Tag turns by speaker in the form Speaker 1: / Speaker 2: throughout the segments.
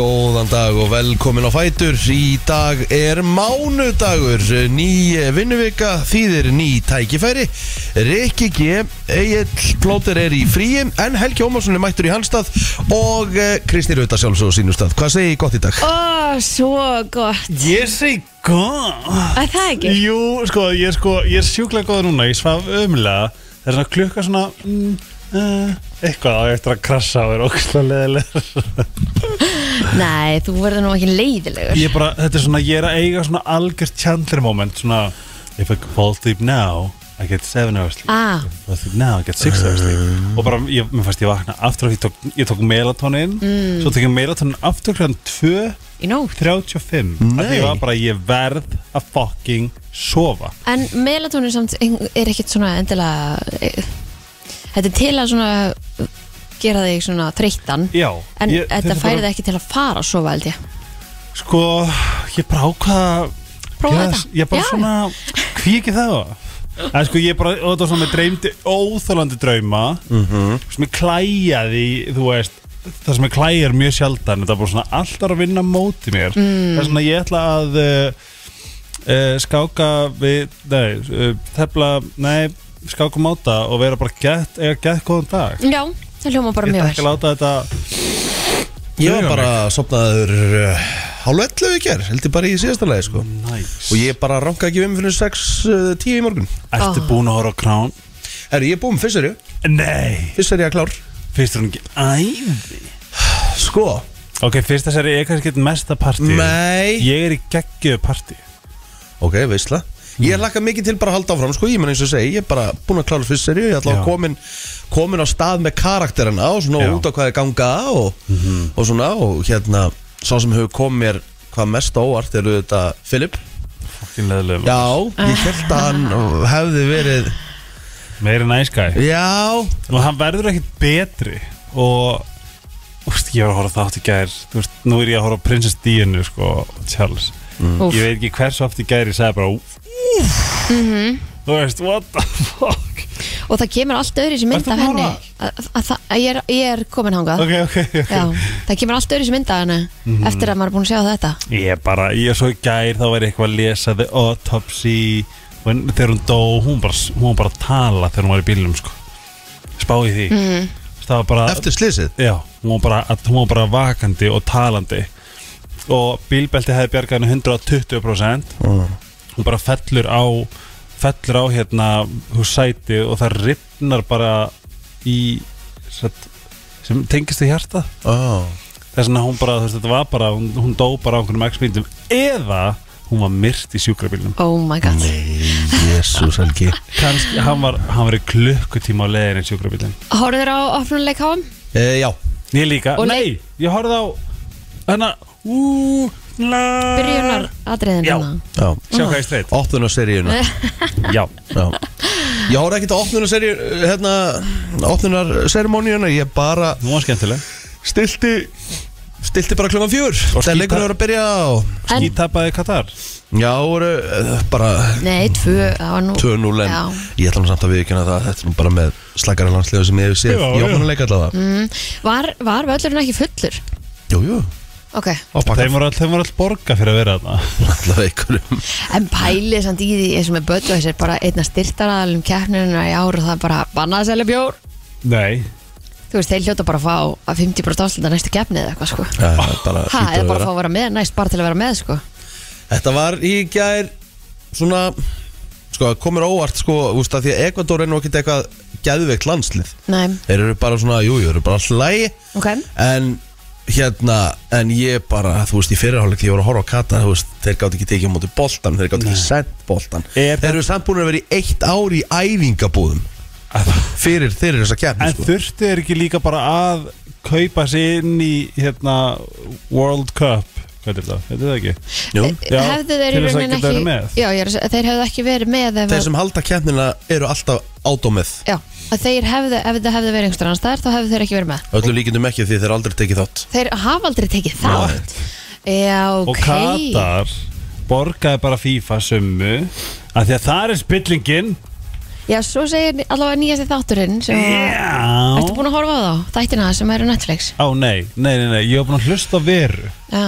Speaker 1: Góðan dag og velkomin á Fætur Í dag er mánudagur Ný vinnuvika Þýðir ný tækifæri Rikki G, Egil Plóter er í fríi En Helgi Ómarsson er mættur í hans stað Og Kristi Rauta sjálfsög á sínum stað Hvað segi ég gott í dag?
Speaker 2: Ó, svo gott
Speaker 3: Ég segi góð
Speaker 2: Að það ekki?
Speaker 3: Jú, sko, ég er sko, ég er sjúklega góð núna Ég svaf ömulega Það er svona klukka svona mm, uh, Eitthvað á ég eftir að krassa og er ógstlega leðilegur
Speaker 2: Nei, þú verður nú ekki leiðilegur
Speaker 3: Ég er bara, þetta er svona, ég er að eiga svona algjört Chandler moment Svona, if I fall asleep now I get seven hours sleep
Speaker 2: Ah.
Speaker 3: If I fall asleep now, I get six hours sleep Og bara, ég, mér fannst ég vakna aftur af því Ég tók, ég tók melatonin mm. Svo tek ég melatonin aftur klukkan tvö
Speaker 2: Í nótt
Speaker 3: 35 Af því
Speaker 1: Nei.
Speaker 3: ég var bara, ég verð að fucking sofa
Speaker 2: En melatonin samt er ekkit svona endilega e, Þetta er til að svona gera þig svona þreyttan
Speaker 3: Já
Speaker 2: En
Speaker 3: ég-
Speaker 2: þetta
Speaker 3: þurfti
Speaker 2: færi
Speaker 3: bara-
Speaker 2: það ekki til að fara að sofa held ég
Speaker 3: Sko, ég bara ákvaða
Speaker 2: Prófa
Speaker 3: Yes,
Speaker 2: þetta
Speaker 3: Ég bara
Speaker 2: Já.
Speaker 3: svona, hví ekki það En sko ég bara, og þetta var svona með dreymdi óþólandi drauma sem ég klæjaði, í, þú veist það sem ég klæjar mjög sjaldan þetta er bara svona alltaf að vinna á móti mér mm. það er svona ég ætla að uh, uh, skáka við, nei, uh, tefla nei, skáka móta og vera bara gett, eiga gett góðan dag
Speaker 2: Já, Mm, það hljóma bara
Speaker 3: ég ætla
Speaker 2: mjög
Speaker 3: ekki að
Speaker 2: vel
Speaker 3: láta þetta
Speaker 1: Ég var
Speaker 3: Dugar
Speaker 1: bara sopnaður uh, Hálfellu í ger, heldur bara í síðasta lagi sko.
Speaker 3: nice.
Speaker 1: Og ég bara ranka ekki um fyrir 6.10 í morgun
Speaker 3: ertu
Speaker 2: Ah.
Speaker 3: búin að horfa á krán?
Speaker 1: Herru, ég er búinn fyrst er ég
Speaker 3: nei,
Speaker 1: Fyrst er ég að klár
Speaker 3: finnst þér hún ekki æði?
Speaker 1: Sko,
Speaker 3: Ok, fyrsta seri er kannski ekki mesta partí
Speaker 1: Nei.
Speaker 3: Ég er í geggjöðu partí
Speaker 1: Ok, veistla Ég
Speaker 3: Mm.
Speaker 1: laka mikið til bara að halda áfram, sko, ég menn eins og ég segi, ég er bara búin að klára fyrst serju, ég ætla
Speaker 3: Já.
Speaker 1: að komin, komin á stað með karakterina og svona
Speaker 3: Já. Mhm.
Speaker 1: út á hvað er ganga og, og svona og hérna, sá sem hefur komið mér hvað mest á óvart eru þetta Filip.
Speaker 3: Fokkin leðilegum
Speaker 1: Já, ég held að hann hefði verið,
Speaker 3: Meiri næskæ
Speaker 1: já,
Speaker 3: Og hann verður ekkit betri Og Úst, ég var að horfa á þátt í gær Þú veist, Nú er ég að horfa á Princess Díunu sko, og Charles
Speaker 2: Úff.
Speaker 3: Ég veit ekki hversu oft í gær ég sagði bara Úf Þú veist, what the fuck
Speaker 2: Og það kemur allt öðru sem mynd
Speaker 3: Ertu
Speaker 2: af
Speaker 3: búin að
Speaker 2: henni
Speaker 3: horfa?
Speaker 2: að, að, að, að ég, er, ég er komin hangað
Speaker 3: Ok, ok, ok Mhm.
Speaker 2: Já, það kemur allt öðru sem mynd af henni Eftir að maður er búin að sjá þetta
Speaker 3: Ég er bara, ég er svo í gær Þá var ég eitthvað að lesa The Autopsy when, Þegar hún dó, hún var, hún var bara að tala Þegar hún var í bílnum sko. Spáði því mm. Það var bara
Speaker 1: eftir slysið.
Speaker 3: Já, hún var bara, að, hún var bara vakandi og talandi og bílbelti hefði bjargað henni 120% hún bara fellur á fellur á hérna húsæti og það ripnar bara í satt, sem tengist í hjarta
Speaker 1: Oh.
Speaker 3: þess vegna hún bara, þú veist, þetta var bara hún, hún dó bara á einhvernum x-bíndum eða hún var myrt í sjúkrabílnum
Speaker 2: Oh my god
Speaker 1: Jésús helgi.
Speaker 3: kannski, hann var, hann var í klukkutíma á leiðinni í sjúkrabílnum
Speaker 2: Horður á opnuleik háum?
Speaker 1: E, já,
Speaker 3: Ég líka,
Speaker 2: Og
Speaker 3: nei, ég horfði á hana, ú, la
Speaker 2: Byrjunar Hérna. atriðin
Speaker 3: Já.
Speaker 2: hana.
Speaker 1: já,
Speaker 3: Sjá hvað ég streit
Speaker 1: opnunarseríuna.
Speaker 3: Já,
Speaker 1: Já. Ég horfði ekkert á opnunarseríu, hérna, opnunarserimóníuna, ég bara
Speaker 3: nú var skemmtileg
Speaker 1: stilti stilti bara klokkan fjör það
Speaker 3: Og
Speaker 1: er
Speaker 3: skíta-
Speaker 1: leikunum að byrja á
Speaker 2: En-
Speaker 3: Skítapaði Katar
Speaker 1: já, voru eh, bara
Speaker 2: Nei, tvö, það var nú
Speaker 1: 2-0 en
Speaker 2: Já.
Speaker 1: ég ætla nú samt að viðkynna það að þetta er nú bara með slagara landslega sem ég hef séð
Speaker 3: Já,
Speaker 1: í
Speaker 3: já.
Speaker 1: opnuleika allavega mm.
Speaker 2: Var, var völlurinn ekki fullur?
Speaker 1: jú, jú,
Speaker 2: Ok,
Speaker 3: Þeim voru all, þeim voru all borga fyrir að vera þarna
Speaker 1: allavega einhverjum
Speaker 2: en pælið samt í því eins og með böttu þessi er bara einna styrtaraðalum keppnirina í ár og það er bara bannað að selja bjór
Speaker 3: Nei
Speaker 2: Þú veist, þeir hljóta bara að fá að 50% áslunda næstu keppni eða eitthvað sko
Speaker 1: Já, það er bara
Speaker 2: Ha,
Speaker 1: hlýtur að
Speaker 2: eða bara að
Speaker 1: vera.
Speaker 2: fá að vera með, næst bara til að vera með sko
Speaker 1: þetta var í gær svona sko, komur óvart sko, úst að því að Ekvador er nú ekkert eitthvað gæðveikt landslið
Speaker 2: Nei,
Speaker 1: þeir eru bara svona, jú, jú, eru bara alltaf lægi
Speaker 2: ok
Speaker 1: en hérna, en ég bara þú veist, í fyrirháleik því ég voru að horfa á Kata þú veist, þeir gátt ekki tekið á móti boltan þeir gátt ekki sent boltan
Speaker 3: Er
Speaker 1: þeir eru samt búin að vera í eitt ár í æfingabúðum fyrir þeir eru þess að kjarni
Speaker 3: En
Speaker 1: sko.
Speaker 3: þurftu er ekki líka bara að kaupa sig inn í hérna World Cup Hvað er þetta? Þetta er það ekki?
Speaker 1: Jú.
Speaker 3: Já,
Speaker 2: Eh, Hefðu þeir í
Speaker 3: til þess að
Speaker 2: rauninni
Speaker 3: geta verið með.
Speaker 2: ekki Já, ég er að segja, þeir hefðu ekki verið með ef
Speaker 1: þeir
Speaker 2: að-
Speaker 1: sem halda kjarnina eru alltaf ádómið
Speaker 2: Já, að þeir hefðu, ef þetta hefðu verið einhverstað annars þar, þá hefðu þeir ekki verið með
Speaker 1: öllu líkindum ekki því þeir aldrei tekið þátt
Speaker 2: Þeir hafa aldrei tekið þátt Já, ok
Speaker 3: Og Katar borgaði bara FIFA summu að Því að það er spillingin
Speaker 2: Já, svo segir allavega nýjasti þátturinn sem
Speaker 3: Já
Speaker 2: Ertu búin að horfa á þá? Þættina sem eru á Netflix
Speaker 3: Á nei, nei, nei, nei, ég var búin að hlusta á veru
Speaker 2: Já,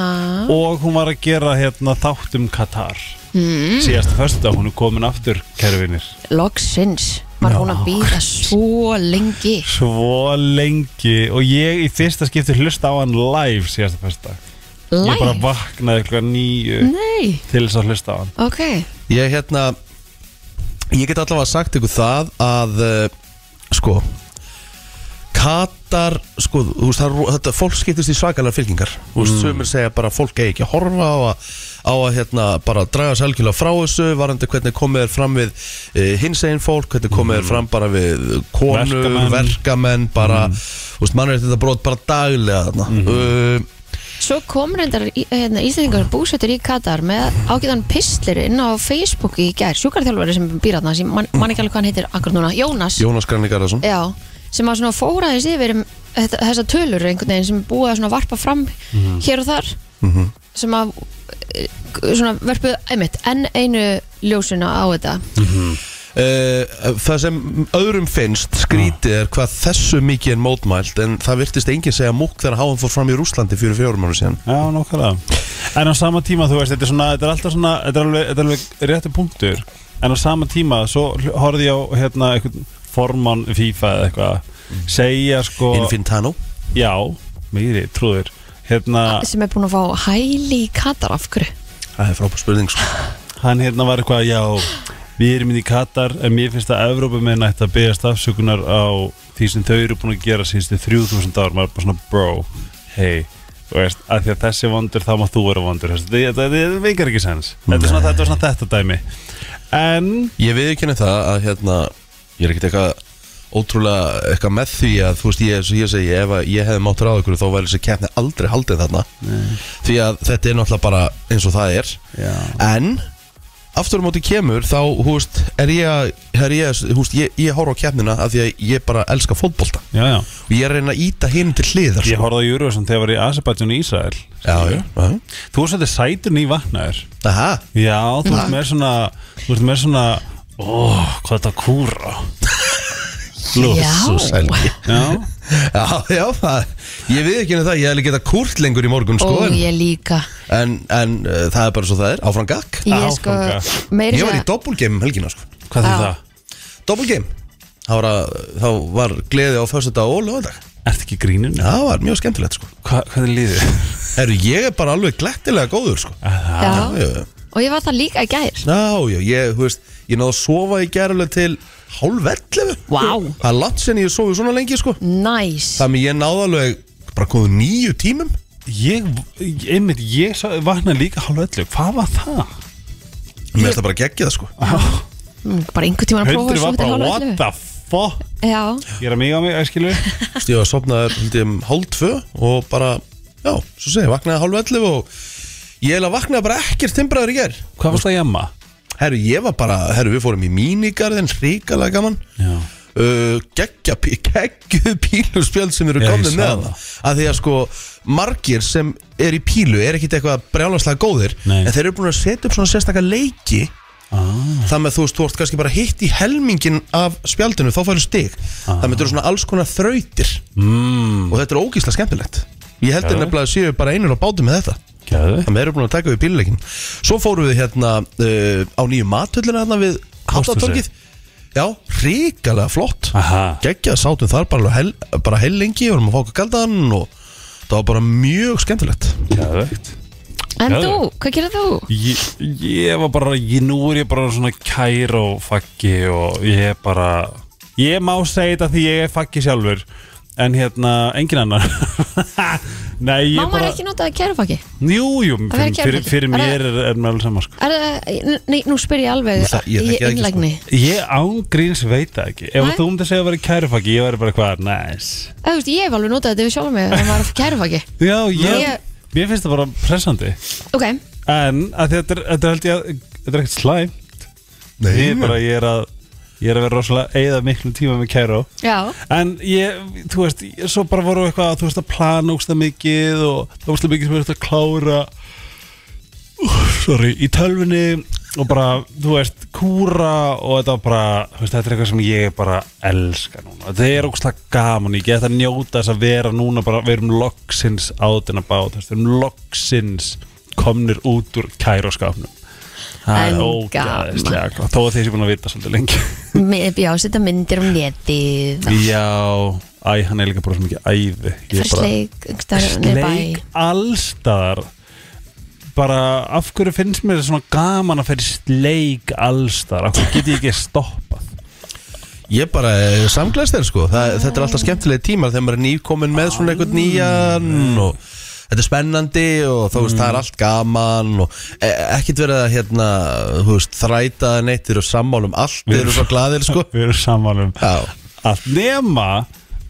Speaker 3: Og hún var að gera hérna þátt um Katar mm. Síðasta föstudag, hún er komin aftur, kæru vinnir
Speaker 2: loksins Var hún að
Speaker 3: Já.
Speaker 2: býða svo lengi
Speaker 3: Svo lengi Og ég í fyrsta skipti hlusta á hann live síðasta föstudag Ég bara
Speaker 2: Læg
Speaker 3: vaknaði klukkan nýju
Speaker 2: Nei,
Speaker 3: til þess að hlusta á hann
Speaker 2: ok
Speaker 1: Ég hérna Ég get allavega sagt ykkur það að uh, Sko Katar Sko, þú veist, það, er ro- þetta, fólk skiptist í svakalega fylkingar Þú veist, sömur segja bara að fólk eigi ekki að horfa á að á að hérna bara draga sér algjörlega frá þessu varandi hvernig komið er fram við e, hins einn fólk, hvernig komið er fram bara við konur,
Speaker 3: Verkamenn.
Speaker 1: verkamenn, bara, þú veist, mannur þetta brot bara daglega þarna mm.
Speaker 2: Svo kom reyndar í- hérna, Íslendingar búsettur í Katar með ágæðan pistlir inn á Facebook í gær sjúkarþjálfari sem býr aðna sem man, man ekki alveg hvað hann heitir akkur núna, Jónas
Speaker 1: Jónas Granni Garðarsson
Speaker 2: Já, sem að svona fóraðis yfir um þetta, þessa tölur einhvern veginn sem er búið að svona varpa fram
Speaker 3: Mhm.
Speaker 2: hér og þar sem að eh, svona verpuð einmitt enn einu ljósuna á þetta
Speaker 1: Eh, það sem öðrum finnst skrítið er hvað þessu mikið er mótmælt en það virtist enginn segja múkk þegar háan fór fram í Rúslandi fyrir fjórum ára síðan
Speaker 3: Já, nokkulega En á sama tíma, þú veist, þetta er svona Þetta er alltaf svona, þetta er alveg, þetta er alveg réttu punktur En á sama tíma, svo hl- horfði ég á hérna, einhvern formann FIFA eða eitthvað Segja sko
Speaker 1: Infintano
Speaker 3: Já, meiri, trúður Hérna,
Speaker 2: sem er búin að fá hæli í Katar af hverju
Speaker 1: Það er frábær spurning sko.
Speaker 3: hann hérna var eitthvað Já, við erum inn í Katar En mér finnst að Evrópumenn ætti að beðast afsökunar Á því sem þau eru búin að gera Sýnstu 3000 ár, maður er bara svona Bro, hey Þú veist, að því að þessi er vondur, þá má þú vera vondur Þessi- Þetta þetta veikar ekki sens Þetta er svona, þetta, er svona þetta dæmi En
Speaker 1: Ég við ekki henni það að hérna ég er ekkert eitthvað ótrúlega eitthvað með því að þú veist ég, eins og ég segi ef að ég hefði mátt ráð ykkur þá væri þessi keppni aldrei haldið þarna því að þetta er náttúrulega bara eins og það er
Speaker 3: Já.
Speaker 1: en aftur á móti kemur þá húst er ég að er ég, að- húst, ég, ég horf á keppnina af því að ég bara elska fótbolta
Speaker 3: Já, já.
Speaker 1: og ég er að reyna að íta hinn til hliðar
Speaker 3: Ég horfði á Eurovision þegar ég var í Azerbaijan í Ísrael
Speaker 1: já, já.
Speaker 3: Þú er svolítið sætur ný vatnaður
Speaker 1: Aha,
Speaker 3: Já, þú ert með svona Þú ert með svona Ó, hvað þetta kúra Lú,
Speaker 2: Já.
Speaker 1: Jesus, Helgi.
Speaker 3: Já,
Speaker 1: já, já það, ég við ekki henni það, ég hefði getað kúrt lengur í morgun sko,
Speaker 2: og
Speaker 1: en,
Speaker 2: ég líka
Speaker 1: en, en uh, það er bara svo það er, áfram gakk
Speaker 2: ég
Speaker 3: Áfram
Speaker 2: sko
Speaker 3: gakk.
Speaker 2: meiri
Speaker 1: Ég var í doppelgame um helgina sko.
Speaker 3: hvað
Speaker 2: Já.
Speaker 3: þýr það?
Speaker 1: Doppelgame, þá var, að, þá var gleði á fyrstu og lögadag
Speaker 3: Ertu ekki í gríninu?
Speaker 1: Það var mjög skemmtilegt sko
Speaker 3: Hva, hvað er liðið?
Speaker 1: Herru, ég er bara alveg glettilega góður sko
Speaker 2: já,
Speaker 1: já, já.
Speaker 2: og ég var það líka í gær
Speaker 1: Já, já, ég, þú veist, ég náðu að sofa í gerðuleg til hálf 11
Speaker 2: Vá.
Speaker 1: Það er langt sem ég hef sofið svona lengi sko
Speaker 2: næs nice.
Speaker 1: Þannig ég náðu alveg bara komið nýju tímum
Speaker 3: Ég, einmitt, ég sá- vaknaði líka hálf öllu Hvað var það?
Speaker 1: Mér finnst það bara geggja það sko
Speaker 2: Mm, bara einhvern tíma að prófa svo
Speaker 3: Hundri var
Speaker 2: þetta
Speaker 3: bara,
Speaker 2: hálfa
Speaker 3: what
Speaker 2: ellefu.
Speaker 3: the fuck
Speaker 2: já,
Speaker 3: Ég er að mig á mig, æskilu
Speaker 1: Þú veist, Ég var að sopnaði held ég um hálf tvö og bara, já, svo segi, ég, vaknaði hálf 11 og ég eiginlega vaknaði bara ekkert timbraður í ger
Speaker 3: Hvað varst það jamma?
Speaker 1: Herru, ég var bara, herru, við fórum í mínigarðin, ríkalega gaman
Speaker 3: Já
Speaker 1: uh, geggja, geggju píluspjöld sem eru
Speaker 3: Já, ég
Speaker 1: komið
Speaker 3: sá
Speaker 1: með
Speaker 3: það.
Speaker 1: hana að því að sko margir sem er í pílu er ekkit eitthvað brjálanslega góðir
Speaker 3: Nei.
Speaker 1: en þeir eru búin að setja upp svona sérstakka leiki ah. þannig að þú veist, þú ert kannski bara hitt í helmingin af spjaldinu, þá færðu stig ah. þannig að þetta eru svona alls konar þrautir mm. og þetta er ógísla skemmtilegt ég heldur
Speaker 3: Já.
Speaker 1: nefnilega að séu bara einur á bátum með þetta
Speaker 3: Gæðu
Speaker 1: þannig að við erum búin að taka við píluleikin svo fórum við hérna uh, á nýju matöllina hérna við
Speaker 3: Pósthúsið.
Speaker 1: Hafnatorgið já, ríkalega flott
Speaker 3: Aha.
Speaker 1: geggjað, sátum þar bara, alveg hel, bara heil lengi vorum að fá okkur kaldan og það var bara mjög skemmtilegt
Speaker 3: Gæðvegt
Speaker 2: en
Speaker 3: Geðveikt.
Speaker 2: þú, hvað gerir þú?
Speaker 3: Ég, ég var bara, ég, nú er ég bara svona kær og faggi og ég er bara Ég má segja þetta því ég er faggi sjálfur En hérna, engin annar Nei, ég
Speaker 2: Má maður
Speaker 3: bara
Speaker 2: ekki nota kærufaki?
Speaker 3: Jú, jú,
Speaker 2: vera
Speaker 3: fyrir, fyrir,
Speaker 2: kærufaggi.
Speaker 3: fyrir
Speaker 2: Bara-
Speaker 3: mér er, er mér alveg sama sko
Speaker 2: Er, það- nei, nú spyr ég alveg
Speaker 1: Það- ég þekki
Speaker 2: í
Speaker 1: það ekki,
Speaker 2: innlægni
Speaker 3: Ég ángríns veit það ekki Ef
Speaker 2: Nei.
Speaker 3: þú myndi segja að vera kærufaggi, ég væri bara hvað, næs
Speaker 2: Það, þú veist, ég hef alveg notað þetta við sjálf mig en maður kærufaki
Speaker 3: Já, ég,
Speaker 2: Ég-
Speaker 3: mér finnst það bara pressandi
Speaker 2: Ok,
Speaker 3: En að þetta er, þetta er held ég að, þetta er ekkert slæm Ég er bara, ég er að, ég er að vera rosalega eigða miklum tíma með kæru
Speaker 2: já
Speaker 3: En ég, þú veist, ég, svo bara voru eitthvað Þú veist að plana ógsta mikið Og það var slik mikið sem er þetta að klára Úf, Sorry, í tölvunni og bara, þú veist, kúra og þetta var bara, þú veist, þetta er eitthvað sem ég bara elska núna, þetta er ógslag gaman, ég get að njóta þess að vera núna bara, við erum loksins átina bát, þú veist, við erum loksins komnir út úr kæroskapnum
Speaker 2: En
Speaker 3: það er
Speaker 2: gaman.
Speaker 3: ógæðislega gott, þó að þeir sem búin að vita svolítið lengi
Speaker 2: Mi- Já, setja myndir um netið
Speaker 3: já, æ, hann er líka bara svo mikið æði Ég
Speaker 2: fyrir
Speaker 3: bara-
Speaker 2: sleik, einhvers staðar niður í
Speaker 3: sleik allstaðar bara af hverju finnst mér svona gaman að fyrir sleik allstaðar af hverju get ég ekki stoppað
Speaker 1: Ég bara eh, samglæst þér sko Þa, Þetta er alltaf skemmtilega tímar þegar maður er nýkomin með svona einhvern
Speaker 3: Mm.
Speaker 1: nýjan og þetta er spennandi og þú veist það er allt gaman og e ekkert verið að hérna þú veist þræta eða neitt þeir eru sammál um allt þeir eru svo glaðir sko
Speaker 3: við erum saman um
Speaker 1: Já,
Speaker 3: að nema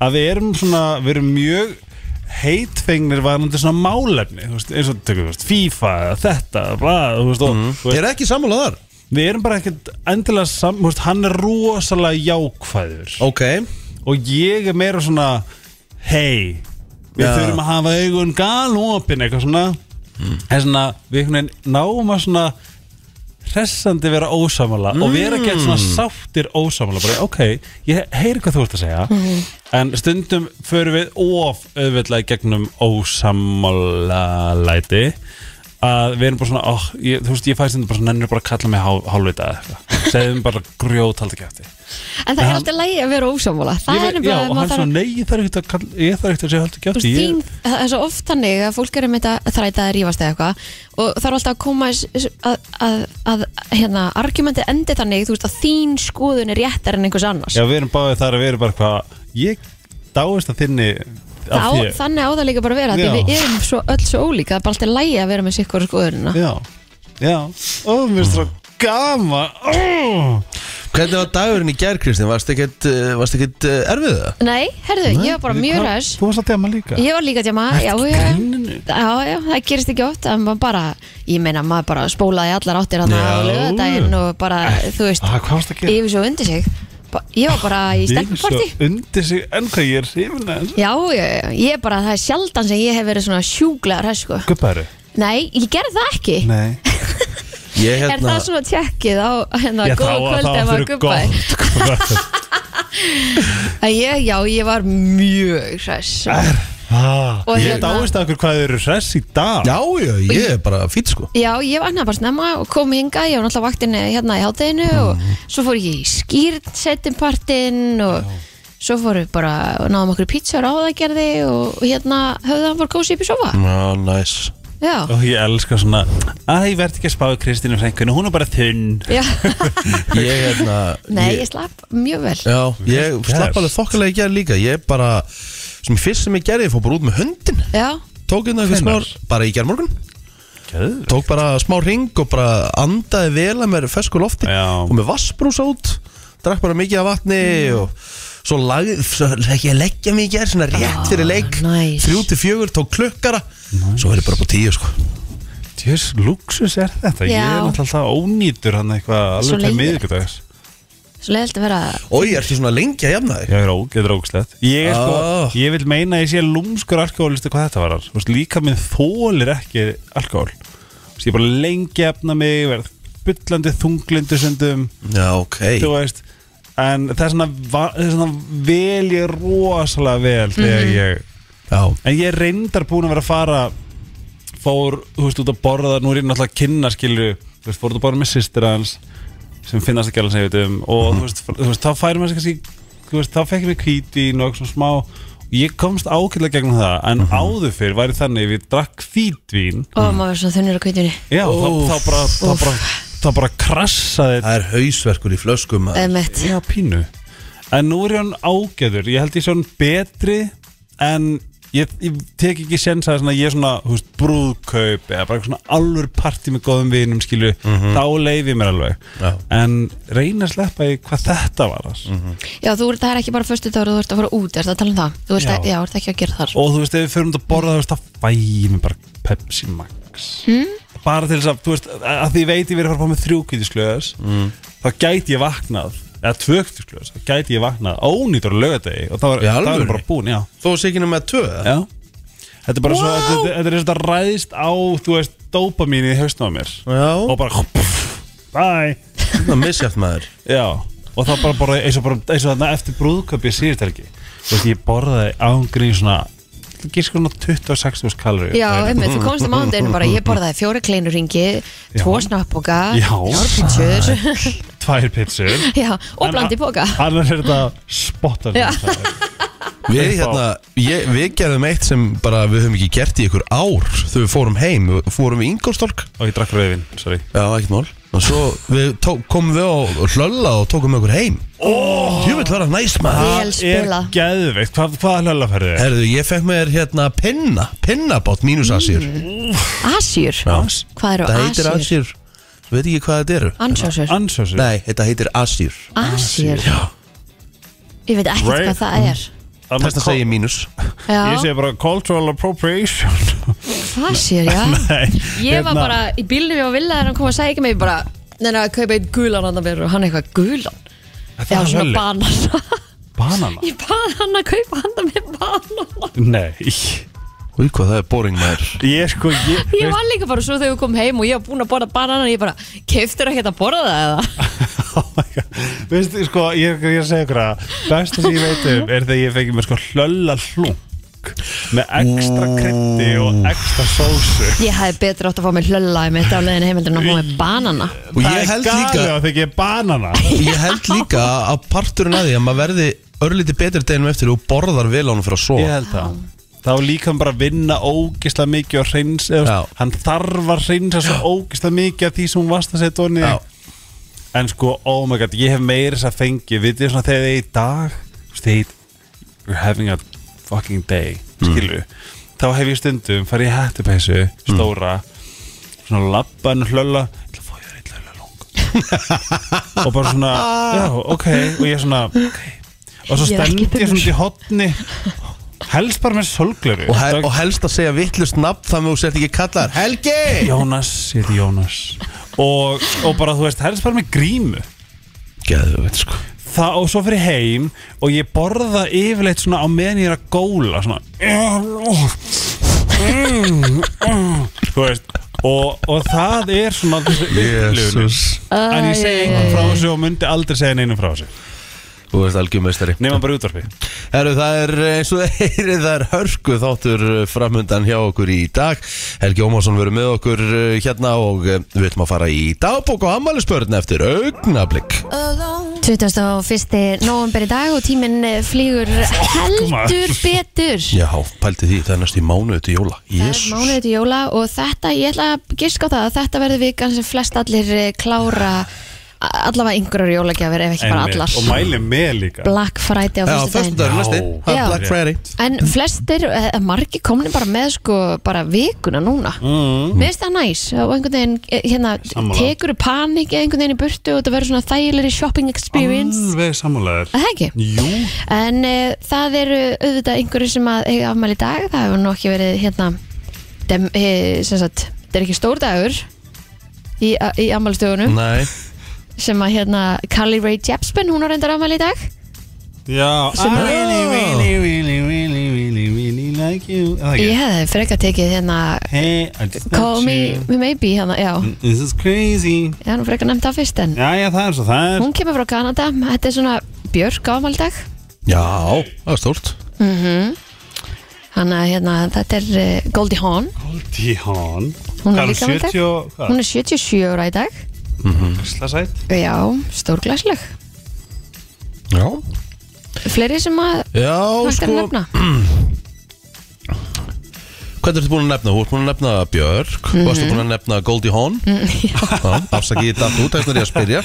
Speaker 3: að við erum svona við erum mjög heitfengnir varandi svona málefni þú veist, eins og tökum, þú veist, FIFA eða þetta bla, þú veist, og, þú
Speaker 1: þeir
Speaker 3: veist,
Speaker 1: eru ekki sammálað þar
Speaker 3: við erum bara ekkert endilega saman, veist, hann er rosalega jákvæður
Speaker 1: Ok,
Speaker 3: og ég er meira svona hei, við
Speaker 1: Já.
Speaker 3: þurfum að hafa augun galopin eitthvað svona en svona, við einhvern veginn náum að svona hressandi vera ósamala og vera ekki svona sáttir ósamala bara ok, ég heyri hvað þú ert að segja en stundum förum við of auðvitað í gegnum ósamala læti að við erum bara svona oh, ég, þú veist, ég fæst þetta bara svona, nennir bara að kalla mig hál, hálfvita eða eitthvað, segðum bara grjóthaldi kæfti
Speaker 2: En það er alltaf lægi að vera ósámála Það
Speaker 3: Ég
Speaker 2: er
Speaker 3: veit-
Speaker 2: bara
Speaker 3: Já, og
Speaker 2: maður
Speaker 3: hann
Speaker 2: þarf
Speaker 3: svona,
Speaker 2: að-
Speaker 3: nei, ég þarf ekkert að, kalla- ég þarf ekkert að segja haldur
Speaker 2: Þú
Speaker 3: kjátt
Speaker 2: veist, þín, það er svo oft þannig að fólk er um þetta þræta að rífast eða eitthvað og það er alltaf að koma s- s- að, að, að hérna, argumenti endi þannig þú veist að þín skoðun er réttar en einhvers annars
Speaker 3: Já, við erum báðið þar að við erum bara hvað Ég dáist að þinni
Speaker 2: Þá,
Speaker 3: af þér
Speaker 2: þannig á það líka bara að vera því
Speaker 3: Já.
Speaker 2: við erum svo, öll svo ólíka, það er bara alltaf lægi að vera með sikkur skoðunina
Speaker 3: Já, já Ó, mér er svo gama Ó
Speaker 1: hvernig var dagurinn í gær Kristín? Varst ekkert, eh, varst ekkert eh, erfið það?
Speaker 2: Nei, herðu, ég var bara
Speaker 3: Hvað-
Speaker 2: mjög ræs
Speaker 3: Þú varst að dema líka
Speaker 2: Ég var líka tjáma, já, já,
Speaker 3: gríninu?
Speaker 2: já, já, það gerist ekki oft en maður bara, ég meina maður bara spólaði allar áttir hann á
Speaker 3: Já.
Speaker 2: lögadaginn og bara, þú veist,
Speaker 3: Ah, Hvað varst að gera?
Speaker 2: yfir svo undir sig Ba- Ég var bara í stelpuparti
Speaker 3: Ég er svo undir sig En hvað ég er hrifin að
Speaker 2: Já, já, já, ég er bara, það er sjaldan sem ég hef verið svona sjúklegar, hef, sko.
Speaker 3: Guppæru
Speaker 2: Nei, ég gerði það ekki.
Speaker 3: Nei
Speaker 1: Ég, hérna-
Speaker 2: Er það svona tjekkið á hérna góða kvöld ef að guppa
Speaker 3: guppa
Speaker 2: Ég, já, ég var mjög hress Og hérna-
Speaker 3: Ég dáist að okkur hvað þau eru hress í dag
Speaker 1: Já, já, ég er bara fýtt sko
Speaker 2: Já, ég vaknaði bara snemma og kom hinga, ég var náttúrulega vaktin hérna í hátæðinu
Speaker 3: Mhm.
Speaker 2: og svo fór ég í skýrt setjumpartinn og svo fórum við bara og náðum okkur pítsar á það gerði og hérna höfðu hann bara kósið upp í sofa.
Speaker 1: Já, næs
Speaker 2: Já,
Speaker 3: Og ég elska svona Æ, ég verð ekki að spáði Kristínu frænkunni, hún er bara þunn
Speaker 2: já.
Speaker 1: Ég, hérna
Speaker 2: Nei, ég slapp mjög vel.
Speaker 1: Já, ég
Speaker 3: gert.
Speaker 1: slapp alveg þokkalega í gerð líka Ég bara, sem fyrst sem ég gerði Ég fór bara út með höndin
Speaker 2: Já,
Speaker 1: Tók hérna eitthvað
Speaker 3: Hvenær?
Speaker 1: smár, bara í gerð morgun
Speaker 3: Gjöður
Speaker 1: Tók bara smá ring og bara andaði vel að mér fesku lofti
Speaker 3: Já.
Speaker 1: Og með vassbrúsa út Drakk bara mikið af vatni
Speaker 3: Mm.
Speaker 1: og Svo lag, svo legg ég að leggja mig í gerð Svona
Speaker 3: Ah,
Speaker 1: rétt fyrir leik
Speaker 2: nice.
Speaker 1: Þrjú til fjögur, tók klukkara Svo er ég bara på tíu sko
Speaker 3: Tjörs, luxus er þetta Ég
Speaker 2: Já.
Speaker 3: er náttúrulega alltaf ónýtur hann eitthvað
Speaker 2: Svo
Speaker 3: Alveg til
Speaker 2: leiðilegt.
Speaker 3: miðvikudags
Speaker 2: svo leiðilt að vera
Speaker 1: Og ég er ekki svona lengi að jafna þig
Speaker 3: Ég er ógeður ógslegt Ég er
Speaker 1: Ah.
Speaker 3: sko, ég vil meina að ég sé lúmskur alkoholisti hvað þetta varar Þú veist, Líka minn þólir ekki alkohol Þú veist, Ég er bara lengi efna mig Verð byllandi þunglindu sundum
Speaker 1: Já, ok
Speaker 3: Þú veist En það er svona, va- það er svona vel ég rosalega vel Þegar
Speaker 2: Mhm.
Speaker 3: ég
Speaker 1: Já,
Speaker 3: En ég er reyndar búin að vera að fara Fór, þú veist, út að borða Nú er ég náttúrulega að kynna, skilju Þú veist, fór út að borða með sýstir hans Sem finnast ekki alveg sem ég veit um Og
Speaker 1: Mhm.
Speaker 3: þú, veist, fr- þú veist, þá færum við kannski Þú veist, þá fekk ég mig kvítin og eitthvað svona smá Og ég komst ákveðlega gegnum það
Speaker 1: Mhm.
Speaker 3: En áður fyrr væri þannig ef ég drakk kvítvín
Speaker 2: og maður var svona þunnur á kveitunni.
Speaker 3: Já, þá,
Speaker 1: Úff.
Speaker 3: þá bara Þá bara, þá bara krassaði
Speaker 1: það er hausverkur í flöskum maður.
Speaker 2: Emmett.
Speaker 3: Já, pínu En nú er ég hann ágæður Ég held ég sé hann betri En ég, ég tek ekki sens að svona, ég er svona þú veist, brúðkaup Eða bara eitthvað svona alvör partí með góðum vinum skilju Þá leif ég mér alveg
Speaker 1: Já.
Speaker 3: En reyna að sleppa í hvað þetta var mm -hmm.
Speaker 2: Já, þú, það er ekki bara fyrstu dagur, þú ert að fara út, er það að tala um það? Þú ert,
Speaker 3: Já.
Speaker 2: Að, já, ert ekki að gera þar.
Speaker 3: Og þú veist, ef við förum út að borða Þú veist, þá fæ ég mér bara Pepsi Max mm? Bara til þess að, þú veist, að því ég veit ég verið að fara að fá með þrjú kvítisklöðas
Speaker 1: Hmm.
Speaker 3: mm. Þá gæti ég vaknað Eða tvö kvítisklöðas, þá gæti ég vaknað Ónýtur lögadegi Og það var,
Speaker 1: Í
Speaker 3: það var
Speaker 1: alvöru?
Speaker 3: bara búin, já
Speaker 1: Þó sé ekki nema tvö eða?
Speaker 3: Já Þetta er bara svo,
Speaker 1: Wow.
Speaker 3: þetta, þetta- þetta er eins og þetta ræðist á, þú veist, dópamín í hausnum á mér
Speaker 1: Já
Speaker 3: Og bara pff, bye
Speaker 1: Þetta er misjæft maður
Speaker 3: Já, og það bara borðaði eins og, bara, eins og þarna eftir brúðköp ég síðist helgi Þú veist, ég borðaði ángrín svona sko Gískur svona 26.000 kaloríu
Speaker 2: Já,
Speaker 3: Það er-
Speaker 2: einmitt, þú komst á mándaginu bara Ég borðaði fjóra kleinuringi, tvo snappboka
Speaker 3: Já.
Speaker 2: Járpítsjur
Speaker 3: Tvær pizzur
Speaker 2: Já, og blandi boka
Speaker 3: Annars er þetta spottar
Speaker 2: Já.
Speaker 1: Við, hérna, ég, við gerðum eitt sem bara við höfum ekki gert í ykkur ár þegar við fórum heim, við fórum í Ingolstork
Speaker 3: Og ég drakk rauðvin, sorry
Speaker 1: Já, ekkert mál Og svo við tó, komum við á hlölla og tókum ykkur heim oh. Jú, var það næst maður
Speaker 2: Vel spilað.
Speaker 3: er geðveikt, hvað, hvað hlöllaferðu er?
Speaker 1: Herðu, ég fekk mér hérna pinna, pinnabátt mínus asýr
Speaker 2: Asjur, hvað eru
Speaker 1: Það heitir
Speaker 2: asjur?
Speaker 1: asýr, við veit ekki hvað þetta eru
Speaker 2: Ansjósur,
Speaker 3: Ansjósur
Speaker 1: Nei, þetta heitir asýr
Speaker 2: asjur
Speaker 1: Já,
Speaker 2: Ég veit ekkert
Speaker 3: Right.
Speaker 2: hvað það er
Speaker 1: þess að segja mínus
Speaker 3: Ég
Speaker 2: Já,
Speaker 3: segi bara cultural appropriation
Speaker 2: hvað sér, já
Speaker 3: Nei,
Speaker 2: Ég var
Speaker 3: hérna,
Speaker 2: bara í bílnum ég var villað þegar hann kom að segja ekki mig bara Neina, að kaupa eitt gulan hann að vera og hann eitthvað gulan
Speaker 3: Þetta
Speaker 2: Já,
Speaker 3: var
Speaker 2: svona
Speaker 3: hlölli
Speaker 2: banana
Speaker 3: Banana?
Speaker 2: Ég bað hann að kaupa hann að vera banana
Speaker 3: Nei
Speaker 1: Úi, hvað það er boring maður
Speaker 3: Ég sko, ég
Speaker 2: Ég var líka bara svo þegar við komum heim og ég var búin að borða banana Ég bara, keiftir ekkert að borða það eða?
Speaker 3: Oh my god. Veistu, sko, ég, ég er að segja ykkur að besta sem ég veit um er þegar ég fengi mér sko hlölla hlung með ekstra krytti og ekstra sósu
Speaker 2: Ég hefði betur átt að fá mér hlölla í mitt á leiðin heimildin að fá mér banana
Speaker 1: Og ég
Speaker 3: Það er
Speaker 1: held
Speaker 3: galið
Speaker 1: líka
Speaker 3: að þegar ég er banana
Speaker 1: Ég held líka að parturinn að því að maður verði örlítið betri deginum eftir og borðar vel á hann fyrir að sofa
Speaker 3: Ég held það Þá líka hann bara að vinna ógislega mikið og hreins, eða,
Speaker 1: Já.
Speaker 3: hann þarf að hreinsa svo ógislega mikið af því sem hún vast að setja honni
Speaker 1: Já.
Speaker 3: En sko, oh my god, ég hef meira þess að fengi Við þið svona þegar þið í dag þú veist, Þegar ég- you're having a fucking day
Speaker 1: Mm.
Speaker 3: Skilu Þá hef ég stundum, farið í hættupessu
Speaker 1: Mm.
Speaker 3: Stóra Svona labba en hlölla Ég ætla að fá ég reitt hlölla lung Og bara svona, já, ok Og ég svona, ok Og svo
Speaker 2: Ég er
Speaker 3: stend
Speaker 2: ekki
Speaker 3: ég svona út í hotni Helst bara með solglöru
Speaker 1: og, hel, og helst að segja vittlust nafn þannig að þú sért ekki kallar Helgi!
Speaker 3: Jónas, ég heiti Jónas og, og bara, þú veist, helst bara með grímu
Speaker 1: Geðveit sko
Speaker 3: Það og svo fyrir heim og ég borða yfirleitt svona á meðan ég er að góla svona Þú veist og, og það er svona þessi upplifun. En ég segi einhvern frá þessu og myndi aldrei segja neinum frá þessu
Speaker 1: Þú veist algjör meistari
Speaker 3: Nefna bara í útvarpi
Speaker 1: Herru, það er eins og það heyrið, það er hörku þáttur eh, framundan hjá okkur í dag Helgi Ómarsson verður með okkur eh, hérna og eh, við ætlum að fara í dagbók og ammælisbörn eftir augnablik
Speaker 2: 21. november í dag og tíminn eh, flýgur heldur
Speaker 3: maður.
Speaker 2: betur
Speaker 1: Já, pælti því, það er næst í mánuðu til jóla
Speaker 2: Það er
Speaker 1: Jésús
Speaker 2: mánuðið til jóla og þetta, ég ætla að giska á það að þetta verður vikan sem flest allir eh, klára a- allavega einhverjar jólagjafir ef ekki bara
Speaker 3: Einmitt.
Speaker 2: allar
Speaker 3: Og mæli með líka
Speaker 2: Black Friday á
Speaker 1: Já,
Speaker 2: fyrstu
Speaker 1: föstudagur
Speaker 2: daginn
Speaker 1: næsti, það
Speaker 2: Já.
Speaker 1: er Black Friday
Speaker 2: En flestir, eh, margir komnir bara með sko bara vikuna núna
Speaker 3: mm.
Speaker 2: Mér finnst það næs og einhvern veginn eh, hérna,
Speaker 3: Sammála.
Speaker 2: tekur panik einhvern veginn í burtu og þetta verður svona þægilegri shopping experience
Speaker 3: Alveg sammálaður
Speaker 2: Er Það ekki?
Speaker 3: Jú,
Speaker 2: En uh, það eru auðvitað einhverju sem að eiga afmæli í dag, það hefur nú ekki verið hérna, dem, e, sem sagt, þetta er ekki stór dagur í, a- í afmælistögunum
Speaker 1: Nei,
Speaker 2: sem að hérna Carly Rae Jepsen, hún á reyndar afmæli í dag.
Speaker 3: já I
Speaker 2: Sem-
Speaker 3: really, really, really, really, really, really like you Er það ekki?
Speaker 2: Ég hefði frekar tekið hérna
Speaker 3: Hey, I just
Speaker 2: Call
Speaker 3: met
Speaker 2: Me
Speaker 3: you.
Speaker 2: Maybe hérna, já,
Speaker 3: This is crazy
Speaker 2: ég hefði nú frekar nefnt það fyrst en
Speaker 3: Já, já, það er svo það er
Speaker 2: hún kemur frá Kanada, þetta er svona Björk á afmæli í dag.
Speaker 1: já, það er stórt
Speaker 2: Þannig að hérna, þetta er uh, Goldie Hawn,
Speaker 3: Goldie Hawn
Speaker 2: Hún er
Speaker 3: Hvað
Speaker 2: líka með
Speaker 3: 70 og
Speaker 2: hún
Speaker 3: hvað?
Speaker 2: er 77 ára í dag.
Speaker 3: Slasæt
Speaker 2: Já, stórglæsleg.
Speaker 1: Já,
Speaker 2: Fleiri sem að
Speaker 1: já
Speaker 2: hægt er að
Speaker 1: sko
Speaker 2: nefna.
Speaker 1: Hvað ertu búin að nefna? Þú ert búin að nefna Björk
Speaker 2: Mhm.
Speaker 1: Varstu búin að nefna Goldie Hawn mm, Já, afsaki ég datt út Þegar ég að spyrja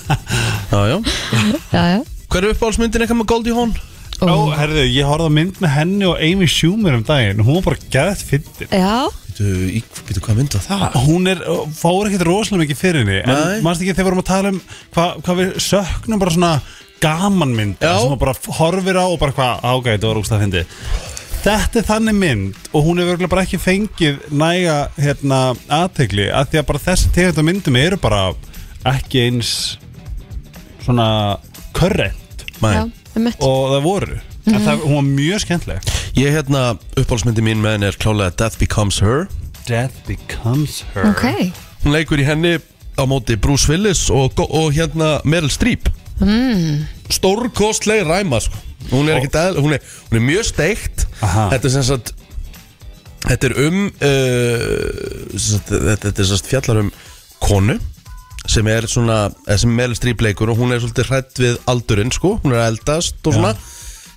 Speaker 1: Já, já
Speaker 2: Já, já.
Speaker 1: Hver er uppáhaldsmyndin eitthvað með Goldie Hawn?
Speaker 3: Ó, herðu, ég horfði á mynd með henni og Amy Schumer um daginn Hún var bara gæðt fyndin
Speaker 2: Já,
Speaker 1: Býtu, í- býtu hvað mynd var það?
Speaker 3: Hún er, fór ekkert rosalega mikið fyrir henni
Speaker 1: Nei.
Speaker 3: En mannst ekki þegar við vorum að tala um hvað hva við söknum bara svona gaman mynd
Speaker 1: Já.
Speaker 3: sem maður bara horfir á og bara hvað ágæði, þetta var rúst að fyndi Þetta er þannig mynd og hún hefur örugglega bara ekki fengið næga hérna, aðtegli að því að bara þessi tegunda myndum eru bara ekki eins svona körrent
Speaker 1: Nei.
Speaker 2: já, einmitt.
Speaker 3: og það voru en það, hún var mjög skemmtileg
Speaker 1: Ég hérna, uppáhaldsmyndin mín með henni er klálega Death Becomes Her
Speaker 3: Death Becomes Her
Speaker 2: Ok,
Speaker 1: Hún leikur í henni á á móti Bruce Willis og, og hérna Meryl Streep mm. Stórkostleg ræma sko. hún, er ekkit eðl, hún, er, hún er mjög steikt
Speaker 3: Aha.
Speaker 1: Þetta er sem sagt Þetta er um uh, sem sagt, Þetta þetta er sem sagt fjallar um konu sem er svona, eða sem Meryl Streep leikur og hún er svolítið hrætt við aldurinn sko, hún er að eldast og svona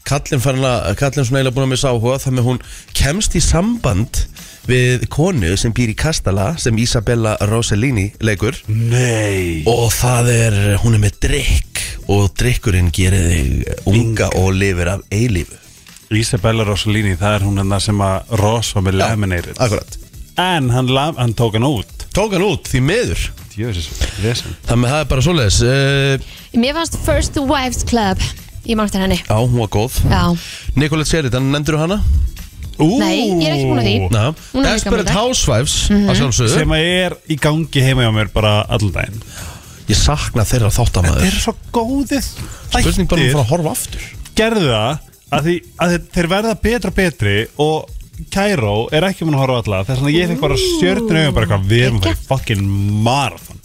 Speaker 1: kallinn farin að, kallinn svona eiginlega búin að missa áhuga þannig að hún kemst í samband við konu sem býr í Kastala sem Isabella Rossellini leikur
Speaker 3: Nei
Speaker 1: og það er, hún er með drikk og drikkurinn gerir þig unga og lifir af eilífu
Speaker 3: Isabella Rossellini, það er hún hennar sem að Ross var með Laminated
Speaker 1: Akkurat,
Speaker 3: En hann, lam, hann tók hann út
Speaker 1: tók hann út því miður
Speaker 3: Jöfis, vesen
Speaker 1: þannig að það er bara svoleiðis uh,
Speaker 2: Mér fannst First Wives Club Ég man eftir henni
Speaker 1: Já, hún var góð
Speaker 2: Já.
Speaker 1: Nicolette Sheridan, nefndur hana?
Speaker 3: Ú,
Speaker 2: Nei, ég er ekki búin að því.
Speaker 1: Na,
Speaker 2: Hún er líka
Speaker 1: sko. Desperate
Speaker 2: með það. Mhm.
Speaker 1: Housewives mm -hmm.
Speaker 3: Sem að er í gangi heima hjá mér bara allan daginn
Speaker 1: Ég sakna þeirra
Speaker 3: Þeir
Speaker 1: þáttamæður
Speaker 3: eru svo góðið
Speaker 1: Spurning bara um að
Speaker 3: þættir
Speaker 1: fara að horfa aftur
Speaker 3: Gerðu það að, því, að þeir- þeir verða betra og betri Og Kæró er ekki mun að horfa á alla Þess vegna ég fekk bara stjörnur auðum bara hvað Við erum að fara í fucking marathon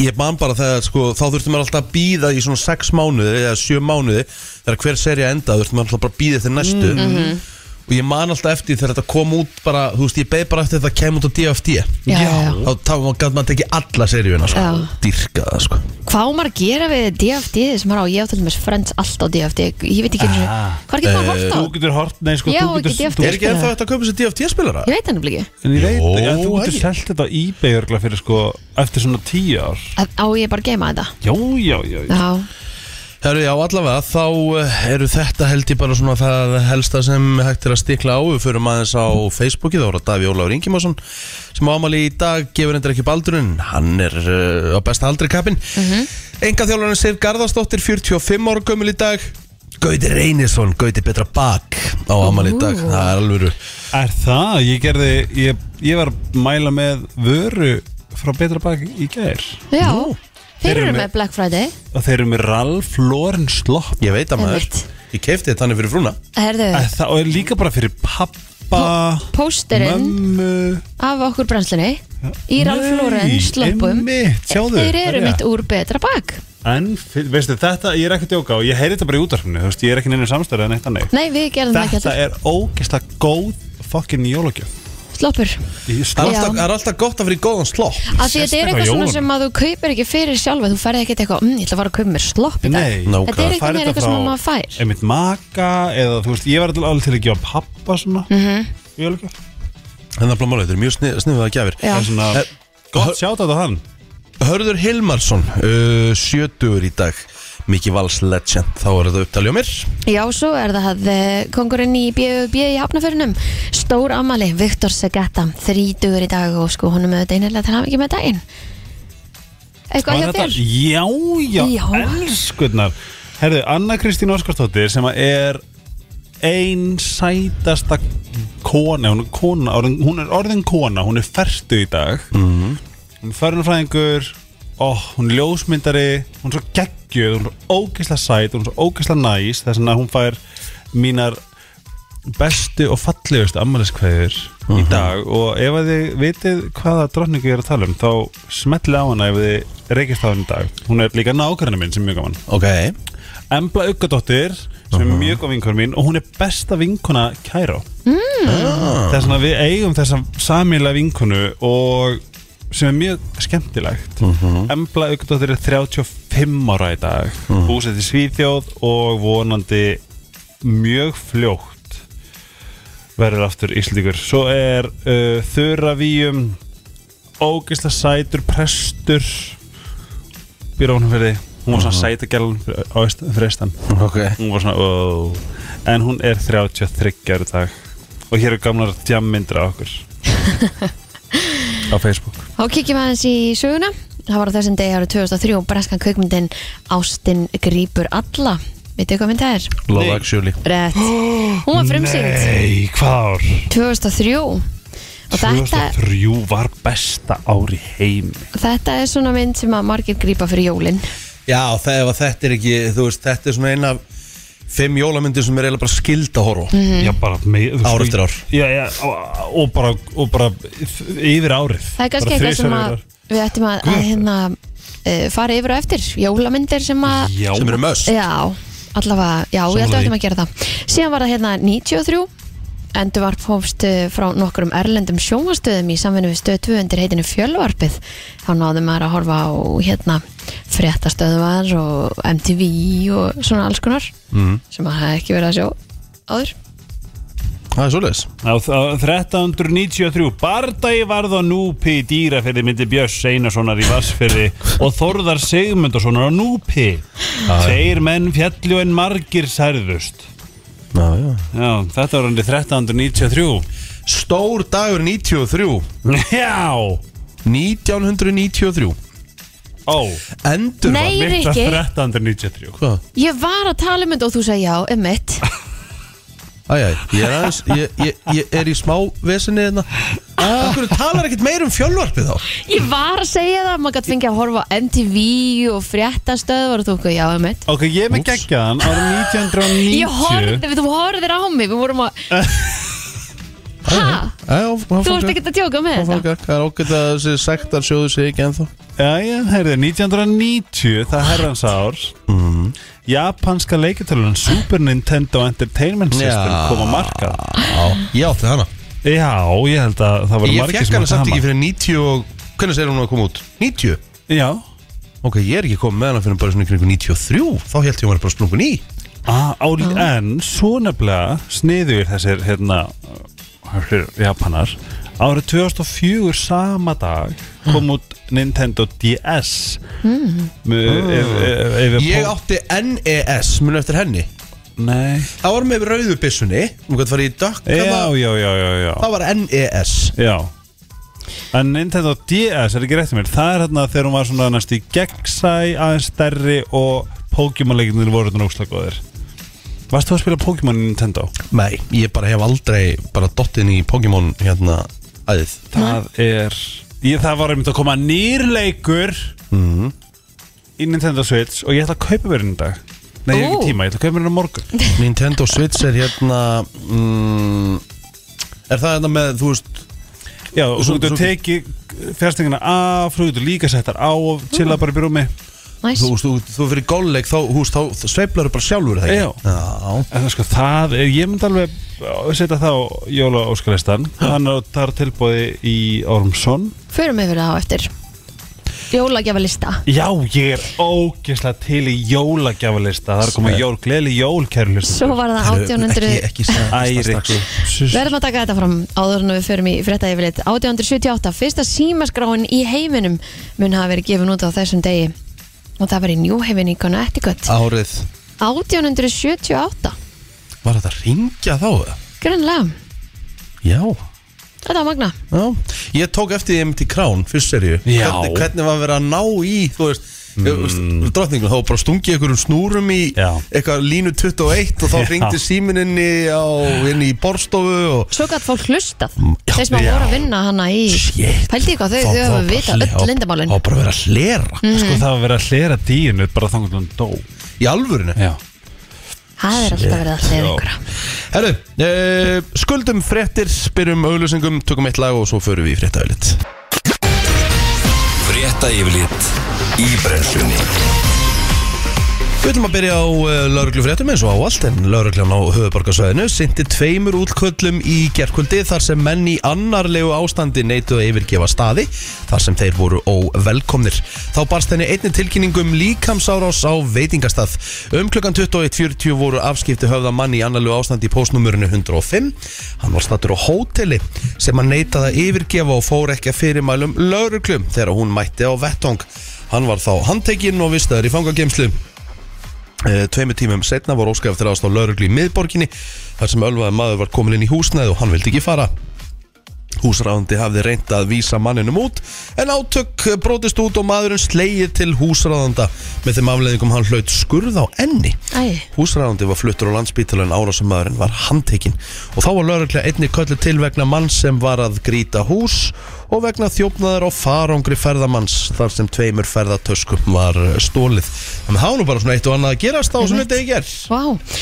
Speaker 1: Ég man bara þegar, sko, þá þurftum maður alltaf að býða í svona 6 mánuði eða 7 mánuði þegar hver serið enda þurftum maður alltaf bara að býða eftir næstu
Speaker 2: Mhm.
Speaker 1: og ég man alltaf eftir þegar þetta kom út bara, þú veist, ég beið bara eftir þetta kem út á DFD
Speaker 2: Já, já, já.
Speaker 1: þá þá gæti maður að tekið alla seríuna sko,
Speaker 2: Já.
Speaker 1: dýrka það sko
Speaker 2: Hvað á maður að gera við DFD sem maður á, ég á til dæmis Friends allt á DFD Ég veit ekki einu sinni,
Speaker 3: Ah.
Speaker 2: hvað getur maður hort á?
Speaker 3: Þú getur hort, nei sko
Speaker 2: Já,
Speaker 3: þú
Speaker 2: ekki
Speaker 3: getur,
Speaker 2: DFT.
Speaker 1: Er ekki ennþá þetta að kaupa sér DFD spilara?
Speaker 2: Ég veit hann ekki
Speaker 3: En ég veit,
Speaker 1: Jó,
Speaker 3: Jó, þú getur
Speaker 1: hei.
Speaker 3: selt þetta á eBay örgla fyrir sko Eftir svona tíu ár
Speaker 2: Að- Á ég bara að geima þetta?
Speaker 3: Já, já, já, já.
Speaker 2: Já,
Speaker 1: Herru, já, allavega, þá eh, eru þetta held ég bara svona það helsta sem hægt er að stikla á. Við förum aðeins á Facebooki, þá er það Daví Ólafur Ingimarsson sem ámali í dag gefur endur ekki baldurinn. Hann er uh, á besta aldri kappin. Mm
Speaker 2: Mhm.
Speaker 1: -hmm. Enga þjálfarinn Sif Garðarsdóttir, 45 ára gömul í dag. Gauti Reynisson, Gauti Betra Bak á ámali í dag. Það er alveg
Speaker 3: Er það? Ég gerði, ég, ég var að mæla með vöru frá Betra Bak í gær
Speaker 2: já
Speaker 3: Þeir
Speaker 2: Þeir
Speaker 3: eru
Speaker 2: eru
Speaker 3: með-
Speaker 2: með Black Friday
Speaker 3: og þeir eru með Ralph Lauren slopp
Speaker 1: Ég veit að maður,
Speaker 2: Einmitt.
Speaker 1: ég keifti þetta hann fyrir frúna.
Speaker 2: Herðu,
Speaker 3: Er það, og er líka bara fyrir pappa,
Speaker 2: pósterinn
Speaker 3: mömmu
Speaker 2: af okkur brennslunni í Ralf
Speaker 3: Nei,
Speaker 2: Lauren sloppum
Speaker 3: einmitt, sjáðu,
Speaker 2: Þeir eru
Speaker 3: það er
Speaker 2: mitt
Speaker 3: rétt.
Speaker 2: úr betra bak
Speaker 3: En, fyr- veistu, þetta, ég er ekki að djóka og ég heyri þetta bara í útarfinu, þú veist, ég er ekki neina samstæri en eitt annað
Speaker 2: Nei, við gerum það ekki
Speaker 3: Þetta
Speaker 2: alltaf
Speaker 3: er ógeðslega góð fucking jólagjöf
Speaker 2: Sloppur
Speaker 1: Það
Speaker 3: Í
Speaker 1: er
Speaker 2: Já.
Speaker 3: slopp-
Speaker 1: alltaf, það er alltaf gott að fyrir góðan slopp.
Speaker 2: Af því þetta er
Speaker 3: Sérstaklega
Speaker 2: eitthvað svona
Speaker 3: jólunum.
Speaker 2: sem að þú kaupir ekki fyrir sjálfa Þú ferði ekkert eitthvað, mmm, ég ætla að fara að kaupa mér slopp í dag
Speaker 3: Nei,
Speaker 1: Nó,
Speaker 2: Þetta
Speaker 1: hvað,
Speaker 2: er eitthvað,
Speaker 3: fær
Speaker 2: eitthvað
Speaker 3: þetta
Speaker 2: sem
Speaker 3: frá-
Speaker 2: maður fær
Speaker 3: einmitt maka eða þú veist, ég var alltaf alveg til að gefa pappa svona mm
Speaker 2: Mhm.
Speaker 3: -hmm.
Speaker 1: En það er bara málið, þetta er mjög snið, sniðuða gjafir.
Speaker 2: Já.
Speaker 3: en svona,
Speaker 1: Eh,
Speaker 3: gott sjátt á hann
Speaker 1: Hörður Hilmarsson, uh, sjötugur í dag Miki Vals Legend, þá er þetta upptalið á mér
Speaker 2: Já, svo er það eh, kongurinn í BUB í hafnaförunum Stór amali, Viktor Segata Þrítugur í dag og sko honum auðvitað einilega til hafa ekki með daginn
Speaker 3: Sko,
Speaker 2: Eitthvað hjá þér?
Speaker 3: já, já,
Speaker 2: Já.
Speaker 3: elskurnar herðu, Anna Kristín Óskarsdóttir sem að er ein sætasta kona, hún er kona orðin, hún er orðin kona, hún er ferstu í dag -hmm. hún er förunfræðingur ó, hún er ljósmyndari hún er svo geggjöð, hún er svo ógeðslega sæt hún er svo ógeðslega næs, þess vegna hún fær mínar bestu og fallegustu ammæliskveður í dag og ef að þið vitið hvaða drottningu ég er að tala um þá smetli á hana ef þið reykist á henni í dag hún er líka nákvæmna minn sem er mjög gaman
Speaker 1: Ok
Speaker 3: Embla Uggadóttir sem er mjög góð vinkona mín og hún er besta vinkona Kæró mm. þess vegna við eigum þessa samíla vinkonu og sem er mjög skemmtilegt Embla Uggadóttir er 35 ára í dag mm -hmm. búsett í Svíþjóð og vonandi mjög fljótt verður aftur Íslendingur svo er uh, Þura Víum ógisla sætur prestur býr á honum fyrir því hún var svona sætagjálun á Aust- fyrir austan
Speaker 1: Ok
Speaker 3: hún var svona oh. en hún er 33 ára í dag og hér eru gamlar djammyndir af okkur á Facebook
Speaker 2: Þá kíkjum við aðeins í söguna. Það var á þessum degi árið 2003 og breskan kveikmyndin Ástin grýpur alla. Vitið hvað mynd það er?
Speaker 1: Love
Speaker 3: Nei.
Speaker 1: Actually
Speaker 2: Rétt. Hún var frumsýnd
Speaker 3: Nei, hvað ár?
Speaker 2: 2003 og þetta,
Speaker 3: 2003 var besta ár í heimi
Speaker 2: þetta er svona mynd sem að margir grýpa fyrir jólin.
Speaker 1: Já, það, ef að þetta er ekki, þú veist, þetta er svona eina Fimm jólamyndir sem er eiginlega bara skilda horfa mm.
Speaker 2: Mhm.
Speaker 3: Já, bara með, þú
Speaker 1: Ár
Speaker 3: sko-
Speaker 1: eftir ár.
Speaker 3: Já, já, og- og bara, og bara yfir árið
Speaker 2: Það er kannski
Speaker 3: Bara
Speaker 2: eitthvað sem
Speaker 3: þrisvar
Speaker 2: að
Speaker 3: yfir ár.
Speaker 2: við ættum að, að hérna, uh, fara yfir og eftir Jólamyndir sem að
Speaker 3: Já,
Speaker 1: sem eru möst
Speaker 2: Já, allavega, já, ég held að
Speaker 3: Sammála því.
Speaker 2: við ættum að gera það Síðan var það hérna 93 Endurvarp hófst eh, frá nokkurum erlendum sjónvastöðum í samvinni við stöð 2 undir heitinu Fjölvarpið. Þá náðum maður að horfa á hérna fréttastöðvar og MTV og svona alls konar
Speaker 3: Mhm.
Speaker 2: sem maður hafði ekki verið að sjá áður.
Speaker 1: Það er svoleiðis
Speaker 3: Á þ- 1393 Bardagi varð á núpi í dýrafyrði myndi Björns Einarssonar í Vassfyrði og Þorðar Sigmundarssonar á núpi Þeir menn fjallu en margir særðust
Speaker 1: Já, já
Speaker 3: Já, þetta var hann 1393
Speaker 1: Stór dagur 93
Speaker 3: Já,
Speaker 1: 1993
Speaker 3: ó
Speaker 1: Endur
Speaker 2: Nei,
Speaker 3: mitt var
Speaker 2: Rikki.
Speaker 3: 1393
Speaker 1: Hvað?
Speaker 2: Ég var að tala um þetta og þú sagði já, emmitt.
Speaker 1: Æjæ, ég er aðeins Ég, ég, ég er í smá vesinni hérna
Speaker 2: Ah.
Speaker 1: Akkur talar ekkert meir um fjölvarpið þá
Speaker 2: Ég var að segja það, maður gæti fengið að horfa á MTV og fréttastöðvar og þú okkur, já, emmitt.
Speaker 3: Ok, ég er með geggjaðan árið 1990
Speaker 2: Ég horfði, þú horfðir á mig, við vorum að Hæ? Þú ert ekkert að tjóka með þetta?
Speaker 1: Það er okkur að þessi sektar sjóðu sig ekki ennþá
Speaker 3: Já, já, heyrðu, 1990, það herrans ár
Speaker 1: Mm-hmm.
Speaker 3: Japanska leikjartölunan Super Nintendo Entertainment System
Speaker 1: Já.
Speaker 3: kom á markað
Speaker 1: Ég átti hana
Speaker 3: Já, ég held að það voru
Speaker 1: Ég
Speaker 3: margir
Speaker 1: fekk
Speaker 3: sem
Speaker 1: hana
Speaker 3: áttu
Speaker 1: samt
Speaker 3: hana.
Speaker 1: ekki fyrir 90 og Hvernig segir hún að koma út? 90?
Speaker 3: Já,
Speaker 1: Ok, ég er ekki komið með hana fyrir bara svona kringu 93 Þá held ég að hún var bara sprungun í
Speaker 3: ah, á, en svo nefnilega sniður þessir hérna, þessir Japanar Árið 2004 sama dag
Speaker 1: Hm.
Speaker 3: kom út Nintendo DS Með- ef- ef- ef- ef-
Speaker 1: Ég átti NES, munu eftir henni
Speaker 3: Nei
Speaker 1: Það var með rauðu byssunni Hún gæti farið í dökka
Speaker 3: Já, já, já, já, já
Speaker 1: Það var E NES
Speaker 3: Já En Nintendo DS er ekki rétt í mér Það er hérna þegar hún var svona næst í gegnsæ aðeins stærri og Pokémon-leikinir voru þetta nógslega góðir Varst þú að spila Pokémon í Nintendo?
Speaker 1: Nei, ég bara hef aldrei bara dottin í Pokémon hérna æðið
Speaker 3: Það er ég, Það var einmitt að koma nýr leikur Mhm. í Nintendo Switch og ég ætla að kaupa mér henni í dag Nei, ég
Speaker 2: Ó.
Speaker 3: hef ekki tíma, ég ætla að kaupa mér henni á morgun
Speaker 1: Nintendo Switch er hérna mm, Er það hérna með, þú veist
Speaker 3: Já, og svo
Speaker 1: Svo-
Speaker 3: getur
Speaker 1: svo-
Speaker 3: tekið fjastingina af, svo getur líka settar á og chilla bara upp í rúmi
Speaker 2: Næs,
Speaker 1: Þú, þú, þú fyrir golleik, þá, þú veist, þá sveiflar bara sjálfur það
Speaker 3: Já.
Speaker 1: ekki Já
Speaker 3: En það sko, það er, ég myndi alveg uh, setja það á jóla óskalistan Hann er þar tilbúði í Ormsson
Speaker 2: förum yfir það á eftir Jólagjafalista
Speaker 3: Já, ég er ógeðslega til í jólagjafalista Það er komið jól, gleðli jól, kæru
Speaker 2: Svo
Speaker 3: hlustendur
Speaker 2: var það
Speaker 1: Herru,
Speaker 2: 1800
Speaker 1: Ekki, ekki sagði
Speaker 3: Æri ekki
Speaker 2: Verðum að taka þetta fram áður en við förum í frétta yfirleitt 1878, fyrsta símaskráin í heiminum mun hafa verið gefin út á þessum degi og það var í New Haven í Connecticut
Speaker 1: Árið,
Speaker 2: 1878,
Speaker 1: var þetta að ringja þá? eða?
Speaker 2: grannlega
Speaker 1: Já
Speaker 2: Þetta var magna
Speaker 1: Já, ég tók eftir því einmitt í krán, fyrst serju
Speaker 3: Já.
Speaker 1: hvernig, hvernig var verið að ná í, þú veist mm. drottningu, þá var bara stungið einhverjum snúrum í
Speaker 3: Já.
Speaker 1: eitthvað línu 21 og þá
Speaker 3: Já.
Speaker 1: ringdi símininni á, inn í borstofu og
Speaker 2: Svo gætt fólk hlustað Þeir sem að
Speaker 1: Mm, já.
Speaker 2: voru að vinna hana í
Speaker 1: Shit.
Speaker 2: Pældi ykkur, þau,
Speaker 1: Þá-
Speaker 2: þau
Speaker 1: þá
Speaker 2: hafa
Speaker 1: bara
Speaker 2: vita
Speaker 1: hle-
Speaker 2: öll Mm. lindamálin
Speaker 1: þá bara verið að hlera
Speaker 3: Sko, það var verið að hlera díinu bara þangur til hann dó
Speaker 1: í alvörinu
Speaker 3: Já
Speaker 2: Það er alltaf verið að hlera ykkur
Speaker 1: Herru, uh, skuldum fréttir, byrjum auglýsingum, tökum eitt lag og svo förum við í fréttaöðlitt
Speaker 4: Frétta yfirlit í brennslunni
Speaker 1: Við ætlum að byrja á uh, lauruglufréttum eins og á allt en lauruglan á höfuborgarsvæðinu sinti tveimur útköllum í gerkvöldi þar sem menn í annarlegu ástandi neituð að yfirgefa staði þar sem þeir voru óvelkomnir. Þá barst henni einni tilkynningum líkamsárás á veitingastað. Um klukkan 21.40 voru afskipti höfða manni í annarlegu ástandi í postnumurinu 105. Hann var stattur á hóteli sem hann neitaði að yfirgefa og fór ekki að fyrirmælum lauruglum þegar hún mætti á vettvang. Hann var þá handtekinn og vistaður í fangagemslu. Eh, Tveimur tímum setna var óskæf til aðstáð lauruglu í miðborginni þar sem ölvaði maður var komin inn í húsnæði og hann vildi ekki fara. Húsráðandi hafði reynt að vísa manninum út en átök eh, brotist út og maðurinn slegið til húsráðanda með þeim afleðingum hann hlaut skurð á enni.
Speaker 2: Æ.
Speaker 1: Húsráðandi var fluttur á landsbítalun árásumadurinn var handtekinn og þá var lauruglega einni köllu til vegna mann sem var að grýta hús og vegna þjófnaðar á farangri ferðamanns þar sem tveimur ferðatöskum var eh, stólið. Þannig að það var nú bara svona eitt og annað að gerast á sem
Speaker 2: Einmitt.
Speaker 1: þetta ekki er.
Speaker 2: Vá,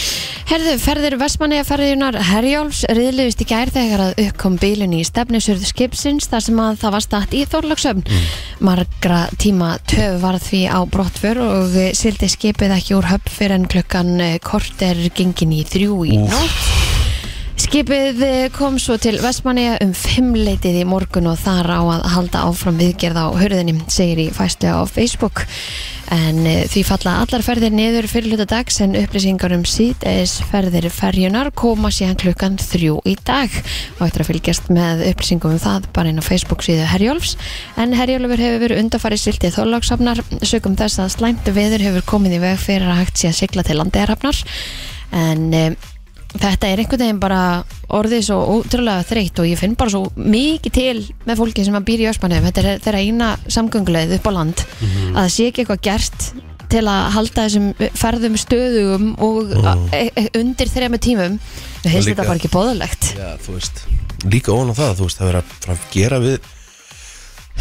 Speaker 2: herðu, ferðir Vestmannegaferðunar Herjóls riðluðist í gær þegar að uppkom bílun í stefnisurðu skipsins þar sem að það var statt í Þorlagsöfn.
Speaker 1: Mm.
Speaker 2: Margra tíma töf var því á brottför og sildi skipið ekki úr höfn fyrir en klukkan eh, kort er gengin í þrjú í nótt. Skipið eh, kom svo til Vestmanneja um fimmleitið í morgun og þar á að halda áfram viðgerð á hurðinni, segir í fæslu á Facebook. En eh, því falla allar ferðir niður fyrir hluta dags en upplýsingar um síðeis ferðir ferjunar koma síðan klukkan þrjú í dag og eftir að fylgjast með upplýsingum um það bara inn á Facebook síðu Herjólfs. En Herjólfur hefur verið undarfarið siltið þólagsafnar sögum þess að slæmt veður hefur komið í veg fyrir að hægt sé að sigla til landeirafnar en um, þetta er einhvern veginn bara orðið svo ótrúlega þreytt og ég finn bara svo mikið til með fólki sem að býr í Öspanum þetta er þeirra eina samgönguleið upp á land að það sé ekki eitthvað gert til að halda þessum ferðum stöðugum og mm. e e undir þrema tímum Mér finnst
Speaker 1: líka-
Speaker 2: þetta bara ekki bóðalegt
Speaker 1: Já, þú veist, líka ofan á það, þú veist, það verður að fara að gera við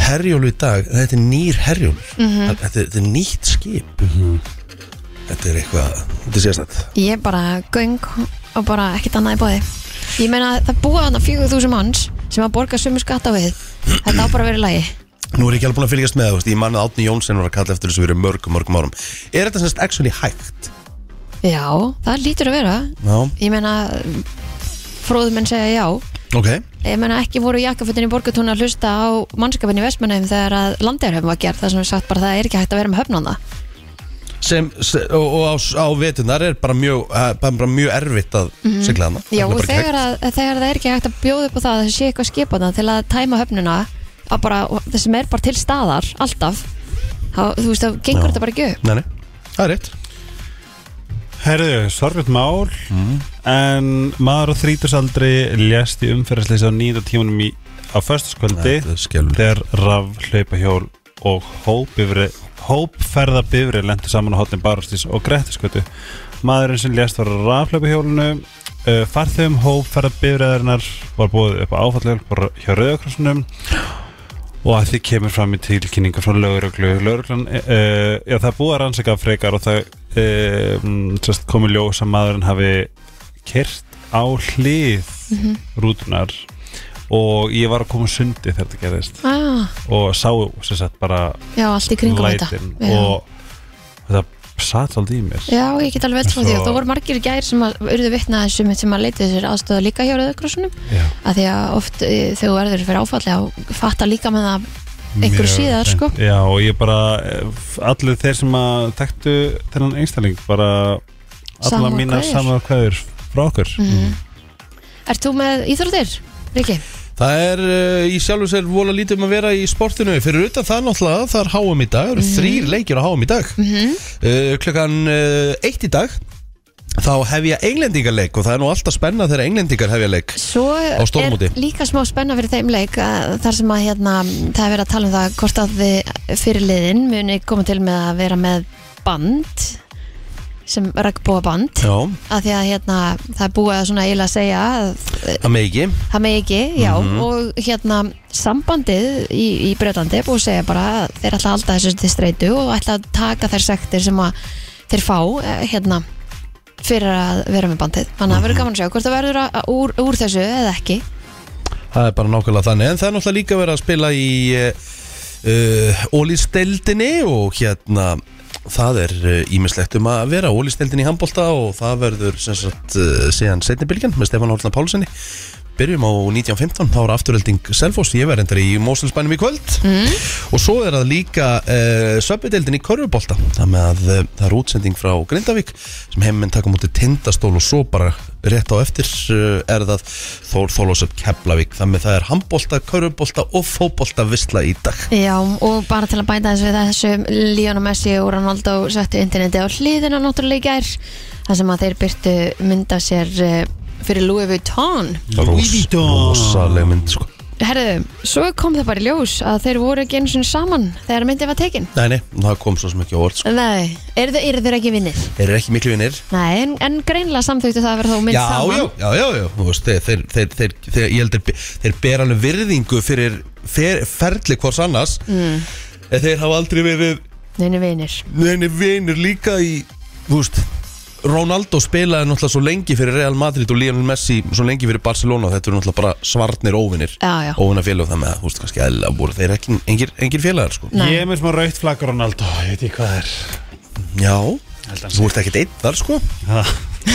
Speaker 1: herjólu í dag, þetta er nýr herjólur, þetta, er- þetta er nýtt skip, þetta er eitthvað, þetta er sérstætt.
Speaker 2: Ég bara göng og bara ekkert annað í bóði Ég meina það búa þarna 4000 manns sem að borga sömu skatt á við Þetta á bara að vera í lagi
Speaker 1: Nú er ég ekki alveg búin að fylgjast með, þú veist, ég manna að Átni Jónsson var að kalla eftir þessu fyrir mörgum, mörgum árum. Er þetta semst actually hægt?
Speaker 2: Já, það lítur að vera
Speaker 1: Já.
Speaker 2: Ég meina fróðumenn segja já
Speaker 1: Ok.
Speaker 2: Ég meina ekki voru jakkafutin í borgatún að hlusta á mannskapin í Vestmannheim þegar að landeirhefum var gerð það sem við sagt bara það er ekki hægt að vera með höfnum það
Speaker 1: Sem, se- og, og á, s- á vetunar er bara mjög, eh, bara, bara mjög erfitt að sigla hana.
Speaker 2: Mhm.
Speaker 1: Það er
Speaker 2: Já, og
Speaker 1: bara ekki
Speaker 2: þegar,
Speaker 1: hægt.
Speaker 2: að, þegar það er ekki hægt að bjóða upp á það að það sé eitthvað skipana til að tæma höfnuna að bara, og það sem er bara til staðar alltaf, þá, þú veist, þá
Speaker 1: Já.
Speaker 2: gengur þetta bara ekki upp
Speaker 1: Nei, nei, það er rétt.
Speaker 3: Herðu, sorgvöld mál
Speaker 1: Mm.
Speaker 3: En maður á þrítusaldri Lést í umferðarsleysi á nýjunda tímanum í, Á föstaskvöldi
Speaker 1: Þetta er skelfilegt.
Speaker 3: Þegar raf hlaupahjól Og hópbifri Hópferðabifri lendu saman á hotnin barastís Og grettiskvöldu Maðurinn sem lést var á rafhlaupahjólinu uh, Farþum hópferðabifriðarinnar Var búið upp á áfallhjól Hjá rauðakrossunum og að því kemur fram í tilkynningu frá lögreglu lögreglan, uh, já það er búið að rannsaka frekar og það uh, komi ljós að maðurinn hafi kert á hlið
Speaker 2: Mhm.
Speaker 3: rútunar og ég var að koma sundi þegar þetta gerðist
Speaker 2: ah,
Speaker 3: og sá sem sagt bara
Speaker 2: Já, allt í kringum þetta
Speaker 3: lætin
Speaker 2: Já.
Speaker 3: og þetta satt aldrei í mér
Speaker 2: Já, ég get alveg veit frá
Speaker 3: Svo-
Speaker 2: því og það voru margir í gær sem að urðu vitna að þessum sem að leita þessir aðstöða líka hjá rauðakrossunum
Speaker 3: Já.
Speaker 2: að því að oft e, þegar þú verður fyrir áfalli þá fattar líka með það einhver
Speaker 3: Mjög
Speaker 2: síðar
Speaker 3: hreint.
Speaker 2: sko
Speaker 3: Já og ég bara, eh, allir þeir sem að tektu þennan einstæling bara alla
Speaker 2: Samúðarkveðjur.
Speaker 3: mínar samar kveður frá okkur
Speaker 2: Mhm. Ert þú með íþróttir, Riki?
Speaker 1: Það er uh, í sjálfu sér vola lítið um að vera í sportinu Fyrir utan það náttúrulega, það er háum í dag Það eru
Speaker 2: Mhm.
Speaker 1: þrýr leikir á háum í dag mm Klukkan uh, eitt í dag Þá hefja englendingarleik Og það er nú alltaf spenna þegar englendingar hefja leik
Speaker 2: Svo
Speaker 1: stórmóti.
Speaker 2: er líka smá spenna fyrir þeim leik að þar sem að hérna, það er verið að tala um það hvort að þið fyrirliðin muni koma til með að vera með band sem regnbúa band
Speaker 1: Já,
Speaker 2: að því að hérna, það er búið að svona eiginlega að segja að
Speaker 1: það megi
Speaker 2: Það með ekki, já og hérna sambandið í, í Breitlandi er búið að segja bara að þeir ætla að halda þessu til streitu og ætla að taka þær sektir sem að þeir fá eh, hérna fyrir að vera með bandið þannig að það verður gaman að sjá hvort það verður að, að, úr, úr þessu eða ekki
Speaker 1: Það er bara nákvæmlega þannig En það er náttúrulega líka verið að spila í uh, Ólísteldinni Og hérna Það er ímislegt um að vera Ólísteldin í handbólta og það verður sem sagt, uh, síðan setni bylgjan með Stefán Hólsna Pálssoni Byrjum á 1915, þá er afturölding Selfoss, ég verð endar í Mósulsbænum í kvöld mm. og svo er það líka uh, söpbideldin í Körfubolta þannig að uh, það er útsending frá Grindavík sem heiminn taka mútið tindastól og svo bara rétt á eftir uh, er það Þór Þólósöp Keflavík þannig að það er handbolta, körfubolta og fótbolta visla í dag
Speaker 2: Já, og bara til að bæta þessu við þessu Lionel Messi og Ronaldo settu interneti á hliðina náttúrulega í gær þar sem að þeir byrtu mynda sér eh, fyrir Louis Vuitton
Speaker 1: Rós-
Speaker 3: Vuitton.
Speaker 1: Rosaleg mynd sko
Speaker 2: herðu, svo kom það bara í ljós að þeir voru ekki eins og saman þegar myndið var tekin
Speaker 1: Nei, nei, það kom svo sem ekki á orð sko.
Speaker 2: Nei, eru þau, eru þau ekki vinnir?
Speaker 1: Þeir eru ekki miklu vinnir
Speaker 2: Nei, en, en greinlega samþyktu það að vera þá mynd
Speaker 1: Já,
Speaker 2: saman
Speaker 1: já, já, já, já, þú veist, þeir, þeir, þeir, þeir, þeir, ég heldur, þeir ber alveg virðingu fyrir fer, ferli hvors annars mm. en þeir hafa aldrei verið
Speaker 2: Neini vinnir
Speaker 1: neini vinir líka í, þú veist, Ronaldo spilaði náttúrulega svo lengi fyrir Real Madrid og Lionel Messi svo lengi fyrir Barcelona, þetta eru náttúrulega bara svarnir óvinir,
Speaker 2: Já, já.
Speaker 1: óvinafélag þannig að, þú veist, kannski eðla voru þeir ekki engir, engir félagar, sko.
Speaker 2: Nei.
Speaker 3: Ég er með smá raukt flagg Ronaldo, ég veit ekki hvað það er
Speaker 1: Já,
Speaker 3: Held að hann
Speaker 1: þú ert ekkert einn þar, sko,
Speaker 3: Ha.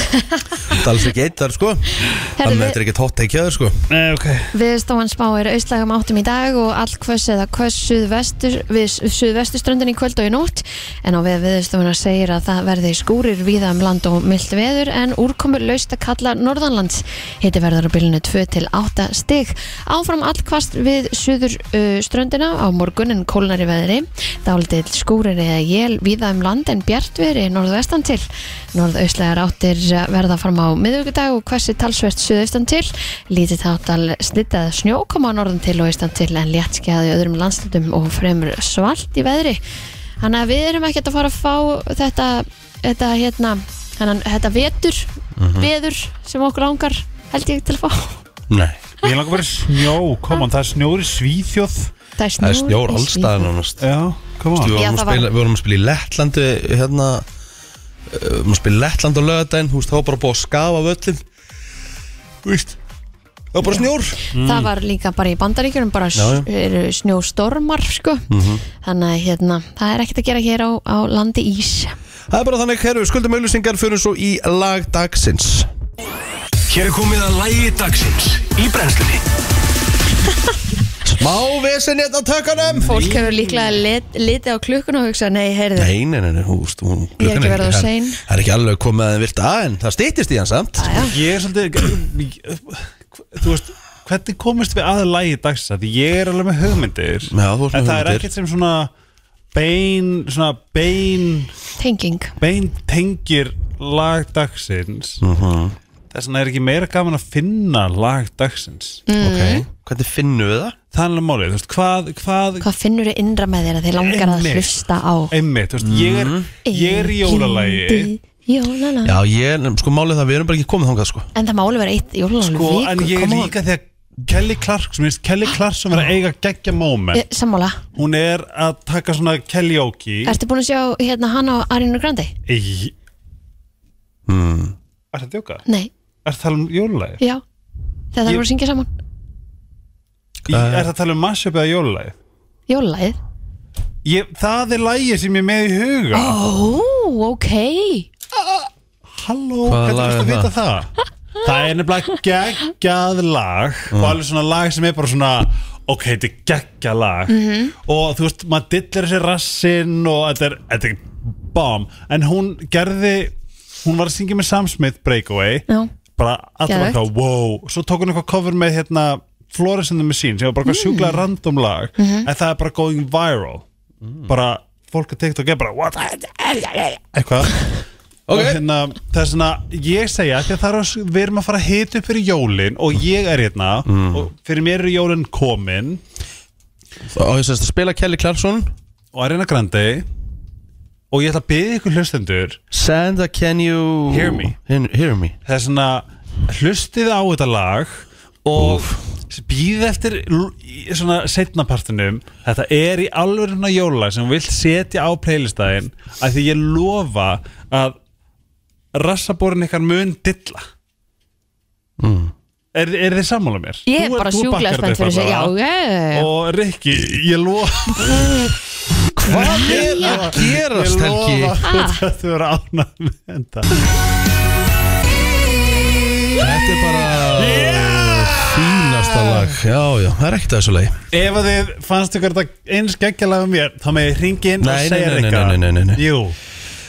Speaker 1: þú ert alls ekki einn þar, sko, þannig að
Speaker 2: Herðu,
Speaker 1: þetta er ekkert hot take hjá þér, sko.
Speaker 3: Nei, ok
Speaker 2: viðstofan spáir austlægum áttum í dag og allt hvers eða hvers suðvestur, við suðvesturströndin í kvöld og í nótt en á við viðstofuna segir að það verði skúrir víða um land og myllt veður en úrkomur laust að kalla norðanlands hitti verður á bylunu 2 til 8 stig áfram allt hvast við suður uh, ströndina á morgun en kólnari veðri dálitill skúrir eða jél víða um land en bjartveri norðvestan til norðaustlegar áttir verða fram á miðvikudag og hversi talsvert suðaustan til lítið þáttal slittað snjó koma á norðan til og austan til en léttskjaði öðrum landstundum og fremur svalt í veðri þannig að við erum ekkert að fara að fá þetta, þetta hérna þannig, þetta vetur, veður sem okkur langar held ég til að fá
Speaker 1: Nei.
Speaker 3: Ég langar bara í snjó, koma, það er snjóri svíþjóð
Speaker 2: það
Speaker 1: Það
Speaker 2: er snjór,
Speaker 1: er snjór
Speaker 2: í
Speaker 1: allstaðan
Speaker 2: Svíþjóð.
Speaker 1: nánast
Speaker 3: Já, koma
Speaker 1: Við vorum,
Speaker 2: Já,
Speaker 1: að
Speaker 2: það var-
Speaker 1: spila, við vorum að spila í Lettlandi hérna uh, við vorum að spila í Lettland á lögadaginn þú veist, þá var bara búið að skafa völlin Þú veist Það var bara snjór
Speaker 3: Mm.
Speaker 2: það var líka bara í bandaríkjunum bara
Speaker 1: Já, já.
Speaker 2: já, já. snjóstormar sko.
Speaker 3: Mhm.
Speaker 2: þannig að hérna, það er ekkert að gera hér á, á landi ís
Speaker 1: Það er bara þannig, herru, skuldum auðlýsingar fyrir svo í lag dagsins
Speaker 4: Hér er komið að lægi dagsins í brennslunni
Speaker 1: Má vesen hérna á tökanum
Speaker 2: fólk hefur líklega lit, litið á klukkun og hugsa nei, heyrðu,
Speaker 1: Nei, nei, nei, nei, þú veist hún,
Speaker 2: Ég er ekki
Speaker 1: klukkan
Speaker 2: verið of
Speaker 1: það-
Speaker 2: sein.
Speaker 1: Það er ekki alveg komið að þeim vilt að en það stýttist í hann samt
Speaker 2: já,
Speaker 3: Ég er svolítið Þú veist, hvernig komist við aða lægi dagsins Því ég er alveg með hugmyndir
Speaker 1: Já, þú ert með
Speaker 3: En það er
Speaker 1: hugmyndir.
Speaker 3: ekkert sem svona bein, svona bein
Speaker 2: tenging
Speaker 3: bein tengir lag dagsins mm -hmm.
Speaker 1: Mhm.
Speaker 3: Þess vegna er ekki meira gaman að finna lag dagsins
Speaker 1: okay. Hvernig finnum við það?
Speaker 3: Það er alveg málið, þú veist, hvað, hvað
Speaker 2: hvað finnur þið innra með þér að þið langar að
Speaker 3: Einmitt.
Speaker 2: hlusta á
Speaker 3: einmitt, þú veist, ég er, ég er í jólalagi
Speaker 2: Engindi jólalag.
Speaker 1: Já, ég, sko málið er það, við erum bara ekki komið þangað sko
Speaker 2: en það má alveg vera eitt jólalag
Speaker 3: sko, en ég er líka þegar Kelly Clark, sem finnst Kelly Clark sem er að eiga geggja
Speaker 2: Eh.
Speaker 3: moment,
Speaker 2: sammála,
Speaker 3: hún er að taka svona kelljóki
Speaker 2: ertu búin að sjá hérna hann á Arinu Grandi?
Speaker 3: Í... Er það djóka?
Speaker 2: Nei,
Speaker 3: Er það tala um jólalagi?
Speaker 2: já þegar það
Speaker 3: Ég-
Speaker 2: voru að syngja saman
Speaker 3: Er það tala um mashup eða jólalagi?
Speaker 2: jólalagið
Speaker 3: Ég, það er lagið sem ég er með í huga
Speaker 2: Ó, ok
Speaker 3: Halló,
Speaker 1: Hvaða
Speaker 3: hvernig
Speaker 1: lag
Speaker 3: ertu
Speaker 1: er
Speaker 3: að vita það? Það er nefnilega geggjað lag og
Speaker 1: Mm.
Speaker 3: alveg svona lag sem er bara svona ok, þetta er geggjað lag og þú veist, maður dillir þessi rassinn og þetta er, þetta er bomb en hún gerði hún var að syngja með Sam Smith Breakaway
Speaker 2: Já.
Speaker 3: bara allir var
Speaker 2: Geðveikt.
Speaker 3: eitthvað, wow svo tók hún eitthvað cover með hérna Flores in the Machine sem var bara eitthvað sjúklega random lag en það er bara going viral bara fólk að TikTok er bara what the eitthvað
Speaker 1: Ok.
Speaker 3: og hérna, það er svona, ég segja því að það er að, við erum að fara að hita upp fyrir jólin og ég er hérna og fyrir mér er jólin komin
Speaker 1: Og ég sérst að spila Kelly Clarkson
Speaker 3: og Arena Grande og ég ætla að byggja ykkur hlustendur
Speaker 1: Sanda, can you
Speaker 3: Hear me?
Speaker 1: Hear- hear me
Speaker 3: það er svona, hlustið á þetta lag og býð eftir l- í svona setnapartinum, þetta er í alveg jóla sem vilt setja á playlistæðin að því ég lofa að rassaborin ykkar mun dilla Er, er þið sammála mér?
Speaker 2: Ég er
Speaker 3: Þú-
Speaker 2: bara
Speaker 3: þú
Speaker 2: sjúklega
Speaker 3: bakkar
Speaker 2: spennt
Speaker 3: þetta
Speaker 2: fyrir þessu Já,
Speaker 3: bara.
Speaker 2: ég
Speaker 3: Og Rikki, ég lofa
Speaker 1: Hvað er að gerast, Helgi?
Speaker 3: Ég lofa að þetta verður ánað með þetta
Speaker 1: Þetta er bara fínasta lag Já, já, það er ekkert að þessu lagi
Speaker 3: Ef að þið fannst ykkur þetta eins geggjalega um mér Þá með ringin og
Speaker 1: Nei, nei,
Speaker 3: segja
Speaker 1: nei, nei,
Speaker 3: Rikka
Speaker 1: nei, nei, nei, nei.
Speaker 3: Jú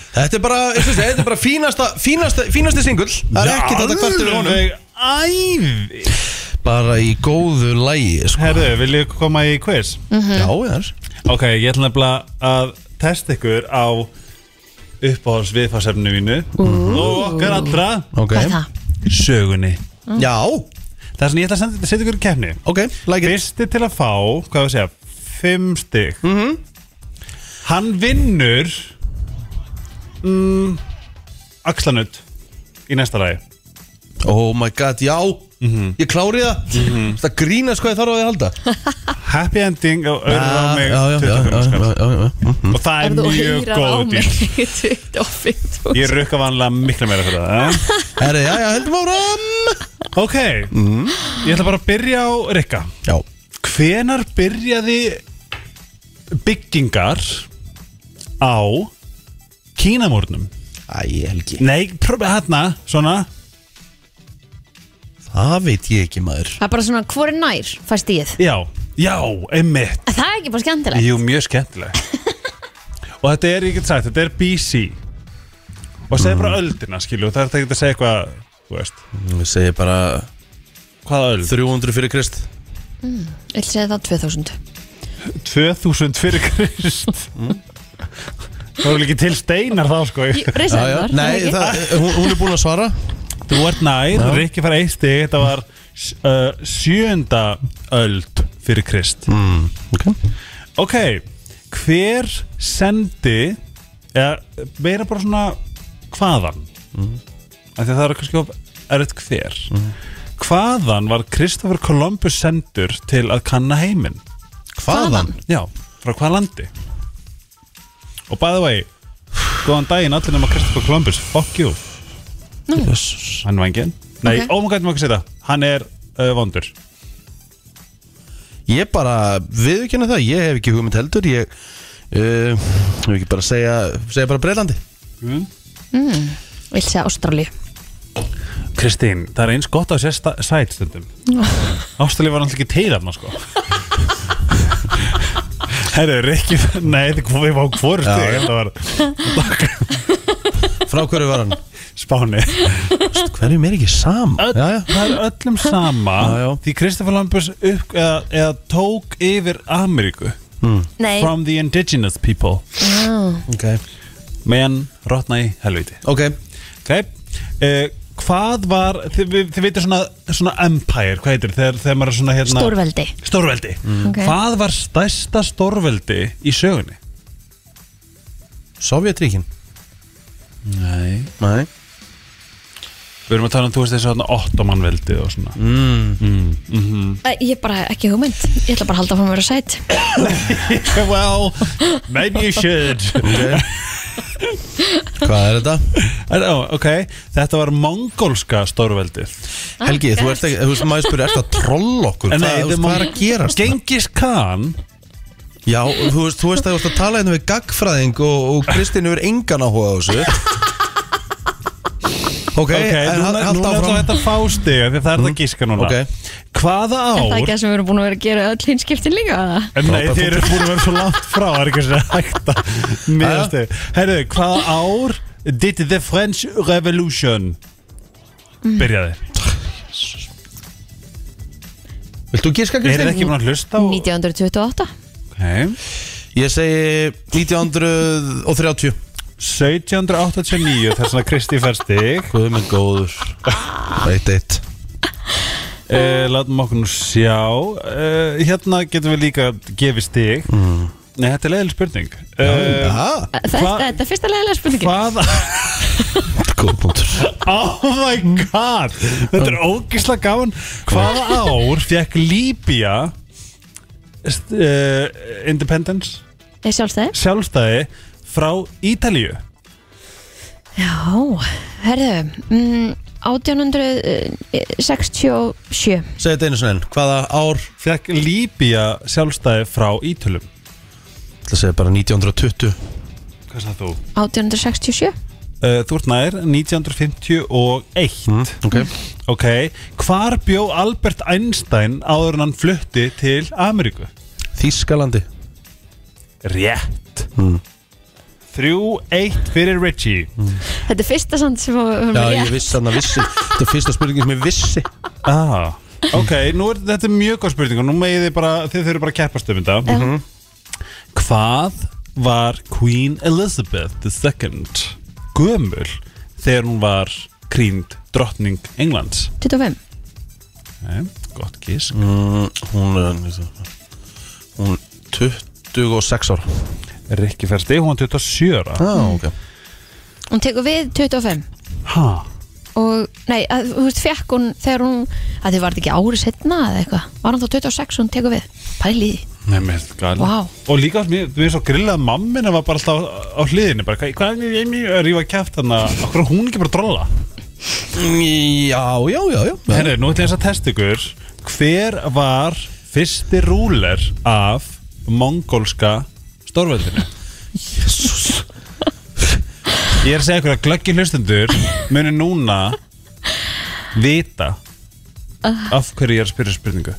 Speaker 1: Þetta er bara, eins og þessi, þetta er bara fínasta, fínasta, fínasti singull Það er ekkert að þetta kvart er honum
Speaker 3: Ævi
Speaker 1: Bara í góðu lagi, sko
Speaker 3: Herðu, viljið ykkur koma í quiz?
Speaker 1: Já, það er
Speaker 3: Ok, ég ætla nefnilega að testa ykkur á uppáhalds viðfarsefni mínu Og okkar allra
Speaker 1: Ok
Speaker 2: Hvað er það?
Speaker 3: Sögunni
Speaker 1: Já,
Speaker 3: Það er svona, ég ætla að senda- setja ykkur í kefni
Speaker 1: Ok, like it
Speaker 3: Fyrsti til að fá, hvað við segja, fimm stygg
Speaker 1: Mhm.
Speaker 3: Hann vinnur mm, Axlanutt Í næsta lagi
Speaker 1: Oh my god, já
Speaker 3: Mhm.
Speaker 1: Ég klári það Það grínast hvað ég þarf á því að halda
Speaker 3: Happy ending á öðru á
Speaker 1: Ah, Já,
Speaker 3: mig
Speaker 1: já, já, já,
Speaker 3: 25
Speaker 1: já,
Speaker 3: skall
Speaker 1: já, já, já. Mhm.
Speaker 3: Og það
Speaker 2: Ef
Speaker 3: er
Speaker 2: þú
Speaker 3: mjög
Speaker 2: heyrar á
Speaker 3: góð
Speaker 2: mig
Speaker 3: dýr
Speaker 2: 25.000
Speaker 3: Ég rukka vanlega miklu meira fyrir það eh?
Speaker 1: Herri, já, já, heldum áram
Speaker 3: Ok,
Speaker 1: Mhm.
Speaker 3: ég ætla bara að byrja á Rikka
Speaker 1: Já,
Speaker 3: Hvenar byrjaði byggingar á Kínamúrnum?
Speaker 1: æ, Helgi
Speaker 3: Nei, prófið hérna, svona
Speaker 1: Það veit ég ekki maður
Speaker 2: Það er bara svona, hvor er nær, fæst ég
Speaker 3: Já, já, einmitt
Speaker 2: Það er ekki bara skemmtilegt
Speaker 3: Jú, mjög skemmtileg Og þetta er, ég get sagt, þetta er BC Og segja bara öldina, skilju Það er þetta ekki að segja eitthvað, þú veist
Speaker 1: Ég segi bara
Speaker 3: Hvaða öld?
Speaker 1: 300 fyrir krist
Speaker 2: Ég vil segja það 2000
Speaker 3: 2000 fyrir krist Það voru ekki til steinar þá, sko
Speaker 2: Ég reysa
Speaker 1: Já, já,
Speaker 2: það
Speaker 1: nei,
Speaker 2: ekki?
Speaker 1: það, eh, hún, hún er búin að svara
Speaker 3: Þú ert nær, Rikki fær eitt stig Þetta var uh, sjönda öld fyrir krist
Speaker 1: mm, Ok
Speaker 3: Ok, hver sendi eða meira bara svona hvaðan mm. af því að það eru kannski of erut hver hvaðan var Kristoffer Columbus sendur til að kanna heiminn
Speaker 1: Hvaðan?
Speaker 3: já, frá hvaða landi og by the way góðan daginn allir nema Kristoffer Columbus fuck you,
Speaker 1: Jesus.
Speaker 3: hann var engin nei,
Speaker 2: Ok.
Speaker 3: okay. ómugætt maður ekki segja það, hann er uh, vondur
Speaker 1: Ég bara viðurkenna það Ég hef ekki hugmynd heldur Ég uh, hef ekki bara að segja Segja bara Breitlandi
Speaker 2: Ég vil segja Ástrali
Speaker 3: Kristín, það er eins gott að sé sta- sæt stundum Ástæli var náttúrulega ekki til af sko Herru, Rikki Nei, þetta kom- við varum hvort
Speaker 1: Já,
Speaker 3: stig
Speaker 1: já.
Speaker 3: Þetta var
Speaker 1: Frá hverju var hann?
Speaker 3: Spáni
Speaker 1: Hverjum er ekki sama? Já, já
Speaker 3: Það er öllum sama
Speaker 1: Já, já.
Speaker 3: Því Kristoffer Lambus upp, eða, eða tók yfir Ameríku
Speaker 2: Nei,
Speaker 3: From the indigenous people
Speaker 2: Ah,
Speaker 1: Ok,
Speaker 3: Men rotna í helviti
Speaker 1: ok
Speaker 3: Ok uh, Hvað var, þið, við- þið veitir svona, svona empire, hvað heitir þegar, þegar maður er svona hérna
Speaker 2: stórveldi
Speaker 3: Stórveldi
Speaker 2: Ok.
Speaker 3: Hvað var stærsta stórveldi í sögunni?
Speaker 1: Sovjetríkin
Speaker 3: Nei
Speaker 1: Nei
Speaker 3: Við erum að tala um, þú veist þessi svona ottomanveldi og svona mm.
Speaker 2: Æ, Ég er bara ekki hugmynd Ég ætla bara að halda frá mér að sæt
Speaker 3: Well, maybe you should
Speaker 1: okay. Hvað er þetta?
Speaker 3: oh, Ok, þetta var mongolska stórveldið
Speaker 1: Helgi, þú ert ekki, þú veist maður spyrir, ert að troll okkur?
Speaker 3: En
Speaker 1: Hvað, þú
Speaker 3: nei, þetta
Speaker 1: veist,
Speaker 3: er
Speaker 1: hvað
Speaker 3: mong-
Speaker 1: er að gerast?
Speaker 3: Genghis Khan
Speaker 1: Já, þú veist, þú veist að þú veist að tala hérna við gaggfræðing og, og Kristín er engan áhuga á þessu Ok,
Speaker 3: Ok,
Speaker 1: en
Speaker 3: núna,
Speaker 1: eh, hald
Speaker 3: núna er
Speaker 1: áfram Mm.
Speaker 3: þetta fástið Því það er þetta gíska núna
Speaker 1: Ok.
Speaker 2: Er það
Speaker 3: Hvaða
Speaker 2: ekki
Speaker 3: ár
Speaker 2: það sem við erum búin að vera að gera öll hinskiptin líka? eða?
Speaker 3: En nei,
Speaker 1: Frábær
Speaker 3: þið eru búin að vera svo langt frá Það er ekki að hægt að miðast við. Herðu, hvaða ár Did the French Revolution Byrjaði
Speaker 1: Vilt þú gíska
Speaker 3: Er þið
Speaker 1: Kristín?
Speaker 3: ekki búin að hlusta á
Speaker 2: 1928
Speaker 3: okay.
Speaker 1: Ég segi 1930
Speaker 3: 1789 þess að Kristi fær stig
Speaker 1: Guð minn góður Eitt eitt
Speaker 3: uh, Látum okkur nú sjá uh, Hérna getum við líka gefið stig Nei, þetta er leiðileg spurning uh,
Speaker 1: Mm. Já,
Speaker 2: Þetta
Speaker 3: Hva-
Speaker 2: þetta er fyrsta leiðilega spurningin
Speaker 3: Hvað?
Speaker 1: góð punktur
Speaker 3: Oh my god Þetta er ógisla gaman Hvaða ár fekk Líbía uh, Independence
Speaker 2: Er sjálfstæði?
Speaker 3: Sjálfstæði frá Ítalíu
Speaker 2: Já, herðu mm, eh, 1867
Speaker 1: Segðu þetta einu svona enn, hvaða ár?
Speaker 3: Fekk Líbía sjálfstæði frá Ítölum
Speaker 1: Það segir bara 1920
Speaker 3: Hvað sagði þú?
Speaker 2: 1867
Speaker 3: Uh, þú ert nær 1951
Speaker 1: Ok
Speaker 3: Ok, hvar bjó Albert Einstein áður en hann flutti til Ameríku?
Speaker 1: Þískalandi
Speaker 3: Rétt 3-1 fyrir Richie
Speaker 2: Þetta er fyrsta samt sem við höfum
Speaker 1: Já, ég
Speaker 2: rétt
Speaker 1: vissi þarna vissi Þetta er fyrsta spurningin sem ég vissi
Speaker 3: ah. Ok, nú er, þetta er mjög góð spurning og nú megið þið bara, þið þurfum bara að keppast um þetta
Speaker 2: Já.
Speaker 1: Mhm.
Speaker 3: Hvað var Queen Elizabeth II gömul þegar hún var krýnd drottning Englands?
Speaker 2: 25
Speaker 3: Nei, gott gísk
Speaker 1: mm, Hún er Hún er 26 ára
Speaker 3: Rikki Fersti, hún var 27 ára
Speaker 1: ah, okay.
Speaker 2: Hún tekur við 25
Speaker 3: Hæ?
Speaker 2: og, nei, að, þú veist, fekk hún þegar hún, að þið var þetta ekki ári setna eða eitthvað, var hún þá 26 og hún tekur við pæliði,
Speaker 3: Nei, mér finnst gæli
Speaker 2: Vá.
Speaker 3: Og líka, mér mér finnst svo grillað að mammina var bara alltaf á- á hliðinni bara, hvað- Hvað er ég mjög að rífa kæft hann að Akkur er hún ekki bara að drolla?
Speaker 1: Já, já, já, já.
Speaker 3: Herri, nú ætlum ég að testa ykkur Hver var fyrsti rúler af mongolska stórveldinu? Ég er að segja ykkur að glöggi hlustundur muni núna vita af hverju ég er að spyrja spurningu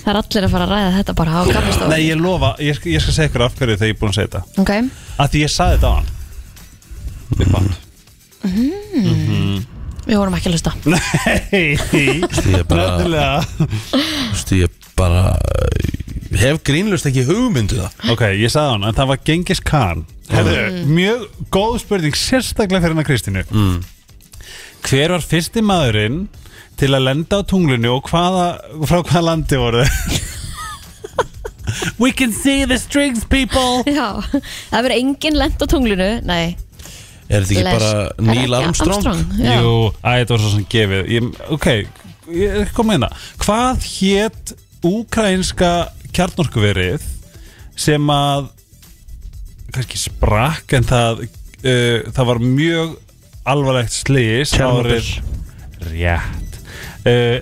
Speaker 2: það er allir að fara að ræða þetta bara á kaffestofu
Speaker 3: Nei, ég lofa, ég, sk- ég skal segja ykkur af hverju þegar ég er búin að segja þetta
Speaker 2: ok,
Speaker 3: Af því ég saði þetta á hann Við band
Speaker 2: við vorum ekki að hlusta
Speaker 3: Nei,
Speaker 1: Ég bara-
Speaker 3: nöðlega
Speaker 1: Þú veist, ég bara eh, hef grínlust ekki hugmyndu það
Speaker 3: Ok, ég sagði hann, en það var Genghis Khan Herðu, mjög góð spurning sérstaklega fyrir hennar Kristínu mm. Hver var fyrsti maðurinn til að lenda á tunglinu og hvaða, frá hvaða landi voru þau? We can see the strings people
Speaker 2: já, það verður engin lent á tunglinu nei,
Speaker 1: Er þetta ekki
Speaker 2: les- Er
Speaker 1: bara
Speaker 2: það
Speaker 1: Neil
Speaker 2: ekki
Speaker 1: Armstrong?
Speaker 2: já.
Speaker 3: Jú, að þetta var svo sem gefið ég, Ok, ég kom með það Hvað hétt úkrainska kjarnorkuverið sem að kannski sprakk en það, uh, það var mjög alvarlegt slís
Speaker 1: Tjernobyl.
Speaker 3: Rétt uh,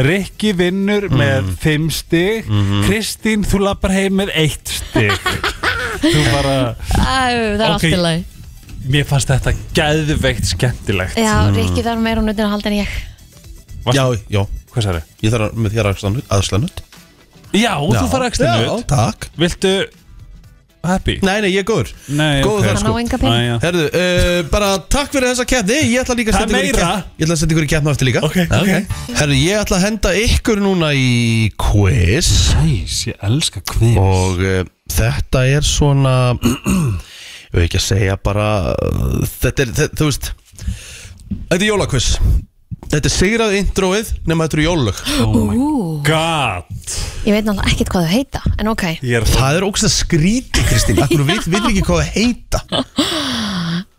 Speaker 3: Rikki vinnur með 5 stig Kristín, þú lappar heim með 1 stig Þú bara,
Speaker 2: Æ, það er
Speaker 3: Ok.
Speaker 2: allt í lagi
Speaker 3: mér fannst þetta gæðveikt skemmtilegt
Speaker 2: já, Rikki þarf meira hún utan að halda en ég
Speaker 1: Já, já,
Speaker 3: Hvað sagði?
Speaker 1: ég þarf að- með þér aðsla nutt
Speaker 3: Já, þú fara ekki
Speaker 1: Já,
Speaker 3: stundut
Speaker 1: takk
Speaker 3: Viltu happy?
Speaker 1: Nei, nei, ég er góður
Speaker 3: Nei,
Speaker 1: Góður
Speaker 3: ok.
Speaker 1: þar
Speaker 2: hann á
Speaker 1: sko
Speaker 2: enga pening
Speaker 3: já.
Speaker 1: Herðu, uh, bara takk fyrir þessa keppni Ég ætla líka að
Speaker 3: Það
Speaker 1: senda
Speaker 3: er
Speaker 1: ykkur í
Speaker 3: meira.
Speaker 1: keppni Ég ætla að senda ykkur í keppni á eftir líka
Speaker 3: Ok, ok.
Speaker 1: Herðu, ég ætla að henda ykkur núna í quiz
Speaker 3: Sæs, ég elska kvins
Speaker 1: Og uh, þetta er svona Ég veit ekki að segja bara uh, Þetta er, þetta, þú veist Þetta er jólakviss Þetta er sigrað introið nema þetta eru jólög
Speaker 3: Oh God
Speaker 2: ég veit náttúrulega ekkert hvað þau heita en ok,
Speaker 3: Ég er
Speaker 1: Það er ógst að skríti Kristín Akkur við vitum ekki hvað það heita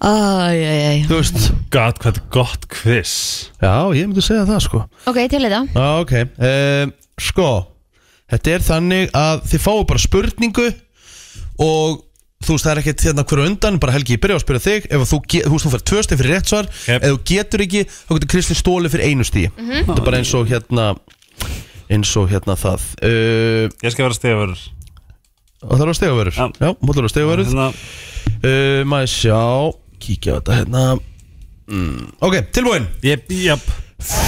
Speaker 2: æj, æj, æj
Speaker 1: Þú veist
Speaker 3: oh God, hvað þetta er gott kviss
Speaker 1: Já, ég myndi segja það sko
Speaker 2: ok, til þetta
Speaker 1: Já, ok um, Sko, þetta er þannig að þið fáu bara spurningu og þú veist, það er ekkert þérna hverju undan bara Helgi, ég byrja að spyrja þig ef að þú, ge- þú veist, þú fær tvö stið fyrir rétt svar
Speaker 3: Yep.
Speaker 1: ef þú getur ekki, þá getur Kristi stóli fyrir einu stið þetta er bara eins og hérna eins og hérna það uh,
Speaker 3: Ég skal vera stefur
Speaker 1: og það eru stegavörur
Speaker 3: Já.
Speaker 1: já, múlur eru stegavörur
Speaker 3: Hérna,
Speaker 1: uh, maður sjá, kíkja á þetta hérna mm. ok, tilbúin
Speaker 3: ég, jöp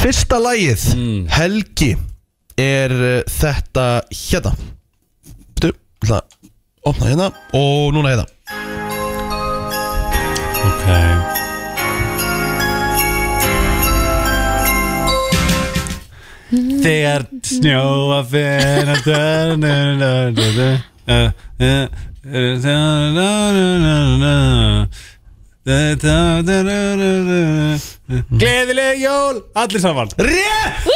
Speaker 1: Fyrsta lagið Helgi er uh, þetta hérna Þú, ætla að opna hérna og núna hérna
Speaker 3: Ok Þegar snjóa finna Gleðileg jól Allir saman
Speaker 1: Rétt!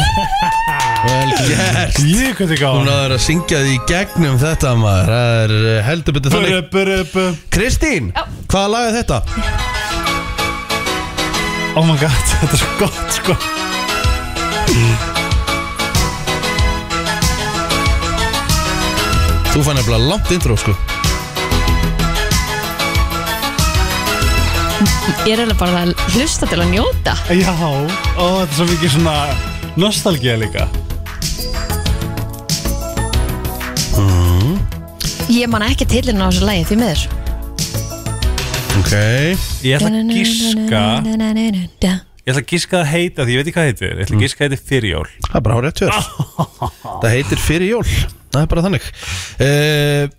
Speaker 1: Vel gert
Speaker 3: Ég hvað þið
Speaker 1: Hún
Speaker 3: gáðan
Speaker 1: náður að syngja því í gegnum þetta maður Það er uh, heldur betur þannig Kristín,
Speaker 2: Já.
Speaker 1: hvaða lag er þetta?
Speaker 3: Oh my god, þetta er svo gott sko
Speaker 1: Þú fann nefnilega langt intro sko
Speaker 2: ég er alveg bara að hlusta til að njóta
Speaker 3: Já, ó, þetta er svo mikið svona Nostalgía líka
Speaker 2: ég man ekki tilinn á þessu lagi því miður
Speaker 1: Ok
Speaker 3: Ég ætla að gíska Ég ætla að gíska að heita því, ég veit ekki hvað heitir Ég ætla að gíska að heita fyrir jól
Speaker 1: Það er bara hárið tjör Það heitir fyrir jól Það er bara þannig uh,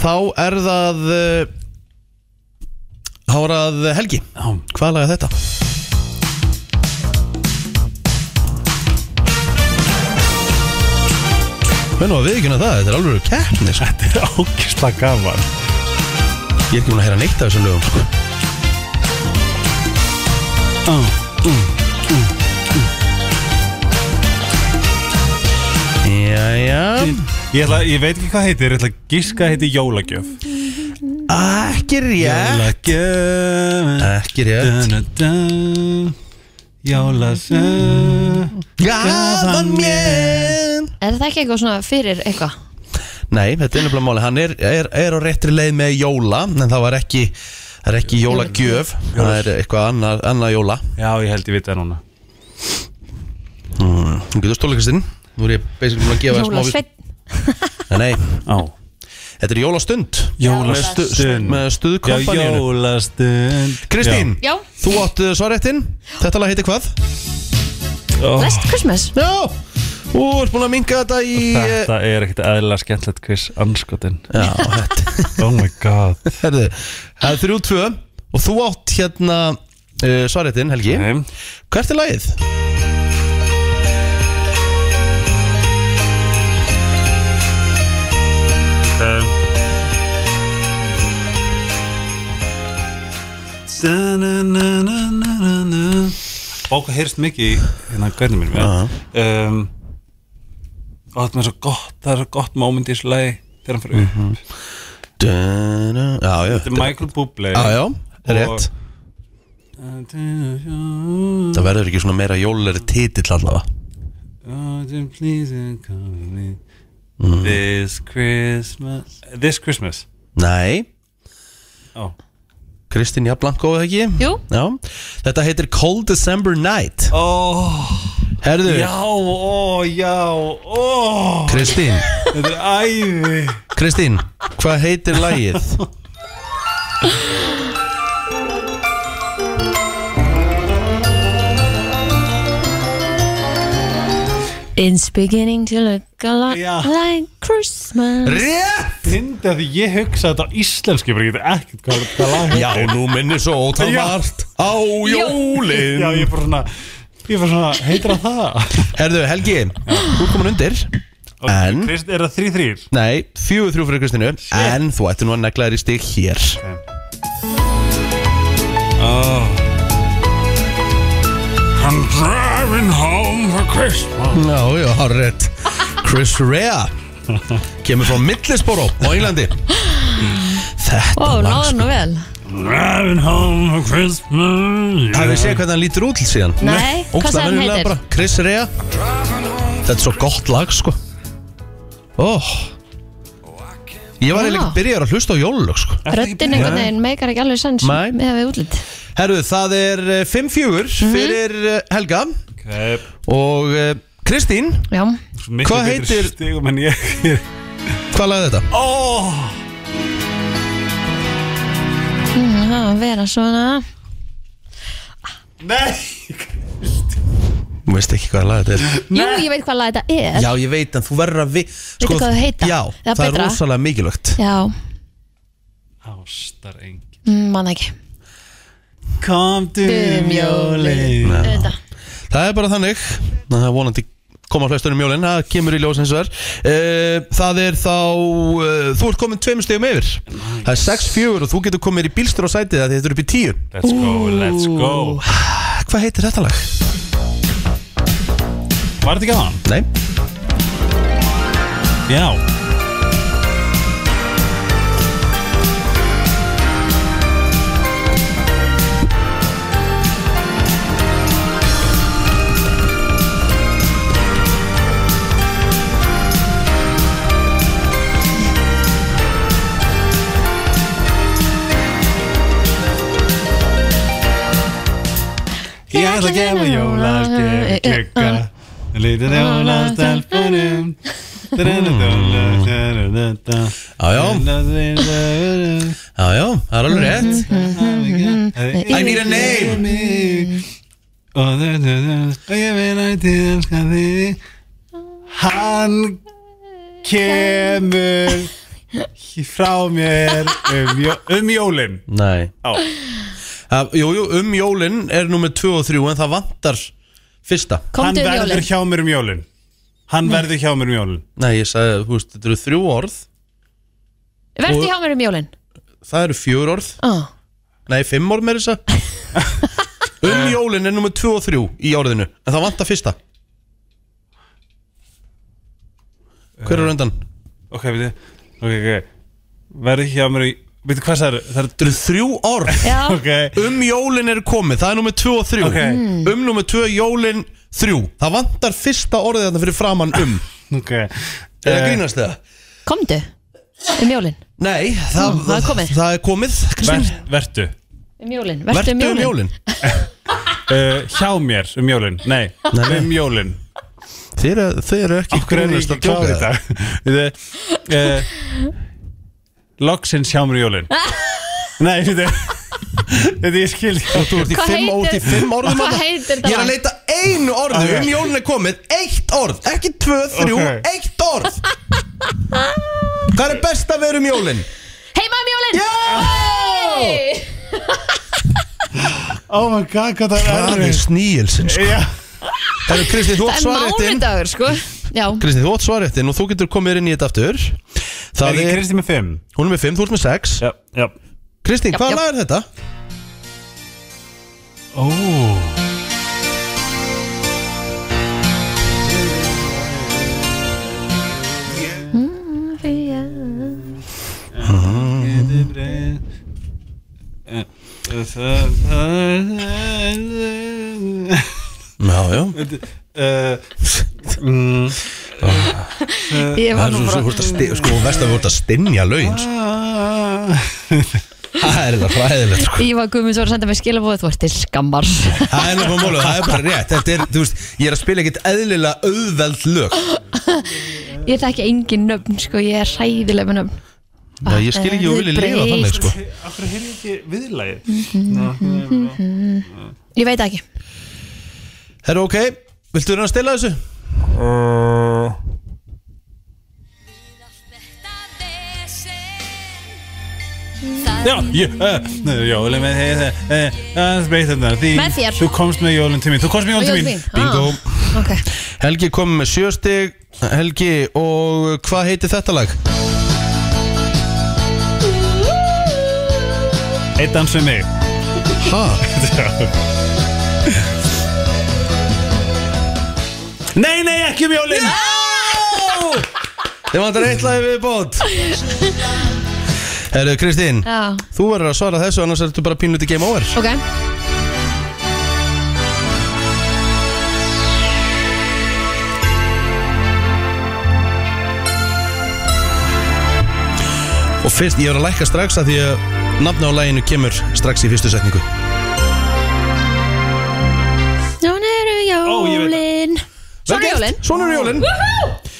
Speaker 1: Þá er það uh, Þá er það Helgi
Speaker 3: Já.
Speaker 1: Hvaða lag er þetta? Menn og að viðkynna það, þetta er alveg keppni sko.
Speaker 3: Þetta er ákisla gaman
Speaker 1: Ég er ekki múin að heyra neitt af þessum lögum sko.
Speaker 3: uh, uh, uh, uh.
Speaker 1: Jæja
Speaker 3: Ég, ætla, ég veit ekki hvað heitir, ég ætla að gíska að heiti jólagjöf
Speaker 1: Ekki rétt
Speaker 3: Jólagjöf
Speaker 1: Ekki rétt
Speaker 3: Da-na-da, Jólasöf
Speaker 1: Gafan mér
Speaker 2: Er það ekki eitthvað svona fyrir eitthvað?
Speaker 1: Nei, þetta er nefnilega máli Hann er, er, er á réttri leið með jóla En það var ekki, það er ekki jólagjöf Það er eitthvað annað, annað jóla
Speaker 3: Já, ég held ég vita það núna
Speaker 1: Þú getur stóla Kristinn Nú er ég basically búin að gefa þér smá vísbendingu.
Speaker 2: Jólasveinn
Speaker 1: Nei, nei,
Speaker 3: Á
Speaker 1: þetta er jólastund
Speaker 3: Jólastund.
Speaker 1: Með stu- Með
Speaker 3: Já,
Speaker 1: stuðkompanjunu
Speaker 3: jólastund
Speaker 1: Kristín,
Speaker 2: Já,
Speaker 1: þú átt uh, svarréttin Þetta lag heitir hvað?
Speaker 3: Já.
Speaker 2: last Christmas
Speaker 1: Já, þú ert búin að minga þetta í eh,
Speaker 3: Þetta er ekkert eðlilega skemmtilegt quiz anskotin
Speaker 1: Já, þetta
Speaker 3: Oh my god
Speaker 1: Herðu, það er þrjú tvö og þú átt hérna uh, svarréttin, Helgi
Speaker 3: Nei.
Speaker 1: Hvert er lagið?
Speaker 3: Bóka heyrst mikið í hérna gæðinu mínum
Speaker 1: Aha.
Speaker 3: ja. um, Og þetta er svo gott Það er svo gott moment í þessu lagi Þegar hann fyrir upp
Speaker 1: Mhm. Duna, já, já,
Speaker 3: Þetta er Michael Bublé
Speaker 1: já, já, rétt
Speaker 3: Og- Don't
Speaker 1: Það verður ekki svona meira jólulegri titill allavega
Speaker 3: you please come with me Mm. This Christmas This Christmas
Speaker 1: Nei,
Speaker 3: Ó.
Speaker 1: Kristín Jablanko, eða ekki?
Speaker 2: Jú,
Speaker 1: Já, þetta heitir Cold December Night
Speaker 3: Ó,
Speaker 1: Herðu,
Speaker 3: já, ó, já, ó
Speaker 1: Kristín,
Speaker 3: Þetta er æði
Speaker 1: Kristín, hvað heitir lagið?
Speaker 2: it's beginning to look a lot
Speaker 3: Já.
Speaker 2: like Christmas
Speaker 1: Rétt!
Speaker 3: Fyndi að því ég hugsa þetta á íslensku Ég veit ekkert hvað, hvað lag
Speaker 1: Já, nú minnir svo ótal
Speaker 3: Já.
Speaker 1: margt á jólin
Speaker 3: Já, ég er bara svona Ég var svona, heitir það það?
Speaker 1: Herðu, Helgi, þú er komin undir En?
Speaker 3: Hmm? Krist, er það þrý þrýr?
Speaker 1: Nei, fjögur þrjú fyrir Kristínu En þú ætti nú að negla þér í stig hér
Speaker 3: Oh. I'm driving home for Christmas
Speaker 1: Já, já, hárrið Chris Rea Kemur frá Midlisboro á Englandi Þetta
Speaker 2: Ó,
Speaker 1: lag,
Speaker 2: náður
Speaker 1: sko.
Speaker 2: nú vel
Speaker 3: Driving home for Christmas
Speaker 1: Hafið þið séð hvernig hann lítur út síðan?
Speaker 2: Nei, hvað
Speaker 1: Ógeðslega
Speaker 2: sagði hann
Speaker 1: venjulega
Speaker 2: heitir?
Speaker 1: bara. Chris Rea Þetta er svo gott lag, sko Ó Ég var eiginlega
Speaker 2: Já.
Speaker 1: byrjar að hlusta á jólulög, sko
Speaker 2: Röddin einhvern veginn meikar ekki alveg sens
Speaker 1: Nei.
Speaker 2: með við útlit
Speaker 1: Herru, það er 5-4
Speaker 2: Mhm.
Speaker 1: fyrir eh, Helga
Speaker 3: okay.
Speaker 1: Og eh, Kristín,
Speaker 2: Já,
Speaker 3: Svo miklu
Speaker 1: Hvað
Speaker 3: betri
Speaker 1: heitir-
Speaker 3: stigum en ég er
Speaker 1: hvað lagði þetta?
Speaker 3: oh.
Speaker 2: mm, það að vera svona
Speaker 3: Nei
Speaker 1: Þú veist ekki hvað lagði þetta er
Speaker 2: Jú, ég veit hvað lag þetta er
Speaker 1: Já, ég veit en þú verður að við sko,
Speaker 2: hvað þau heita?
Speaker 1: Já,
Speaker 2: Eða
Speaker 1: það, er
Speaker 2: betra?
Speaker 1: rosalega mikilvægt
Speaker 2: Já,
Speaker 3: Ástar engin
Speaker 2: mm, mann ekki
Speaker 3: Komdum jólin
Speaker 2: Þetta
Speaker 1: Það er bara þannig Það er vonandi koma flestunum jólinn Það kemur í ljós eins og þar Eh, Það er þá eh, Þú ert komin tveimur stegum yfir Það er 6-4 og þú getur komið í bílstur á sætið Það þetta er upp í 10
Speaker 3: Let's go, let's go
Speaker 1: Hvað heitir þetta lag?
Speaker 3: Var þetta ekki hann?
Speaker 1: Nei,
Speaker 3: Já Ég ætla að gefa jólaskjöf Klikka Lítið jólastelpunum
Speaker 1: já já, já, já það er alveg rétt I need a name
Speaker 3: Og þau- þau- þau- og ég vil að þið elska þig Hann kemur í- frá mér um, jó, um jólin
Speaker 1: Nei
Speaker 3: Á.
Speaker 1: Uh, Jú, jú, um jólinn er nummer 2 og 3 En það vantar fyrsta
Speaker 3: Hann
Speaker 2: Komdu um
Speaker 3: verður
Speaker 2: jólin
Speaker 3: hjá mér um jólin Hann verður hjá mér um jólin
Speaker 1: Nei, ég sagði, þú veist, þetta eru þrjú orð
Speaker 2: Verður hjá mér um jólin
Speaker 1: Það eru fjör orð
Speaker 2: oh.
Speaker 1: Nei, fimm orð með þess að Um jólin er nummer 2 og 3 í orðinu En það vantar fyrsta Hver er röndan?
Speaker 3: Ok, við Ok, ok Verði ekki á mér í Veitu hvað það er? Það er
Speaker 1: Þetta eru þrjú orð
Speaker 2: Já,
Speaker 3: Ok
Speaker 1: Um jólin er komið, það er nummið 2 og 3
Speaker 3: Ok.
Speaker 2: Hmm.
Speaker 3: Mm.
Speaker 1: Um nummið 2, jólin 3 Það vantar fyrsta orðið þarna fyrir framann um
Speaker 3: Ok
Speaker 1: Er
Speaker 3: Eh.
Speaker 1: það grínast það?
Speaker 2: komdu um jólin
Speaker 1: Nei, það,
Speaker 2: Mm, það er komið.
Speaker 1: Það er komið, Kristín
Speaker 3: Ver, Vertu
Speaker 2: um jólin, vertu um jólin,
Speaker 1: jólin
Speaker 3: uh, Hjá mér um jólin Nei, um jólin
Speaker 1: Þeir eru- þeir eru ekki
Speaker 3: Akkur er ég
Speaker 1: grínast
Speaker 3: ekki
Speaker 1: að
Speaker 3: klár í
Speaker 1: djóka.
Speaker 3: dag Við þið uh, Loksins hjá mér um jólin Nei, við þið Þetta ég skil ekki
Speaker 1: Þú ert í
Speaker 2: Hvað
Speaker 1: fimm, út í
Speaker 2: heitir-
Speaker 1: fimm orðum
Speaker 2: hvað
Speaker 1: þarna.
Speaker 2: heitir
Speaker 1: Ég
Speaker 2: þetta
Speaker 1: er að
Speaker 2: lag?
Speaker 1: leita einu orðu
Speaker 3: Ok.
Speaker 1: um jólun er komið Eitt orð, ekki tvö, þrjú,
Speaker 3: Ok.
Speaker 1: eitt orð Hvað er best að vera um jólun?
Speaker 2: heima um jólin
Speaker 1: Já!
Speaker 2: Hey!
Speaker 3: Oh my god, hvað það er
Speaker 1: Það er sníilsins
Speaker 3: Já,
Speaker 1: Herru, Kristi, þú átt
Speaker 2: það er
Speaker 1: svarréttin
Speaker 2: mánudagur sko já,
Speaker 1: Kristi, þú átt svarréttin og þú getur komið inn í þetta aftur
Speaker 3: er
Speaker 1: Það
Speaker 3: ég
Speaker 1: er,
Speaker 3: Kristi með 5
Speaker 1: hún er með 5, þú ert með 6
Speaker 3: Já, já
Speaker 1: Kristín,
Speaker 2: Já,
Speaker 1: hvaða
Speaker 2: já.
Speaker 1: lag er þetta?
Speaker 3: Ó
Speaker 1: Já, já
Speaker 2: ég
Speaker 1: Það
Speaker 2: var
Speaker 1: er
Speaker 2: nú
Speaker 1: svo, svo
Speaker 2: bara
Speaker 1: hvort að sti, sko, verst að þú ert að stinja lögin sko. Það er eitthvað hræðilegt sko.
Speaker 2: Ívar Guðmunds var að senda mig skilabóð þú ert til skammar
Speaker 1: Það er nefnilega málið, það er bara rétt Þetta er, þú veist, ég er að spila ekkert eðlilega auðveld lög
Speaker 2: ég þekki engin nöfn sko, ég er hræðileg með nöfn Ah,
Speaker 1: Já,
Speaker 2: eh,
Speaker 1: ég skil ekki og vilja lifa þannig sko
Speaker 3: Akkur heyrði ég ekki viðlægið
Speaker 2: ég veit ekki
Speaker 1: Herru, ok, viltu vera að stila þessu?
Speaker 3: Já, ég, uh, jólin með þeir uh, uh, Speytarnar, því
Speaker 2: Með þér.
Speaker 3: Þú komst með jólin til mín, þú komst með jólin til mín
Speaker 1: Bingo
Speaker 2: ah, ok
Speaker 1: Helgi kom með sjöstig Helgi, og hvað heitir þetta lag?
Speaker 3: Eitt dans við mig
Speaker 1: Ha?
Speaker 3: Nei, nei, ekki um jólin
Speaker 1: Þið vantar eitt lag við bót Herru, Kristín
Speaker 2: Já,
Speaker 1: Þú verður að svara þessu, annars ertu bara pínluti game over
Speaker 2: ok
Speaker 1: Og fyrst, ég verður að lækka strax að því að nafna á læginu kemur strax í fyrstu setningu
Speaker 2: Svona eru
Speaker 3: Ó, ég veit það.
Speaker 2: jólin Svona eru jólin
Speaker 1: Svona er jólin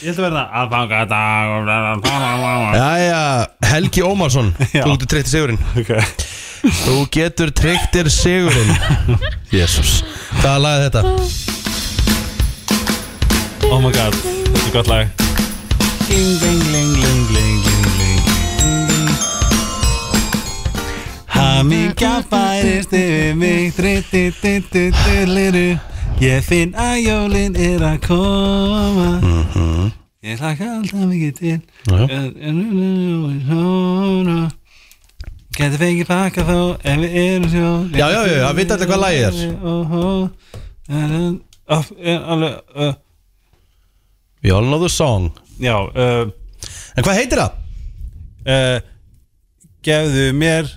Speaker 3: Ég ætla að verða aðfanga dag
Speaker 1: Jæja, Helgi Ómarsson
Speaker 3: Já.
Speaker 1: Þú getur treykt sigurinn
Speaker 3: okay.
Speaker 1: Þú getur treykt þér sigurinn Jésús Hvaða lag er þetta?
Speaker 3: Oh my god, þetta er gott lag Ling, ling, ling, ling, ling, ling, ling Hamingja bærist yfir mig Dritti, dritti, drilliru Ég finn að jólin er að koma Ég hlaka alltaf mikið til
Speaker 1: Já.
Speaker 3: Gæti fengið pakka þó Ef við erum sjó
Speaker 1: Já, já, já, það vita allir hvað lagið er.
Speaker 3: er
Speaker 1: We all know the song
Speaker 3: Já, uh,
Speaker 1: En hvað heitir það?
Speaker 3: uh, gefðu mér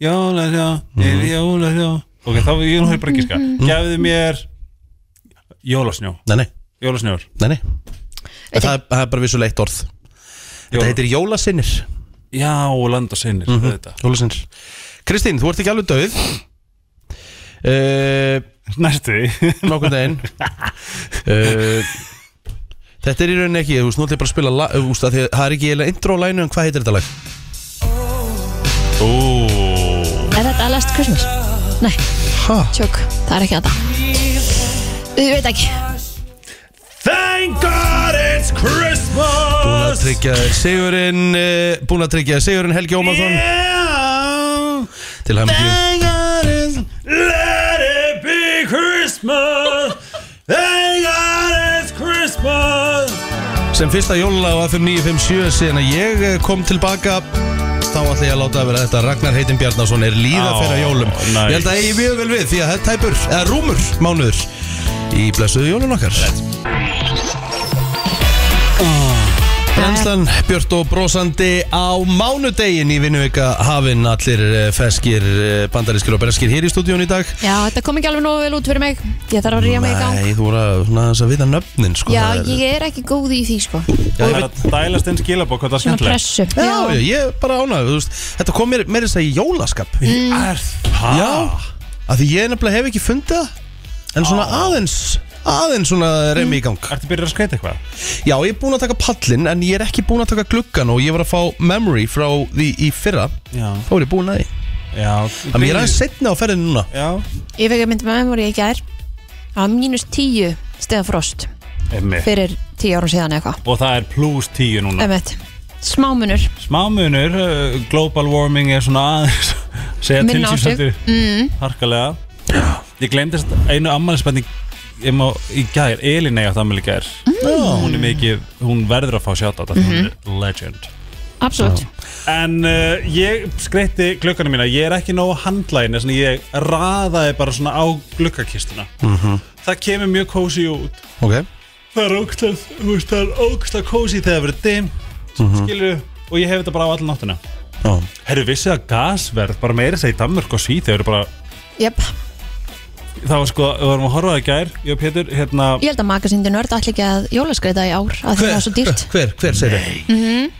Speaker 3: jólasjá, mm. jólasjá ok, þá ég nú hefur bara ekki skar gefðu mér jólasnjó,
Speaker 1: Nei, nei,
Speaker 3: jólasnjór
Speaker 1: nei, nei. En Það, er, það er bara vissulega eitt orð Þetta heitir Jólasinnir
Speaker 3: já, og land og sinir mm -hmm.
Speaker 1: Jólasinnir Kristín, þú ert ekki alveg döð uh,
Speaker 3: næstu því
Speaker 1: nokkurn veginn uh, Þetta er í rauninni ekki, þú veist, nú ætlum ég bara að spila lag, þú veist, af því að það er ekki eiginlega intro á læginu en hvað heitir þetta lag?
Speaker 2: Er þetta að last Christmas? Nei,
Speaker 1: Ha?
Speaker 2: tjók, það er ekki þetta Ég veit ekki
Speaker 3: thank god it's
Speaker 1: Búin að
Speaker 3: Christmas
Speaker 1: tryggja þér Sigurinn, uh, búin að tryggja þér Sigurinn Helgi Ómarsson
Speaker 3: yeah
Speaker 1: til hæmingju
Speaker 3: thank god it's let it be Christmas thank god it's Christmas
Speaker 1: sem fyrsta jólulag á FM 957 síðan að ég eh, kom tilbaka þá ætla ég að láta að vera þetta Ragnar Heitin Bjarnason er líða
Speaker 3: Á,
Speaker 1: fyrir að jólum
Speaker 3: nice.
Speaker 1: ég held að það eigi mjög vel við því að þetta er tæpur, eða rúmur mánuður í blessuðu jólun okkar Brennslan Björt og brósandi á mánudegin í vinnuvika hafinn allir eh, feskir, eh, bandarískir og breskir hér í stúdíun í dag
Speaker 2: Já, þetta kom ekki alveg nógu vel út fyrir mig Ég þarf að ríja mig í gang
Speaker 1: Nei, þú voru að, svona, aðeins að vita nöfnin sko,
Speaker 2: Já,
Speaker 1: það er-
Speaker 2: ég er ekki góð í því sko Svona
Speaker 3: Það er að dælast inn skilabók hvað það er skemmtilegt
Speaker 2: pressu
Speaker 1: Já, já, ég er bara ánægð, þú veist, þetta kom mér meira að segja í jólaskap
Speaker 3: Er það?
Speaker 1: Já, af því ég nefnilega hef ekki fundið það En svona
Speaker 2: Ah.
Speaker 1: aðeins, aðeins svona reymi
Speaker 2: Mm.
Speaker 1: í gang
Speaker 3: Ertu byrjað að skreita eitthvað?
Speaker 1: Já, ég er búin að taka pallin en ég er ekki búin að taka gluggan og ég var að fá memory frá því í fyrra
Speaker 3: Já
Speaker 1: Þá er ég búin að því
Speaker 3: Já
Speaker 1: Þannig ég er aðeins setna á ferðin núna
Speaker 3: Já
Speaker 2: Ég fekk að mynda með memóri í gær að mínus tíu steða frost
Speaker 3: Emmi
Speaker 2: fyrir tíu árum síðan eða eitthvað
Speaker 3: Og það er pluss tíu núna
Speaker 2: Emmett, smámunur
Speaker 3: Smámunur, uh, global warming er svona aðeins segja til
Speaker 2: Minna
Speaker 3: sín
Speaker 2: áhrif.
Speaker 3: svolítið harkalega Ég glemdist einu ammælisbenni í gær, Elin eiga það ammæli í gær Hún er mikið, hún verður að fá sjátt á þetta Hún er legend
Speaker 2: Absolutt
Speaker 3: En uh, ég skreitti glukkanu mína Ég er ekki nógu handlægin Þannig ég raðaði bara svona á glukkakistuna Það kemur mjög kósi út
Speaker 1: Ok,
Speaker 3: Það er ógsta, þú veist, það er ógsta kósi þegar verið dimt mm Og ég hef þetta bara á allan náttuna
Speaker 1: já,
Speaker 3: Herru, vissið að gasverð, bara meira segið Danmörk og Svíð, þau eru bara
Speaker 2: Jöp,
Speaker 3: Það var sko, við vorum að horfa það í gær Ég og Pétur, hérna
Speaker 2: ég held að magasindi nörd ætla ekki að jólaskreita í ár að því það er svo dýrt
Speaker 1: hver, hver segir þau?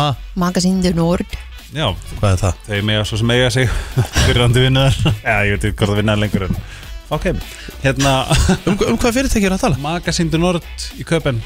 Speaker 1: Ma,
Speaker 2: Magasindi nörd
Speaker 3: Já,
Speaker 1: hvað er það?
Speaker 3: þau mega svo sem eiga sig Fyrrandi vinnuðar Já, ég veit ekki hvort það vinnaðar lengur en Ok, hérna
Speaker 1: Um, hva- um hvað fyrirtæki er að tala?
Speaker 3: Magasindu Nord í Köpen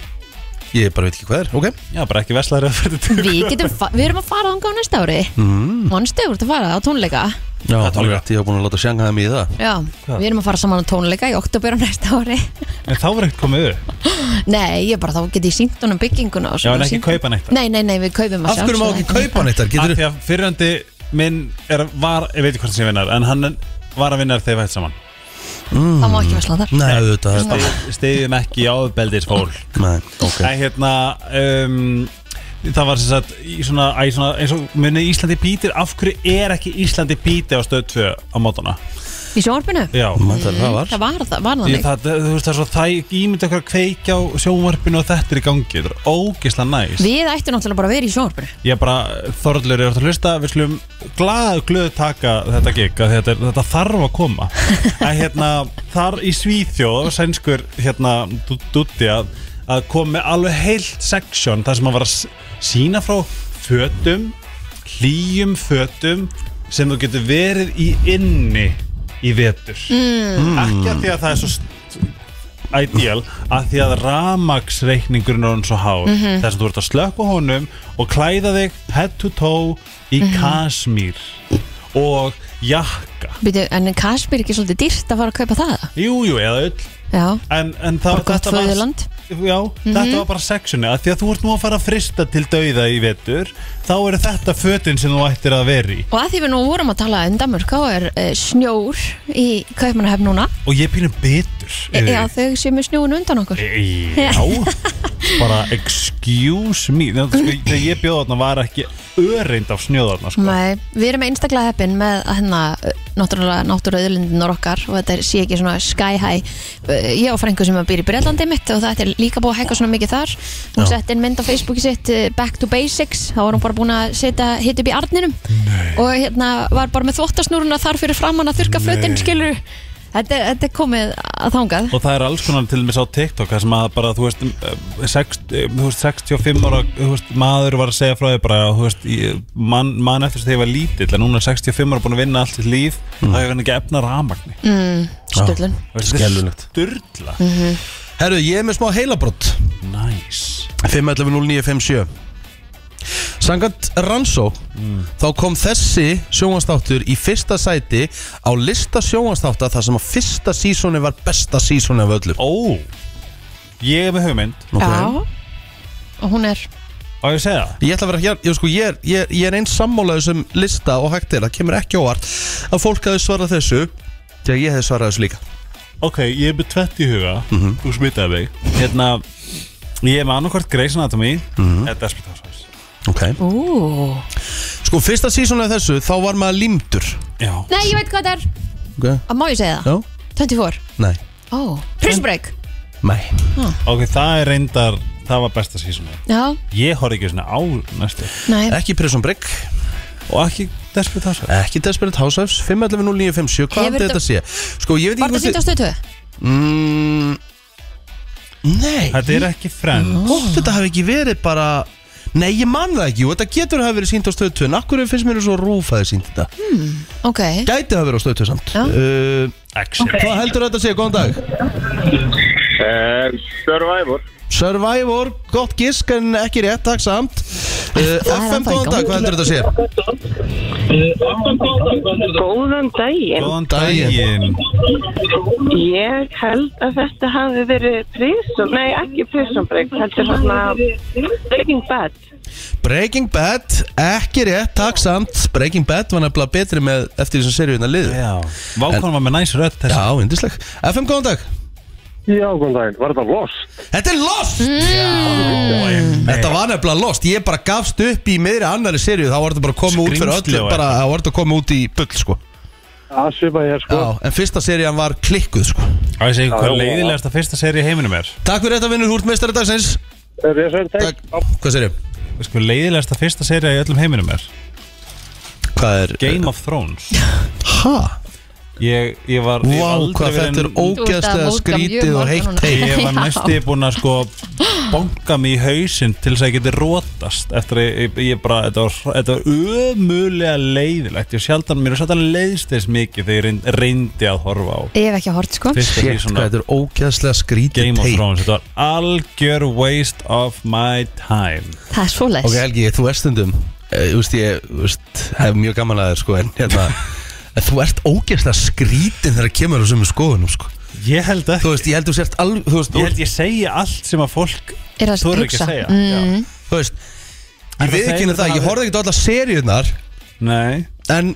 Speaker 1: Ég bara veit ekki hvað er, ok
Speaker 3: Já, bara ekki veslaður að fyrir til
Speaker 2: Við getum, fa- við erum að fara þangað á næsta ári mm. Manstu, þú ert að fara á tónleika
Speaker 1: Já,
Speaker 3: Það er
Speaker 1: alveg
Speaker 3: líka.
Speaker 1: rétt, ég hef búin að láta sjanga það mig í það
Speaker 2: Já, við erum að fara saman á tónleika í oktober á næsta ári
Speaker 3: En þá var ekkert komið upp
Speaker 2: Nei, ég bara þá get ég sínt honum bygginguna og
Speaker 3: Já,
Speaker 2: svona
Speaker 3: en ekki
Speaker 2: sýnt-
Speaker 3: kaupa neitt
Speaker 2: Nei, nei, nei, við kaupum að
Speaker 1: Af hverju má
Speaker 2: sjálfsögðu
Speaker 1: ekki kaupa hann eittar?
Speaker 3: Af
Speaker 1: Getur
Speaker 3: því að fyrrandi minn er, var, ég veit ekki hvort það sé vinnar En hann var að vinnar þegar við hætt saman
Speaker 2: Það má ekki vesla þar
Speaker 1: Nei, auðvitað þetta
Speaker 3: Stiðjum ekki á beldið fólk
Speaker 1: Nei, ok
Speaker 3: okay. hérna, um, Það var sem sagt í svona, æ, svona, eins og munið Íslandi býtir Af hverju er ekki Íslandi býti á stöð 2 á mótana?
Speaker 2: Í sjónvarpinu?
Speaker 3: Já
Speaker 1: Man, það, það var
Speaker 2: Það var, það, var
Speaker 3: Ég,
Speaker 2: þannig
Speaker 3: það, þú veist það er svo það ímyndi okkar að kveikja á sjónvarpinu og þetta er í gangi Þetta er ógislega næs
Speaker 2: Við ættum náttúrulega bara að vera í sjónvarpinu
Speaker 3: Ég bara, Þorðlur er að hlusta Við slum glað, glöð taka þetta gig af því Þetta, er- þetta þarf að koma að, hérna, Þar í Svíþjóð Sænskur, hérna, dutti að, að kom með alveg heilt section þar sem að var að s- sýna frá Fötum, hlýjum Fötum sem þú getur verið Í inni í vetur mm. Ekki að því að það er svo st- ideal að því að ramagsreikningurinn er hann svo hár mm
Speaker 2: Mhm.
Speaker 3: -hmm. þess að þú ert að slökka honum og klæða þig head to toe í
Speaker 2: Mhm.
Speaker 3: kasmír og jakka
Speaker 2: Býtu, En Kasper er ekki svolítið dýrt að fara að kaupa það
Speaker 3: jújú jú, eða öll
Speaker 2: Já,
Speaker 3: en, en það,
Speaker 2: bara gott Mhm. föðurland
Speaker 3: já, þetta var bara sexunni að því að þú ert nú að fara að frista til dauða í vetur þá eru þetta fötin sem þú ættir að veri
Speaker 2: Og að því við nú vorum að tala um Danmörk þá er uh, snjór í kaupmannahef núna
Speaker 3: og ég pínum betur
Speaker 2: e
Speaker 3: yfir
Speaker 2: Já,
Speaker 3: því.
Speaker 2: þau séu með snjóun undan okkur
Speaker 3: E- Já Bara excuse me Ná, sko, Þegar ég bjóð þarna var ekki öreind af snjóð þarna sko.
Speaker 2: Nei, við erum einstaklega heppin með að hérna, eh, náttúrulega náttúruauðlindunar okkar og þetta er- sé ekki svona sky high Eh, ég á frængu sem að býr í Breitlandi mitt og þetta er líka búið að hækka svona mikið þar hún
Speaker 1: Já.
Speaker 2: setti inn mynd á Facebooki sitt eh, back to basics, þá var hún bara búin að setja hitt upp í arninum Nei. og hérna var bara með þvottasnúruna þar fyrir framann að þurka fötin, skilur þetta, er- þetta er komið að þangað
Speaker 3: Og það er alls konar til þess á TikTok þar sem að bara, þú veist, eh, sext, eh, þú veist 65 ára þú veist, maður var að segja frá því bara þú veist, ég- man, man eftir þess að ég var lítill en núna er 65 ára búin að vinna allt sitt líf mm. það er hann ekki að efna ramagni mm.
Speaker 2: stöllun
Speaker 1: Skelfilegt.
Speaker 3: Sturla
Speaker 1: Herru, ég er með smá heilabrott
Speaker 3: Nice
Speaker 1: 5.11.09.57 Sangat Ransó þá kom þessi sjónvastáttur í fyrsta sæti á lista sjónvastátta þar sem að fyrsta sísóni var besta sísóni af öllum
Speaker 3: Ó, ég er með hugmynd
Speaker 2: Já, og hún er
Speaker 3: Á ég að segja það?
Speaker 1: Ég ætla að vera hér, ég, sko, ég, er, ég, er- ég er eins sammálaðu sem lista og hægt er, það kemur ekki óvart að fólk hafi svarað þessu þegar ég hefði svarað þessu líka
Speaker 3: Ok, ég er með tvett í huga Þú smitaði mig Hérna, ég er með annarkvort Grey's Anatomy Eða Desperate Housewives
Speaker 1: okay.
Speaker 2: Ú.
Speaker 1: Sko, fyrsta sísóni af þessu, þá var maður límdur
Speaker 3: Já
Speaker 2: Nei, ég veit hvað þetta er
Speaker 1: okay.
Speaker 2: Að Má ég segja það?
Speaker 1: Já,
Speaker 2: 24
Speaker 1: nei,
Speaker 2: Ó, Prison Break
Speaker 1: nei
Speaker 3: Ok, það er reyndar það var besta sísunni
Speaker 2: Já,
Speaker 3: Ég horf ekki svona á næstu
Speaker 2: nei,
Speaker 1: Ekki Prison Break
Speaker 3: Og ekki Desperate Housewives
Speaker 1: Ekki Desperate Housewives 5.11.09.57 Hvað
Speaker 2: Hefur
Speaker 1: er þetta sé? Sko ég veit
Speaker 2: var
Speaker 1: ekki
Speaker 2: þetta sýnt á stöðtöðu?
Speaker 1: mm, Nei
Speaker 3: Þetta er ekki Friends
Speaker 1: Gott þetta hafi ekki verið bara Nei ég man það ekki og þetta getur hafi verið sínt á stöð 2 En akkur finnst mér svo rúf að það sínt þetta
Speaker 2: Ok,
Speaker 1: Gæti hafi verið á stöð 2 samt
Speaker 2: Já.
Speaker 1: uh,
Speaker 3: Exit
Speaker 1: Hvað heldur þetta sé? Góðan dag
Speaker 5: Eh, Survivor
Speaker 1: Survivor, gott gisk en ekki rétt, takk samt uh,
Speaker 2: Það er
Speaker 1: FM,
Speaker 2: ennþá í
Speaker 1: góðan
Speaker 2: gangi.
Speaker 1: dag, hvað heldur þetta sé?
Speaker 6: Góðan daginn.
Speaker 3: Góðan
Speaker 1: daginn.
Speaker 3: daginn
Speaker 6: Ég held að þetta hafi verið prísum, nei ekki prísumbreyk, þetta er svona Breaking Bad.
Speaker 1: Breaking Bad, ekki rétt, takk samt Breaking Bad var nefnilega betri með eftir því sem seriðina liði
Speaker 3: Já Vákonum var með næs rödd þessi
Speaker 1: Já, yndisleg FM, góðan dag
Speaker 5: Já, góðan daginn, var þetta Lost?
Speaker 1: Þetta er Lost!
Speaker 3: Mhm.
Speaker 1: Þetta var nefnilega Lost Ég bara gafst upp í meðri annari serið Þá var þetta bara að koma út fyrir
Speaker 3: Skrimsli
Speaker 1: öllu
Speaker 3: og
Speaker 1: bara, Þá var þetta að koma út í bull, sko
Speaker 5: Það svipa ég sko
Speaker 1: Já, en fyrsta seriðan var klikkuð, sko
Speaker 3: Á ég segi hvað
Speaker 5: Já, já.
Speaker 3: leiðilegasta fyrsta seri í heiminum er
Speaker 1: Takk fyrir þetta, vinnur, húrt meistari dagsins
Speaker 5: Er ég svein
Speaker 1: Takk Hvað serið?
Speaker 3: Sko leiðilegasta fyrsta seri í öllum heiminum er
Speaker 1: Hvað er?
Speaker 3: Game of Thrones
Speaker 1: Ha?
Speaker 3: Ég, ég var ég hef
Speaker 1: Vá,
Speaker 3: aldrei
Speaker 1: hvað
Speaker 3: verið
Speaker 1: þetta er
Speaker 3: en-
Speaker 2: Þú ert
Speaker 1: ógeðslega
Speaker 2: að móka mjög
Speaker 1: skrítið
Speaker 2: marga
Speaker 1: og heitt
Speaker 2: núna.
Speaker 1: heim
Speaker 3: Ég var
Speaker 2: Já.
Speaker 3: næstu búin að sko Bonga mig í hausinn til þess að ég geti rótast Eftir að ég, ég bara Þetta var, þetta var ömulega leiðilegt Ég sjaldan mér og sjaldan leiðst þess mikið Þegar ég reynd- reyndi að horfa á
Speaker 2: ég hef ekki hort sko
Speaker 3: Fyrst að því
Speaker 1: Shit, hvað
Speaker 3: svona
Speaker 1: þetta er ógeðslega skrítið
Speaker 3: Game of
Speaker 1: teip.
Speaker 3: Thrones Þetta var algjör waste of my time
Speaker 2: Það er svoleiðis
Speaker 1: Ok Helgi, þú ert stundum eh, Þú veist, ég þú veist, hef mjög gaman að þér sko En hérna en Þú ert ógeðslega skrítin þegar kemur á sömu skoðunum sko.
Speaker 3: Ég held að
Speaker 1: Þú veist, ég held þú sért alveg Þú veist,
Speaker 3: Ég
Speaker 1: þú,
Speaker 3: held ég segi allt sem að fólk
Speaker 2: Er að
Speaker 3: þorir
Speaker 2: hugsa.
Speaker 3: ekki að segja
Speaker 2: Mm.
Speaker 3: Já.
Speaker 1: þú veist
Speaker 3: En
Speaker 1: Ég
Speaker 3: það
Speaker 1: við ekki
Speaker 3: segir
Speaker 1: það,
Speaker 3: það
Speaker 1: ég
Speaker 3: að-
Speaker 1: horfði ekki á alla seríunar
Speaker 3: Nei
Speaker 1: En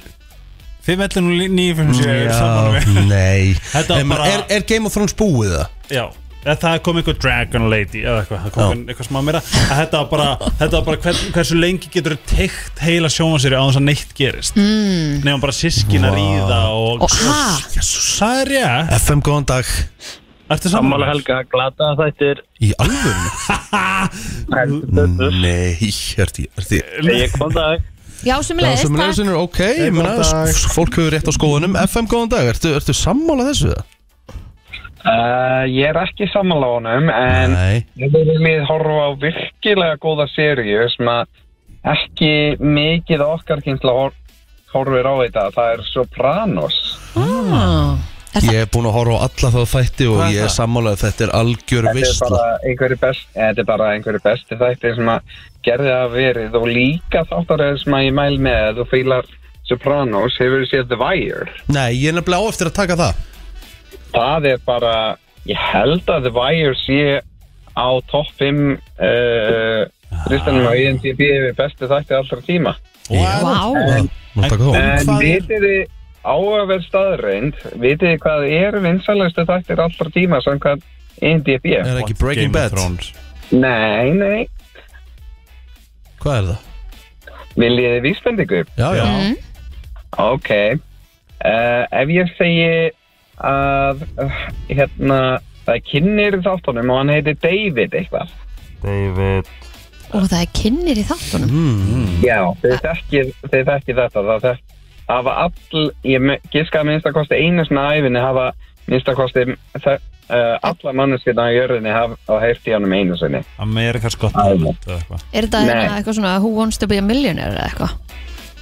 Speaker 3: 5, 11, 9, 5, 7 Saman við
Speaker 1: nei
Speaker 3: Þetta var
Speaker 1: En
Speaker 3: bara-
Speaker 1: er, er Game of Thrones búið það?
Speaker 3: Já, eða það kom einhver Dragon Lady eða eitthvað, það kom
Speaker 1: Já.
Speaker 3: einhver- eitthvað smá meira að þetta var bara, þetta var bara hver, hversu lengi getur þú teikt heila sjónvanseri á þess að neitt gerist mm. nefnum bara sískin að ríða og,
Speaker 2: Og ha?
Speaker 1: Jesus.
Speaker 3: það er ég,
Speaker 1: FM, góðan dag
Speaker 3: ertu saman
Speaker 5: Helga, glata þættir
Speaker 1: Í alvöru? nei, ertu, ertu
Speaker 5: Ég kom dag
Speaker 2: Já, sem
Speaker 1: Já,
Speaker 2: leiðist,
Speaker 1: sem
Speaker 2: takk
Speaker 1: leðsinur, ok ég meina,
Speaker 3: góðan dag.
Speaker 1: s- Fólk hefur rétt á skoðunum FM, góðan dag, ertu, ertu sammála þessu? eða?
Speaker 7: Uh, ég er ekki sammála á honum en
Speaker 1: Nei
Speaker 7: ég viljið horfa á virkilega góða seríu sem að ekki mikið af okkar kynsla hor horfir á þetta það er Sopranos
Speaker 2: Ah. Er það
Speaker 1: Ég hef búin að horfa á alla þá þætti og
Speaker 3: Hvað er
Speaker 1: ég er
Speaker 3: það?
Speaker 1: sammála að þetta er algjör
Speaker 7: þetta er,
Speaker 1: veistla
Speaker 7: bara einhverju best, eh, þetta er bara einhverju besti þætti sem að gerði að verið og líka þáttaröð sem að ég mæl með ef þú fílar Sopranos hefur séð The Wire
Speaker 1: Nei, ég er nefnilega á eftir að taka það
Speaker 7: það er bara ég held að The Wire sé á topp 5 uh,
Speaker 3: Ah.
Speaker 7: listanum á INTB yfir bestu þætti allra tíma
Speaker 2: Vá
Speaker 1: Má taka þú
Speaker 3: En
Speaker 7: en
Speaker 3: hvað er-
Speaker 7: vitið þið áverð staðreind vitið þið hvað er vinsalastu þættir allra tíma samkvæmt E INTB
Speaker 1: Er það ekki Breaking Bad?
Speaker 7: nei, nei,
Speaker 1: Hvað er það?
Speaker 7: viljið þið vísbendingu
Speaker 1: Já, já
Speaker 7: ok uh, ef ég segi að uh, hérna það er kynir í þáttunum og hann heitir David eitthvað
Speaker 2: Og það er kynir í þáttunum
Speaker 3: Mhm.
Speaker 7: Já, þið þekkið, þið þekkið þetta það þekk, hafa all ég me- giska að minnstakosti einu svona æfinni hafa minnstakosti uh, alla manneskina á jörðinni hafa hafa heyrt í honum einu sinni
Speaker 3: Amerikas gott talent eða eitthvað.
Speaker 2: Er þetta
Speaker 7: Nei.
Speaker 2: hérna eitthvað svona Who wants to be a millionaire eða eitthvað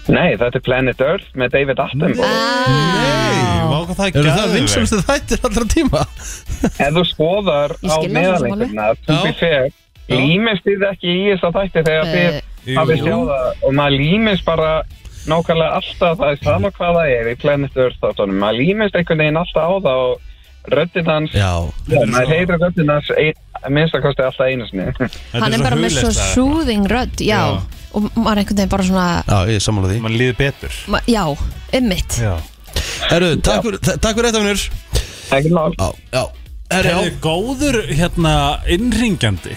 Speaker 7: Nei, þetta er Planet Earth með David Attenborough
Speaker 2: Ah.
Speaker 3: Nei,
Speaker 2: Nei
Speaker 3: vá hvað það er
Speaker 1: Eru það
Speaker 3: geðveikt.
Speaker 1: vinsamstu þættir allra tíma?
Speaker 7: Ef þú skoðar
Speaker 2: Ég skil
Speaker 7: á
Speaker 2: það svo sem
Speaker 7: meðalengjumna
Speaker 1: Já.
Speaker 7: Tupi Fair límist þið ekki í þess að þætti þegar
Speaker 2: Eh,
Speaker 7: þið hafið sjáða og maður límist bara nákvæmlega alltaf það er sama hvað það er í Planet Earth þáttunum maður límist einhvern veginn alltaf á það og röddinn hans
Speaker 1: Já
Speaker 7: Já, maður heyrir röddinn hans ein- að minnst að kosti alltaf einu sinni
Speaker 3: Þetta
Speaker 2: Hann er
Speaker 3: svo
Speaker 2: bara með svo
Speaker 3: hugleist að-
Speaker 2: soothing rödd Já
Speaker 3: Já.
Speaker 2: Og maður er einhvern veginn bara svona
Speaker 1: Já, ég er sammála því
Speaker 3: Man líður betur
Speaker 2: ma- Já, ymmit
Speaker 3: Já
Speaker 1: Herru, takk fyrir- takk fyrir þetta, vinnur Já,
Speaker 7: ekki mál
Speaker 1: já Herru,
Speaker 3: Þetta er góður hérna innringjandi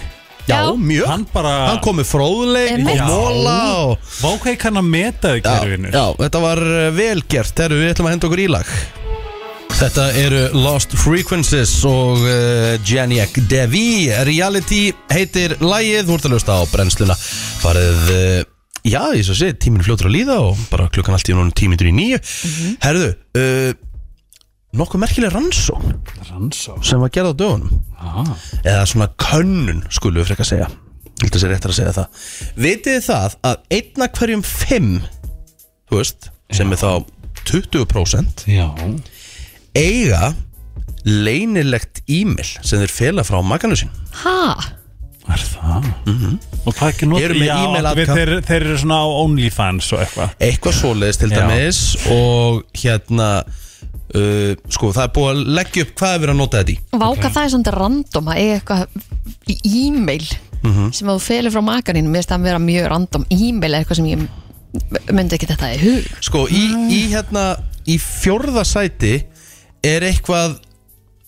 Speaker 1: já, já,
Speaker 2: Já.
Speaker 1: mjög
Speaker 3: Hann bara
Speaker 1: Hann kom með fróðleik
Speaker 2: Einmitt.
Speaker 1: og móla og
Speaker 3: Vá hvað ég kann að meta þau
Speaker 1: já,
Speaker 3: kerfinu
Speaker 1: já, þetta var eh, vel gert Herru, við ætlum að henda okkur í lag Þetta eru Lost Frequencies og uh, Janiak Devi Reality heitir lægið, þú ert að lösta á brennsluna farið, uh, já, ég svo sé tíminn fljótur að líða og bara klukkan allt í núna tímindur í nýju Herðu, uh, nokkuð merkileg rannsókn
Speaker 3: Rannsó
Speaker 1: sem var gerð á dögunum
Speaker 3: ah.
Speaker 1: eða svona könnun skulum við frekar segja Þetta sé réttar að segja það Vitið þið það að einna hverjum fimm þú veist, sem er þá 20%
Speaker 3: Já
Speaker 1: eiga leynilegt e-mail sem þeir fela frá maganu sín
Speaker 2: Hæ?
Speaker 3: Er það? Mm -hmm. Og hvað ekki notið?
Speaker 1: Eru Mhm. með
Speaker 3: Já,
Speaker 1: e-mail
Speaker 3: við-
Speaker 1: account.
Speaker 3: þeir, þeir eru svona á OnlyFans og eitthvað
Speaker 1: eitthvað svoleiðis til
Speaker 3: Já.
Speaker 1: dæmis og hérna uh, sko það er búið að leggja upp hvað er verið að nota þetta í
Speaker 2: Váka það er samt random að eiga eitthvað í e-mail
Speaker 3: Mhm.
Speaker 2: sem að þú felur frá makaninu, mér finnst það að vera mjög random e-mail er eitthvað sem ég myndi ekki þetta í hug
Speaker 1: Sko, í, í hérna í fjórða sæti er eitthvað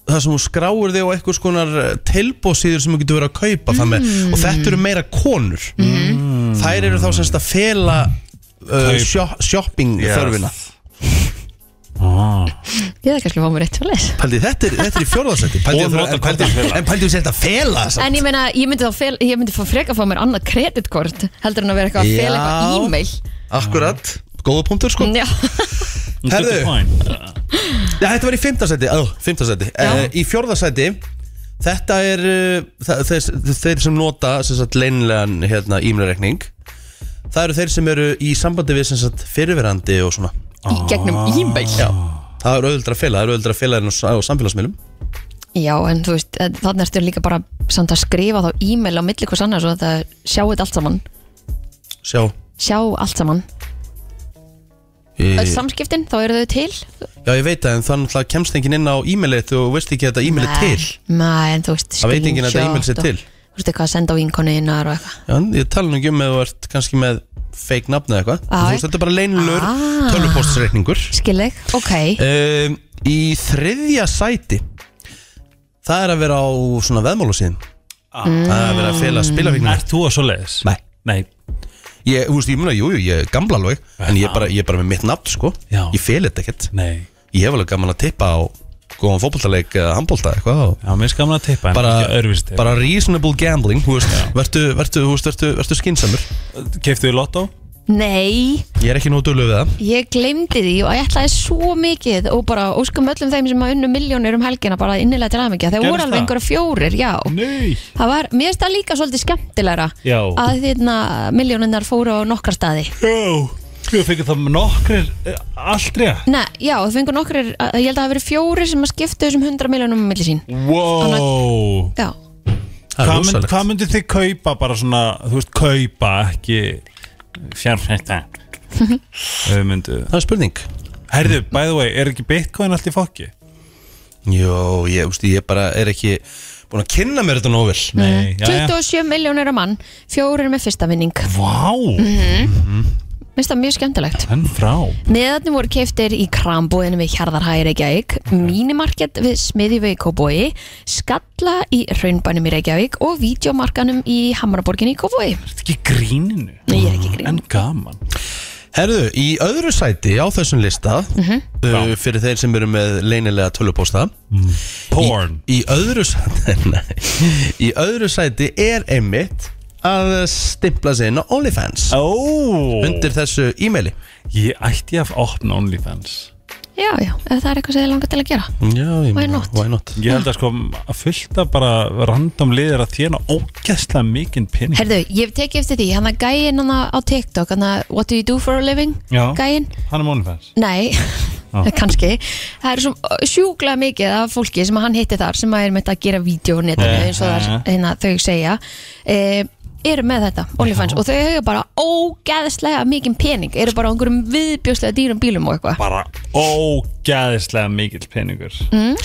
Speaker 1: það sem þú skráir þig á eitthvað skonar tilbóðsýður sem þú getur verið að kaupa mm. með, og þetta eru meira konur þær eru þá semst að fela uh,
Speaker 3: Kaup.
Speaker 1: shop, shopping
Speaker 3: Yes.
Speaker 1: þörfina
Speaker 3: ah.
Speaker 2: Ég hefði kannski fá mér eitt fyrir
Speaker 1: Pældi, þetta, er, þetta er í fjórðarsæti pældi,
Speaker 3: Og
Speaker 1: þú-
Speaker 3: nota
Speaker 1: en pældi,
Speaker 3: kortin fela.
Speaker 1: en pældi þú sér þetta að fela samt.
Speaker 2: En ég meina, ég myndi þá fel, ég myndi fá freka að fá mér annað kreditkort heldur en að vera eitthvað að fela eitthvað
Speaker 1: Já.
Speaker 2: e-mail
Speaker 1: akkurat, góða punktur sko
Speaker 2: Já,
Speaker 1: Herðu.
Speaker 3: Herðu
Speaker 1: ja, þetta var í fimmtarsæti, oh, fimmtarsæti. Uh, í fjórðarsæti þetta er uh, þa- þess, þeir sem nota sem sagt, leinlegan hérna, e-mailreikning það eru þeir sem eru í sambandi við sem sagt, fyrirverandi og svona
Speaker 2: í gegnum e-mail Já,
Speaker 1: það eru auðvitað að fela, það eru auðvitað að fela þeirn á samfélagsmiðlum
Speaker 2: en þú veist, þannig ertu líka bara samt að skrifa þá e-mail á milli hvers annars og þetta sjá þetta allt saman
Speaker 1: sjá
Speaker 2: sjá allt saman Öll
Speaker 1: ég,
Speaker 2: samskiptin, þá eru þau til
Speaker 1: já ég veit það en þannig að kemst enginn inn á e-mailið og veist ekki að þetta e-mail er til
Speaker 2: Nei, en þú veist
Speaker 1: Það veit enginn að þetta e-mail sé
Speaker 2: screenshot og-
Speaker 1: til.
Speaker 2: Þú veist eitthvað að senda á vinkonuðinnar og eitthvað
Speaker 1: já, en ég tala nú ekki um ef þú ert kannski með fake nafn eða eitthvað
Speaker 2: Já,
Speaker 1: Þú veist, þetta er bara leinlegur
Speaker 2: Ah.
Speaker 1: tölvupostreikningur
Speaker 2: Skilleg, ok
Speaker 1: um, Í þriðja sæti Það er að vera á svona veðmálusíðin
Speaker 3: Ah.
Speaker 1: Það er að vera að
Speaker 3: Mm.
Speaker 1: fela spilafíknir
Speaker 3: Ert þú að svo leiðis?
Speaker 1: Nei,
Speaker 3: Nei
Speaker 1: ég, þú veist, ég muna, jú, jú, ég er gamla alveg En ég er bara, ég er bara með mitt nafn, sko
Speaker 3: Já.
Speaker 1: Ég fel þetta ekkert
Speaker 3: Nei
Speaker 1: Ég hef alveg gaman að tippa á góðan fótboltaleik eða handbolta eitthvað og
Speaker 3: Já, mér er gaman að tippa en
Speaker 1: Bara,
Speaker 3: ekki öðruvísi tippa
Speaker 1: bara reasonable gambling, þú veist Vertu, vertu, þú veist, vertu, vertu skinsamur
Speaker 3: Keftu í lottó?
Speaker 2: Nei,
Speaker 1: Ég er ekki nóg dölug við það
Speaker 2: ég glemdi því og ég ætlaði svo mikið og bara óskum öllum þeim sem að unnu miljónir um helgina bara innilega til aðmyggja. Þeir
Speaker 3: Gerðist
Speaker 2: voru alveg
Speaker 3: það?
Speaker 2: einhverja fjórir, já.
Speaker 3: Nei
Speaker 2: Það var, mér finnst það líka svolítið skemmtilegra
Speaker 3: Já.
Speaker 2: að þérna miljónirnar fóru á nokkar staði.
Speaker 3: Jó Við fengið það nokkrir eh, allt rétt
Speaker 2: Nei, já, það fengur nokkar, ég held að það hafi verið fjórir sem að skiptu þessum 100 miljónum á milli sín.
Speaker 3: Wow
Speaker 2: Já,
Speaker 1: Það er
Speaker 3: Hvað mynd,
Speaker 1: rosalegt.
Speaker 3: hva myndir þið kaupa bara svona, þú veist, kaupa ekki fjárfætta Þau myndu
Speaker 1: Það er spurning
Speaker 3: Herðu, by the way, er ekki bitcoin allt í fokki?
Speaker 1: Jó, ég, úst, ég bara er ekki búin að kynna mér þetta nóg vel
Speaker 3: Nei, já, já
Speaker 2: 27 miljónir á mann, fjórir með fyrsta vinning.
Speaker 3: Vá,
Speaker 2: Mhm. Mér finnst það mjög skemmtilegt.
Speaker 3: hann frá
Speaker 2: Miðarnir voru keiftir í krambúðinu við Hjarðarhæði Reykjavík, Mínimarkett við Smiðjuvegi Kóbói, Skalla í Raunbænum í Reykjavík og Vídeomarkanum í Hamaraborginni í Kóbói.
Speaker 3: Þetta ekki í gríninu
Speaker 2: Nei, ég er ekki í gríninu.
Speaker 3: En gaman
Speaker 1: Herðu, í öðru sæti á þessum lista uh, fyrir þeir sem eru með leynilega tölupósta
Speaker 3: Porn
Speaker 1: í, öðru sæti, nei, í öðru sæti er einmitt að stimpla sig inn á OnlyFans
Speaker 3: Ó
Speaker 1: undir þessu e-maili
Speaker 3: Ég ætti að opna OnlyFans
Speaker 2: Já, já, ef það er eitthvað sem þið langar til að gera.
Speaker 1: Já, ég
Speaker 2: Why
Speaker 1: meina,
Speaker 2: not?
Speaker 1: Why not?
Speaker 3: Ég held að sko að fullta bara random liðir að þjána ógæslega mikinn pening
Speaker 2: Herðu, ég hef tekið eftir því, hann að gæinn hann á TikTok, hann að What do you do for a living?
Speaker 3: Já.
Speaker 2: Gæinn?
Speaker 3: Hann er OnlyFans
Speaker 2: Nei, kannski. Það er svo uh, sjúklega mikið af fólki sem hann hitti þar sem er með að gera vídeo og netinu
Speaker 3: Já,
Speaker 2: eins og
Speaker 3: já.
Speaker 2: þar, hérna, þau segja e, eru með þetta, OnlyFans og þau hefur bara ógeðslega mikið pening eru bara á einhverjum viðbjóslega dýrum bílum og eitthvað
Speaker 3: Bara ógæðislega mikill peningur mm.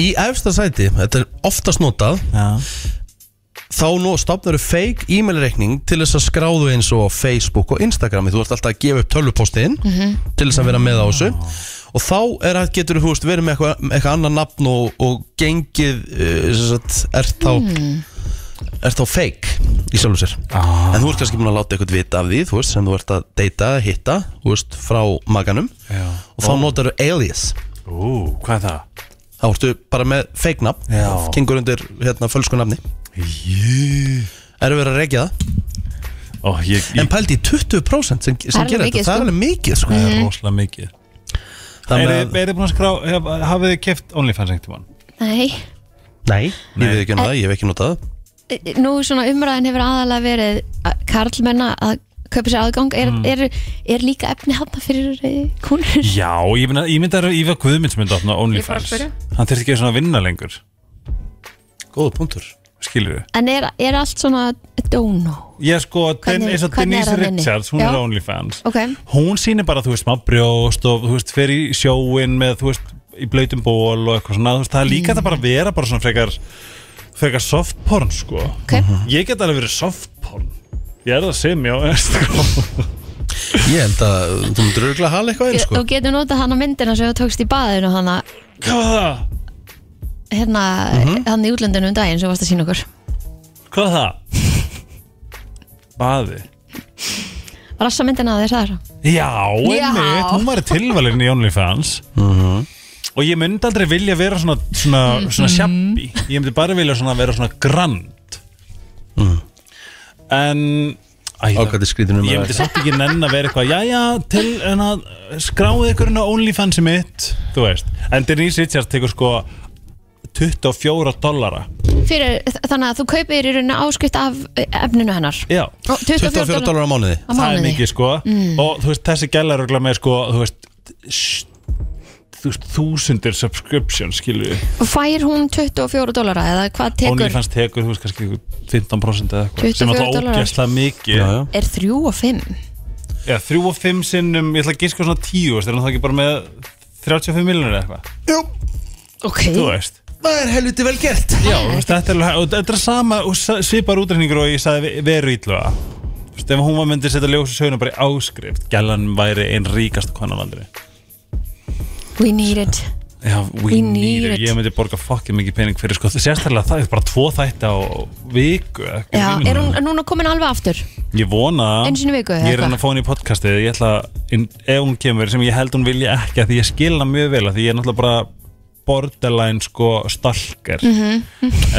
Speaker 1: Í efsta sæti, þetta er oftast notað
Speaker 3: Já
Speaker 1: þá nú stopnaru fake e-mail reikning til þess að skráðu eins og á Facebook og Instagrami, þú ert alltaf að gefa upp tölvupóstin
Speaker 3: Mhm.
Speaker 1: til þess að vera með á þessu og þá er að getur þú veist verið með eitthvað eitthva annan nafn og, og gengið uh, sem sagt, ert þá ert þá fake í sjálfum sér
Speaker 3: Hmm. Ah.
Speaker 1: en þú ert kannski búin að láta eitthvað vita af því þú veist, sem þú ert að deyta, hitta þú veist, frá maganum
Speaker 3: Já.
Speaker 1: og þá notaru alias
Speaker 3: Ú, hvað er það?
Speaker 1: Þá ertu bara með feiknafn
Speaker 3: Já.
Speaker 1: Kengur undir hérna fölskunafni
Speaker 3: Jú.
Speaker 1: Erum við að regja það
Speaker 3: Ó, ég, ég
Speaker 1: En pældi í 20% sem,
Speaker 2: Það
Speaker 1: sem
Speaker 2: er
Speaker 1: gerir þetta Það
Speaker 2: mikið,
Speaker 1: er
Speaker 2: sko.
Speaker 1: alveg mikið sko
Speaker 3: það er rosalega mikið Er
Speaker 1: Þannig
Speaker 3: þið
Speaker 1: að
Speaker 3: er þið búin að skrá, hef, hafið þið keft OnlyFans einhvern tímann?
Speaker 2: Nei,
Speaker 1: Nei Ég veit ekki um það, ég hef ekki notað það
Speaker 2: Eh, nú svona umræðin hefur aðalega verið að karlmenna að köpa sér aðgang er, er, er líka efni hafna fyrir eh, konur
Speaker 3: Já, ég myndi að, ég myndi að Ívar Guðmunds myndi að opna OnlyFans
Speaker 2: Ég fór að
Speaker 3: Hann þurfti ekki svona að vinna lengur,
Speaker 1: Góða punktur
Speaker 3: skilur við
Speaker 2: En er, er allt svona dono?
Speaker 3: Ég sko, den,
Speaker 2: Hvernig-
Speaker 3: eins og
Speaker 2: hvernig er
Speaker 3: Denise
Speaker 2: hann inni?
Speaker 3: Richards, hún
Speaker 2: Já.
Speaker 3: er á OnlyFans
Speaker 2: Ok,
Speaker 3: Hún sýnir bara, þú veist, smá brjóst og þú veist, fer í sjóin með, þú veist, í blöytum ból og eitthvað svona, þú veist, það er líka mm. það bara að vera bara svona frekar, frekar soft porn, sko
Speaker 2: ok
Speaker 3: Ég get alveg verið soft porn Ég er það sem, já, sko
Speaker 1: Ég held að þú myndir örgulega hala eitthvað einn sko
Speaker 2: Þú getur notað hana myndina sem þú tókst í baðinu hana,
Speaker 3: Hvað var það?
Speaker 2: hérna, mm
Speaker 3: Mhm.
Speaker 2: hann í útlöndinu um daginn sem þú varst að sína okkur
Speaker 3: Hvað er það? Baði
Speaker 2: Rassa myndina að þér þar
Speaker 3: Já,
Speaker 2: Já.
Speaker 3: einmitt, hún var í tilvalin í OnlyFans Og ég myndi aldrei vilja vera svona, svona, svona sjabbi Ég myndi bara vilja svona vera svona grand En Æ, það-
Speaker 1: Ákvæði skrýtunum
Speaker 3: Ég myndi samt ekki nenn að vera eitthvað Jæja, til en að skráið ykkur inn á OnlyFansi mitt Þú veist En Denise Richards tekur sko 24 dollara
Speaker 2: Fyrir, Þannig að þú kaupir í rauninni áskrift af eh, efninu hennar
Speaker 3: Já
Speaker 1: 24 dólar á mánuði
Speaker 2: á
Speaker 3: það er
Speaker 2: mánuði Mm.
Speaker 3: mikið sko og þú veist þessi gæla er örugglega með sko þú veist s- þú veist þúsundir subscription skilju
Speaker 2: Og fær hún 24 dólara eða hvað tekur
Speaker 3: OnlyFans tekur þú veist kannski einhver 15% eða eitthvað sem
Speaker 2: 24
Speaker 3: náttúrulega
Speaker 2: dollarar.
Speaker 3: ógæslega mikið
Speaker 1: Já, já.
Speaker 2: Er 3 og 5
Speaker 3: Já, 3 og 5 sinnum ég ætla að giska á svona 10 veist, er hann þá ekki bara með 35 miljonir eða eitthvað
Speaker 1: Jú,
Speaker 2: Ok
Speaker 3: þú veist
Speaker 1: það er helviti vel gert
Speaker 3: Já, þú veist, þetta, er, alveg- og þetta er sama og sa- svipar útreikningur og ég sagði ve- veru ítluga Þú veist, ef hún var myndið setja ljósa söguna bara í áskrift gælan væri einn ríkast konan á landinu
Speaker 2: We need it
Speaker 3: Já, we,
Speaker 2: We
Speaker 3: need,
Speaker 2: need
Speaker 3: it
Speaker 2: it.
Speaker 3: Ég myndi borga fokkið mikið pening fyrir sko Sérstaklega það er bara tvo þætti á viku eða eitthvað
Speaker 2: Já,
Speaker 3: í mínum.
Speaker 2: er hún núna komin alveg aftur?
Speaker 3: Ég vona það.
Speaker 2: Einu sinni í viku, eða
Speaker 3: Ég er að reyna
Speaker 2: eitthvað?
Speaker 3: að fá hún í podcastið Ég ætla að inn- Ef hún kemur sem ég held hún vilja ekki af Því ég skil hana mjög vel af Því ég er náttúrulega bara borderline sko stalker En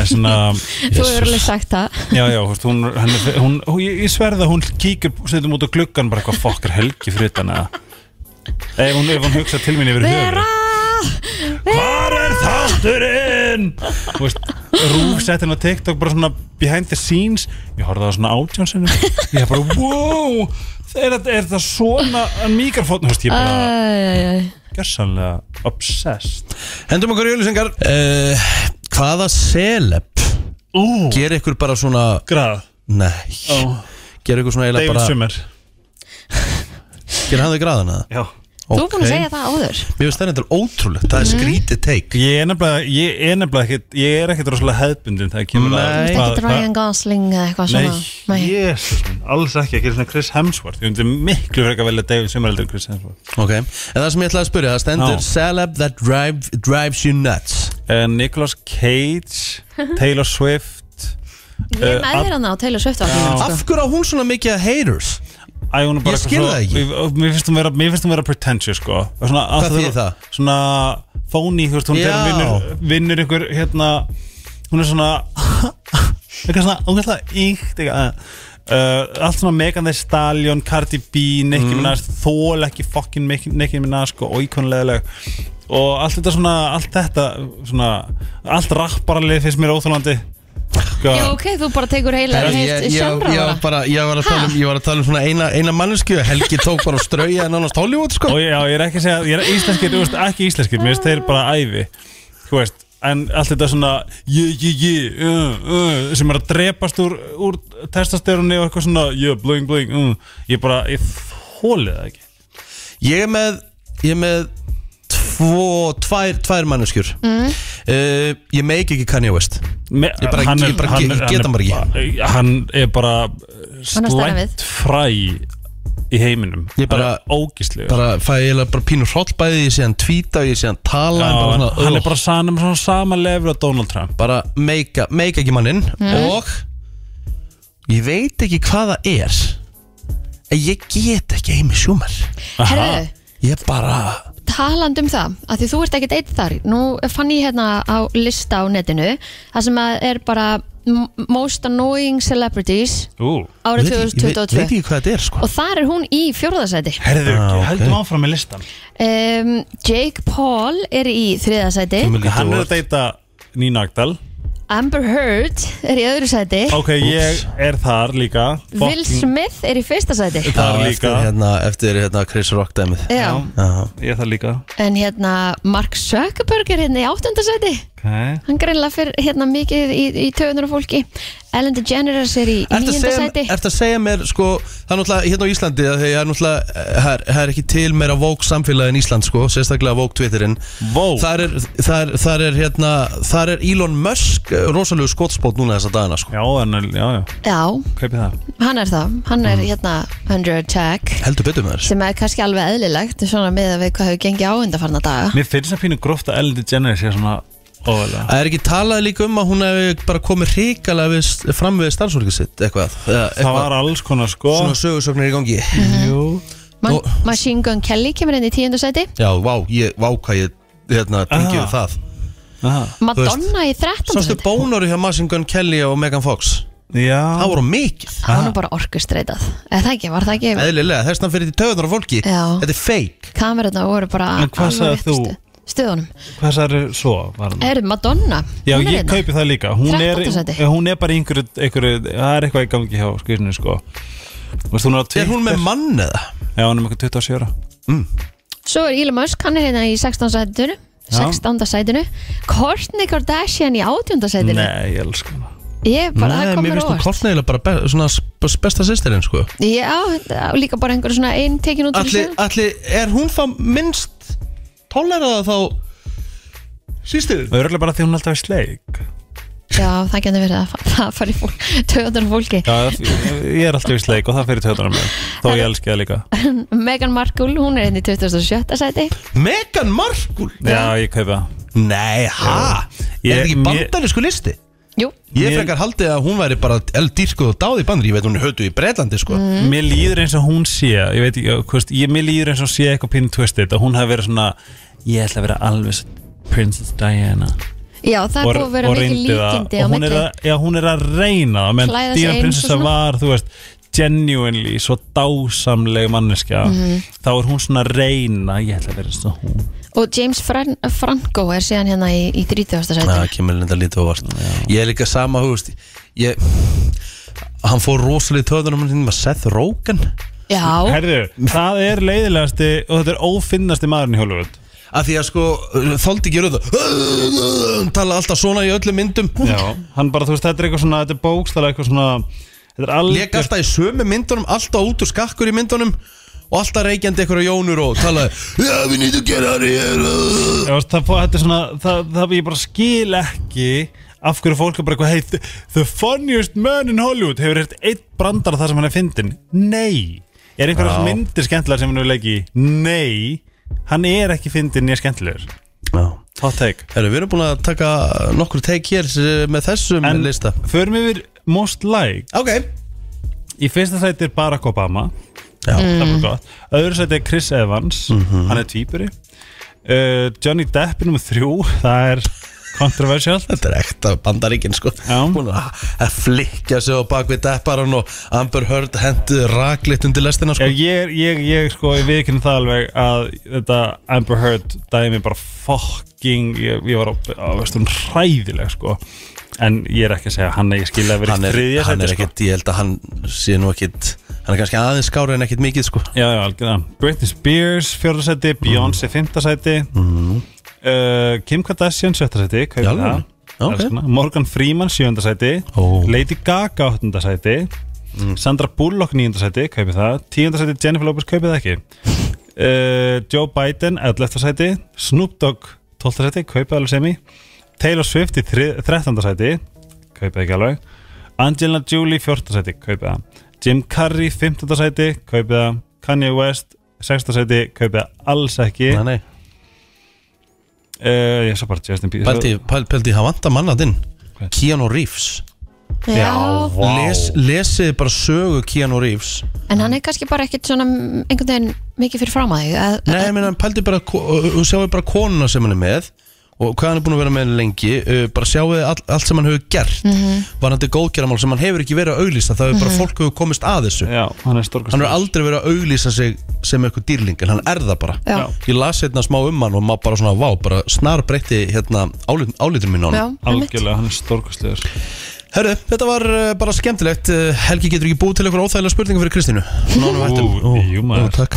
Speaker 3: svona
Speaker 2: Mhm. Þú hefur alveg sagt það
Speaker 3: Já, já, þú veist, hún, henni, hún, hún, ég, ég sverða hún kíkir stundum út á gluggan bara eitthvað fokkar helgi fyrir utan eða ef hún, ef hún hugsa til mín yfir höfuð
Speaker 2: Vera
Speaker 3: Hvar er þátturinn? Þú veist, Rúf sett henni á TikTok bara svona behind the scenes Ég horfði á það svona átjónsinu Ég er bara, wow Er, þetta- er það svona mikrofón? Þú veist, ég er
Speaker 2: Ah.
Speaker 3: bara
Speaker 2: Æ, æ, æ.
Speaker 3: gjössanlega obsessed
Speaker 1: Hendum okkur í öllusengar uh, Hvaða celeb
Speaker 3: Ú,
Speaker 1: Ger ykkur bara svona
Speaker 3: grað
Speaker 1: Nei
Speaker 3: Ó.
Speaker 1: Ger ykkur svona eiginlega
Speaker 3: David
Speaker 1: bara
Speaker 3: Summer
Speaker 1: Ger hann þau græðana
Speaker 3: Já
Speaker 2: Þú er búin að segja það áður
Speaker 1: Mér finnst það reyndar ótrúlegt Það er skrítið teik
Speaker 3: Ég er nefnilega, ég er nefnilega ekkit, ég er ekkit rosalega hefðbundin þegar kemur að-
Speaker 1: Nei.
Speaker 2: Þetta er
Speaker 3: hvað-
Speaker 2: ekki Ryan Gosling eða eitthvað
Speaker 3: Nei,
Speaker 2: svona Nei.
Speaker 3: jésus minn, alls ekki, ekki svona Chris Hemsworth Ég myndi miklu frekar velja David Summer heldur en Chris Hemsworth
Speaker 1: Ok En það sem ég ætlaði að spyrja Það stendur
Speaker 3: Já.
Speaker 1: celeb that drive, drives you nuts
Speaker 3: uh, Nicolas Cage Taylor Swift eh,
Speaker 2: Ég er með þér hann á Taylor Swift álfinu,
Speaker 1: Af
Speaker 2: sko.
Speaker 1: hverju á hún svona mikið að haters?
Speaker 3: Æ, hún er bara
Speaker 1: Ég skil það ekki.
Speaker 3: ekki Mér finnst hún vera, mér finnst hún vera pretentious sko Og svona,
Speaker 1: Hvað
Speaker 3: að-
Speaker 1: þýðir það?
Speaker 3: Svona phony, þú veist, hún
Speaker 1: Já.
Speaker 3: þegar vinnur, vinnur ykkur hérna Hún er svona Eitthvað svona, hún er alltaf íkt uh, Allt svona Megan Thee Stallion, Cardi B, Nicki
Speaker 1: Mhm.
Speaker 3: Minaj Þól ekki fucking Nicki- Nicki Minaj sko, óíkonlega Og allt þetta svona, allt þetta svona, Allt rapparalið finnst mér óþólandi sko,
Speaker 2: Já, ok, þú bara tekur heila
Speaker 1: Ég, ég, ég,
Speaker 2: heilt sjónra
Speaker 1: var bara, ég, var að tala um, ég var að tala um svona eina, eina mannesku Helgi tók bara að strauja en annars Hollywood sko
Speaker 3: og já, ég er ekki að segja, ég er íslenskir, þú veist, ekki íslenskir, mér finnst þeir bara æfi, þú veist, en allt þetta svona, jö, jö, jö, uh, uh, sem er að drepast úr, úr testastörunni og eitthvað svona, jö, bling, bling, uh, ég bara, ég hólið það ekki.
Speaker 1: Ég er með, ég er með tvo, tvær, tvær manneskjur mm. Ég meik ekki Kanye West
Speaker 3: Me,
Speaker 1: Ég bara- ég bara ge- get hann bara ekki.
Speaker 3: eh, Hann er bara
Speaker 2: Hann er að stæra við.
Speaker 3: slæmt fræ í heiminum.
Speaker 1: Ég bara-
Speaker 3: Hann er ógíslegur.
Speaker 1: Bara fæ ég eiginlega bara pínu hroll bæði Ég sé hann tvíta, ég sé hann tala en
Speaker 3: Já,
Speaker 1: bara,
Speaker 3: hann,
Speaker 1: svona, oh. öh.
Speaker 3: hann er
Speaker 1: ugh.
Speaker 3: bara sanum svona sama lefur á Donald Trump
Speaker 1: bara meika, meika ekki manninn
Speaker 2: Mm.
Speaker 1: Og Ég veit ekki hvað það er En ég get ekki Amy Schumer
Speaker 2: Herðu,
Speaker 1: Ég bara
Speaker 2: taland um það, að því þú ert ekkert eitt þar nú fann ég hérna á lista á netinu það sem að er bara m- most annoying celebrities
Speaker 1: Ég
Speaker 3: Ú,
Speaker 2: árið
Speaker 1: veit ekki- ég Veit veit
Speaker 2: 2022
Speaker 1: ekki hvað þetta er sko
Speaker 2: og þar er hún í fjórðasæti
Speaker 3: herðu,
Speaker 1: Ah, ok.
Speaker 3: heldum áfram með listan
Speaker 2: um, Jake Paul er í þriðasæti
Speaker 1: Kemur lítið
Speaker 3: Hann er
Speaker 1: óvart.
Speaker 3: að deyta Nína Agdal
Speaker 2: Amber Heard er í öðru sæti
Speaker 3: Ok, ég er þar líka
Speaker 2: Will
Speaker 3: Fucking
Speaker 2: Smith er í fyrsta sæti
Speaker 1: Já,
Speaker 3: Þar líka
Speaker 1: eftir, hérna, eftir hérna Chris Rock dæmið
Speaker 2: Já.
Speaker 1: Já.
Speaker 3: Ég er þar líka
Speaker 2: en hérna Mark Zuckerberg er hérna í áttunda sæti
Speaker 3: okay.
Speaker 2: hann greinlega fyrir hérna mikið í, í töðunar og fólki Ellen DeGeneres er í
Speaker 1: Ertu að,
Speaker 2: nýjunda
Speaker 1: segja, um-
Speaker 2: sæti
Speaker 1: ertu að segja mér sko, það er náttúrulega hérna á Íslandi að þegar náttúrulega eh, það er, það er ekki til meira vók samfélagi en Ísland sko, sérstaklega vók Twitterinn
Speaker 3: Vó,
Speaker 1: þar er, þar, þar er hérna þar er Elon Musk eh, rosalegu skotspót núna þessa dagana sko
Speaker 3: já, en, já, já,
Speaker 2: já,
Speaker 3: kaupi það
Speaker 2: hann er það hann
Speaker 3: Mm.
Speaker 2: er hérna under attack
Speaker 1: heldur betur með þess
Speaker 2: sem er kannski alveg eðlilegt svona með að við hvað hefur gengið á undarfarna daga
Speaker 3: Mér finnst það pínu gróft að Ellen DeGeneres sé svona óvæðlega
Speaker 1: Það er ekki talað líka um að hún hefði bara komið hrikalega við, fram við starfsfólkið sitt eitthvað, eða
Speaker 3: Það
Speaker 1: eitthvað
Speaker 3: var Mm. alls konar sko
Speaker 1: svona sögursögnir í gangi
Speaker 3: Jú.
Speaker 2: Man,
Speaker 1: Og-
Speaker 2: Machine Gun Kelly kemur inn í tíunda sæti
Speaker 1: Já, vá, ég, vá hvað ég hérna, tengið
Speaker 3: Ah.
Speaker 1: ah. það
Speaker 3: Aha.
Speaker 2: Madonna í þrettanda
Speaker 1: Sástu
Speaker 2: sæti
Speaker 1: bónari hjá Machine Gun Kelly og Megan Fox
Speaker 3: Já,
Speaker 1: Það voru mikið
Speaker 2: hann
Speaker 3: Ah.
Speaker 2: er bara orkustreitað eða það ekki, var það ekki
Speaker 1: Eðlilega, þess vegna fyrir þetta töðunar á fólki
Speaker 2: Já.
Speaker 1: Þetta er fake
Speaker 2: kamerarna voru bara
Speaker 3: En hvað
Speaker 2: alveg
Speaker 3: sagðir
Speaker 2: rétt
Speaker 3: þú?
Speaker 2: stu- Stöðunum
Speaker 3: hvað það er svo? Var hann?
Speaker 2: Er Madonna
Speaker 3: Já,
Speaker 2: Eh, Hún er
Speaker 3: ég
Speaker 2: hérna.
Speaker 3: kaupi það líka Hún er,
Speaker 2: 13. sæti.
Speaker 3: eh, hún er bara í einhverju, einhverju Það er eitthvað í gangi hjá skvísinu sko Vist, hún er, á
Speaker 1: Er hún með
Speaker 3: Twitter.
Speaker 1: mann eða?
Speaker 3: Já, hún er með eitthvað 27 ára
Speaker 2: Svo er Elon Musk, hann er hérna í 16. sætinu 16. sætinu Kourtney Kardashian í 18. sætinu
Speaker 3: Nei, ég elska hana
Speaker 2: Ég bara, það kom
Speaker 1: mér
Speaker 2: mér
Speaker 1: finnst hún
Speaker 2: óvart
Speaker 1: kortnegilega bara be, svona sp- besta sýstirinn sko
Speaker 2: Já, þetta- líka bara einhver svona einn tekin út
Speaker 1: Alli, alli, er hún þá minnst tóleraða þá sýstirinn?
Speaker 3: Og örgulega bara því hún er alltaf í sleik
Speaker 2: Já, það getur verið að fa- það fari fólk Töðan fólki
Speaker 3: Já, það- ég er alltaf í sleik og það fyrir töðunar mér Þó ég elski það líka
Speaker 2: Meghan Markle, hún er hérna í 27. sæti
Speaker 1: Megan Markle?
Speaker 3: Já, ég kaupi það
Speaker 1: Nei, ha?
Speaker 3: Ég-
Speaker 1: er þetta ekki
Speaker 3: mér-
Speaker 1: bandarísku listi?
Speaker 2: Jú,
Speaker 1: Ég
Speaker 3: Mér-
Speaker 1: frekar haldið að hún væri bara eldýrskuð og dáði bandur, ég veit hún er hötu í Breitlandi sko
Speaker 2: Mm.
Speaker 3: Mér líður eins og hún sé Ég veit ekki, hvað veist, ég, mér líður eins og sé eitthvað pínu twisted Að hún hafi verið svona Ég ætla að vera alveg s- Princess Diana
Speaker 2: já, það er búið að vera
Speaker 3: og
Speaker 2: mikið
Speaker 3: reyndi það.
Speaker 2: líkindi á
Speaker 3: Og hún er
Speaker 2: milli
Speaker 3: að- Já, hún er að reyna það Menn
Speaker 2: Klæða sig
Speaker 3: Diana
Speaker 2: eins og
Speaker 3: Princessa
Speaker 2: svona.
Speaker 3: var, þú veist genuinely, svo dásamleg manneskja
Speaker 2: Mhm.
Speaker 3: þá er hún svona að reyna ég ætla að vera eins og hún
Speaker 2: Og James Fran Franco er síðan hérna í, í 30. sæti
Speaker 1: Ah, Það kemur linda lítið óvart Ég er líka sama, þú veist ég, Hann fór rosalega í töðunum minn með Seth Rogen
Speaker 2: Já,
Speaker 3: Herðu, það er leiðilegasti og þetta er ófinnasti maðurinn í Hollywood
Speaker 1: Af því að sko, þóldi ekki röðu Hann tala alltaf svona í öllum myndum
Speaker 3: Já, hann bara, þú veist, þetta er eitthvað svona þetta er bókstælega eitthvað svona þetta er
Speaker 1: Lek
Speaker 3: algjör
Speaker 1: alltaf í sömu myndunum, alltaf út úr skakkur í myndunum Og alltaf reykjandi einhverja jónur og talaði Já, við nýttum gera það hér
Speaker 3: Já, veist, það, fó- þetta er svona, það, það ég bara skil ekki af hverju fólk er bara eitthvað hey, the- the funniest man in Hollywood hefur hirt eitt brandar þar sem hann er fyndin nei, er einhverja myndir skemmtilega sem hann hefur leikið í? nei, hann er ekki fyndin nýja skemmtilegur hot take
Speaker 1: Herru, við erum búin að taka nokkur teik hér eh, með þessum
Speaker 3: en
Speaker 1: lista
Speaker 3: förum yfir most like
Speaker 1: Ok
Speaker 3: í fyrsta sæti er Barack Obama
Speaker 1: Já.
Speaker 3: það var gott öðru sæti er Chris Evans
Speaker 1: Mhm.
Speaker 3: hann er tvíburi uh, Johnny Depp er nummer þrjú það er kontroversialt
Speaker 1: Þetta er ekta bandaríkin sko
Speaker 3: Já.
Speaker 1: Hún að að flikja sig á bak við depparan og Amber Heard hendið rakleitt undir lestina
Speaker 3: Já,
Speaker 1: sko
Speaker 3: ég, ég, ég sko, ég viðkynna það alveg að þetta Amber Heard dæmi bara fucking, ég, ég var á, á veist, hún hræðileg, sko en ég er ekki að segja hann að ég skilja að vera
Speaker 1: Hann
Speaker 3: í
Speaker 1: er,
Speaker 3: þriðja
Speaker 1: hann
Speaker 3: sæti,
Speaker 1: er
Speaker 3: sko
Speaker 1: ekkit, ég held að hann sé nú ekkit Hann er kannski aðeins skára en ekkit mikið sko
Speaker 3: Já, já, algjörða Britney Spears, fjórða sæti, Beyoncé, fimmta sæti
Speaker 1: Mhm.
Speaker 3: uh, Kim Kardashian, sjötta sæti kaupir
Speaker 1: Já,
Speaker 3: það.
Speaker 1: já, ok.
Speaker 3: Alls konar. Morgan Freeman, sjönda sæti
Speaker 1: Ó. Mm.
Speaker 3: Lady Gaga, áttunda sæti Sandra Bullock, nýjunda sæti, kaupi það Tíunda sæti, Jennifer Lopez, kaupi það ekki uh, Joe Biden, 11. sæti Snoop Dogg, 12. sæti kaupið alveg semi Taylor Swift í þri- 13. sæti kaupið ekki alveg Angelina Jolie 14. sæti kaupið það Jim Carrey 15. sæti kaupið það Kanye West 16. sæti kaupið það alls ekki
Speaker 1: Nei, nei
Speaker 3: uh, Ég svo bara Justin Bieber
Speaker 1: Pældi, pæl- pældi, hann vanda mannatinn
Speaker 3: Hvað?
Speaker 1: Keanu Reeves
Speaker 2: já,
Speaker 1: Les, Lesið bara sögu Keanu Reeves
Speaker 2: En hann er kannski bara ekkert svona mm, einhvern veginn mikið fyrir fram að þig að,
Speaker 1: Nei, ég meina, hann pældi bara, ko- þú sjáu bara konuna sem hann er með og hvað hann er búin að vera með lengi uh, bara sjáu all, allt sem hann hefur gert mm -hmm. varandi góðgerðamál sem hann hefur ekki verið að auglýsa það er bara fólk hefur komist að þessu
Speaker 3: Já, hann er storkast
Speaker 1: hann hefur aldrei verið að auglýsa sig sem eitthvað dýrling en hann er það bara
Speaker 2: Já. Já.
Speaker 1: ég las hérna smá um hann og maður bara svona vá, bara snar breytti hérna álit, álitur mín á
Speaker 2: já,
Speaker 1: hann
Speaker 2: einmitt.
Speaker 3: Algjörlega, hann er storkastlegur
Speaker 1: Herru, þetta var uh, bara skemmtilegt Uh, Helgi getur ekki búið til eitthvað óþægilega spurninga fyrir Kristínu Nánum hættum
Speaker 3: Ú, jú, maður.
Speaker 1: Takk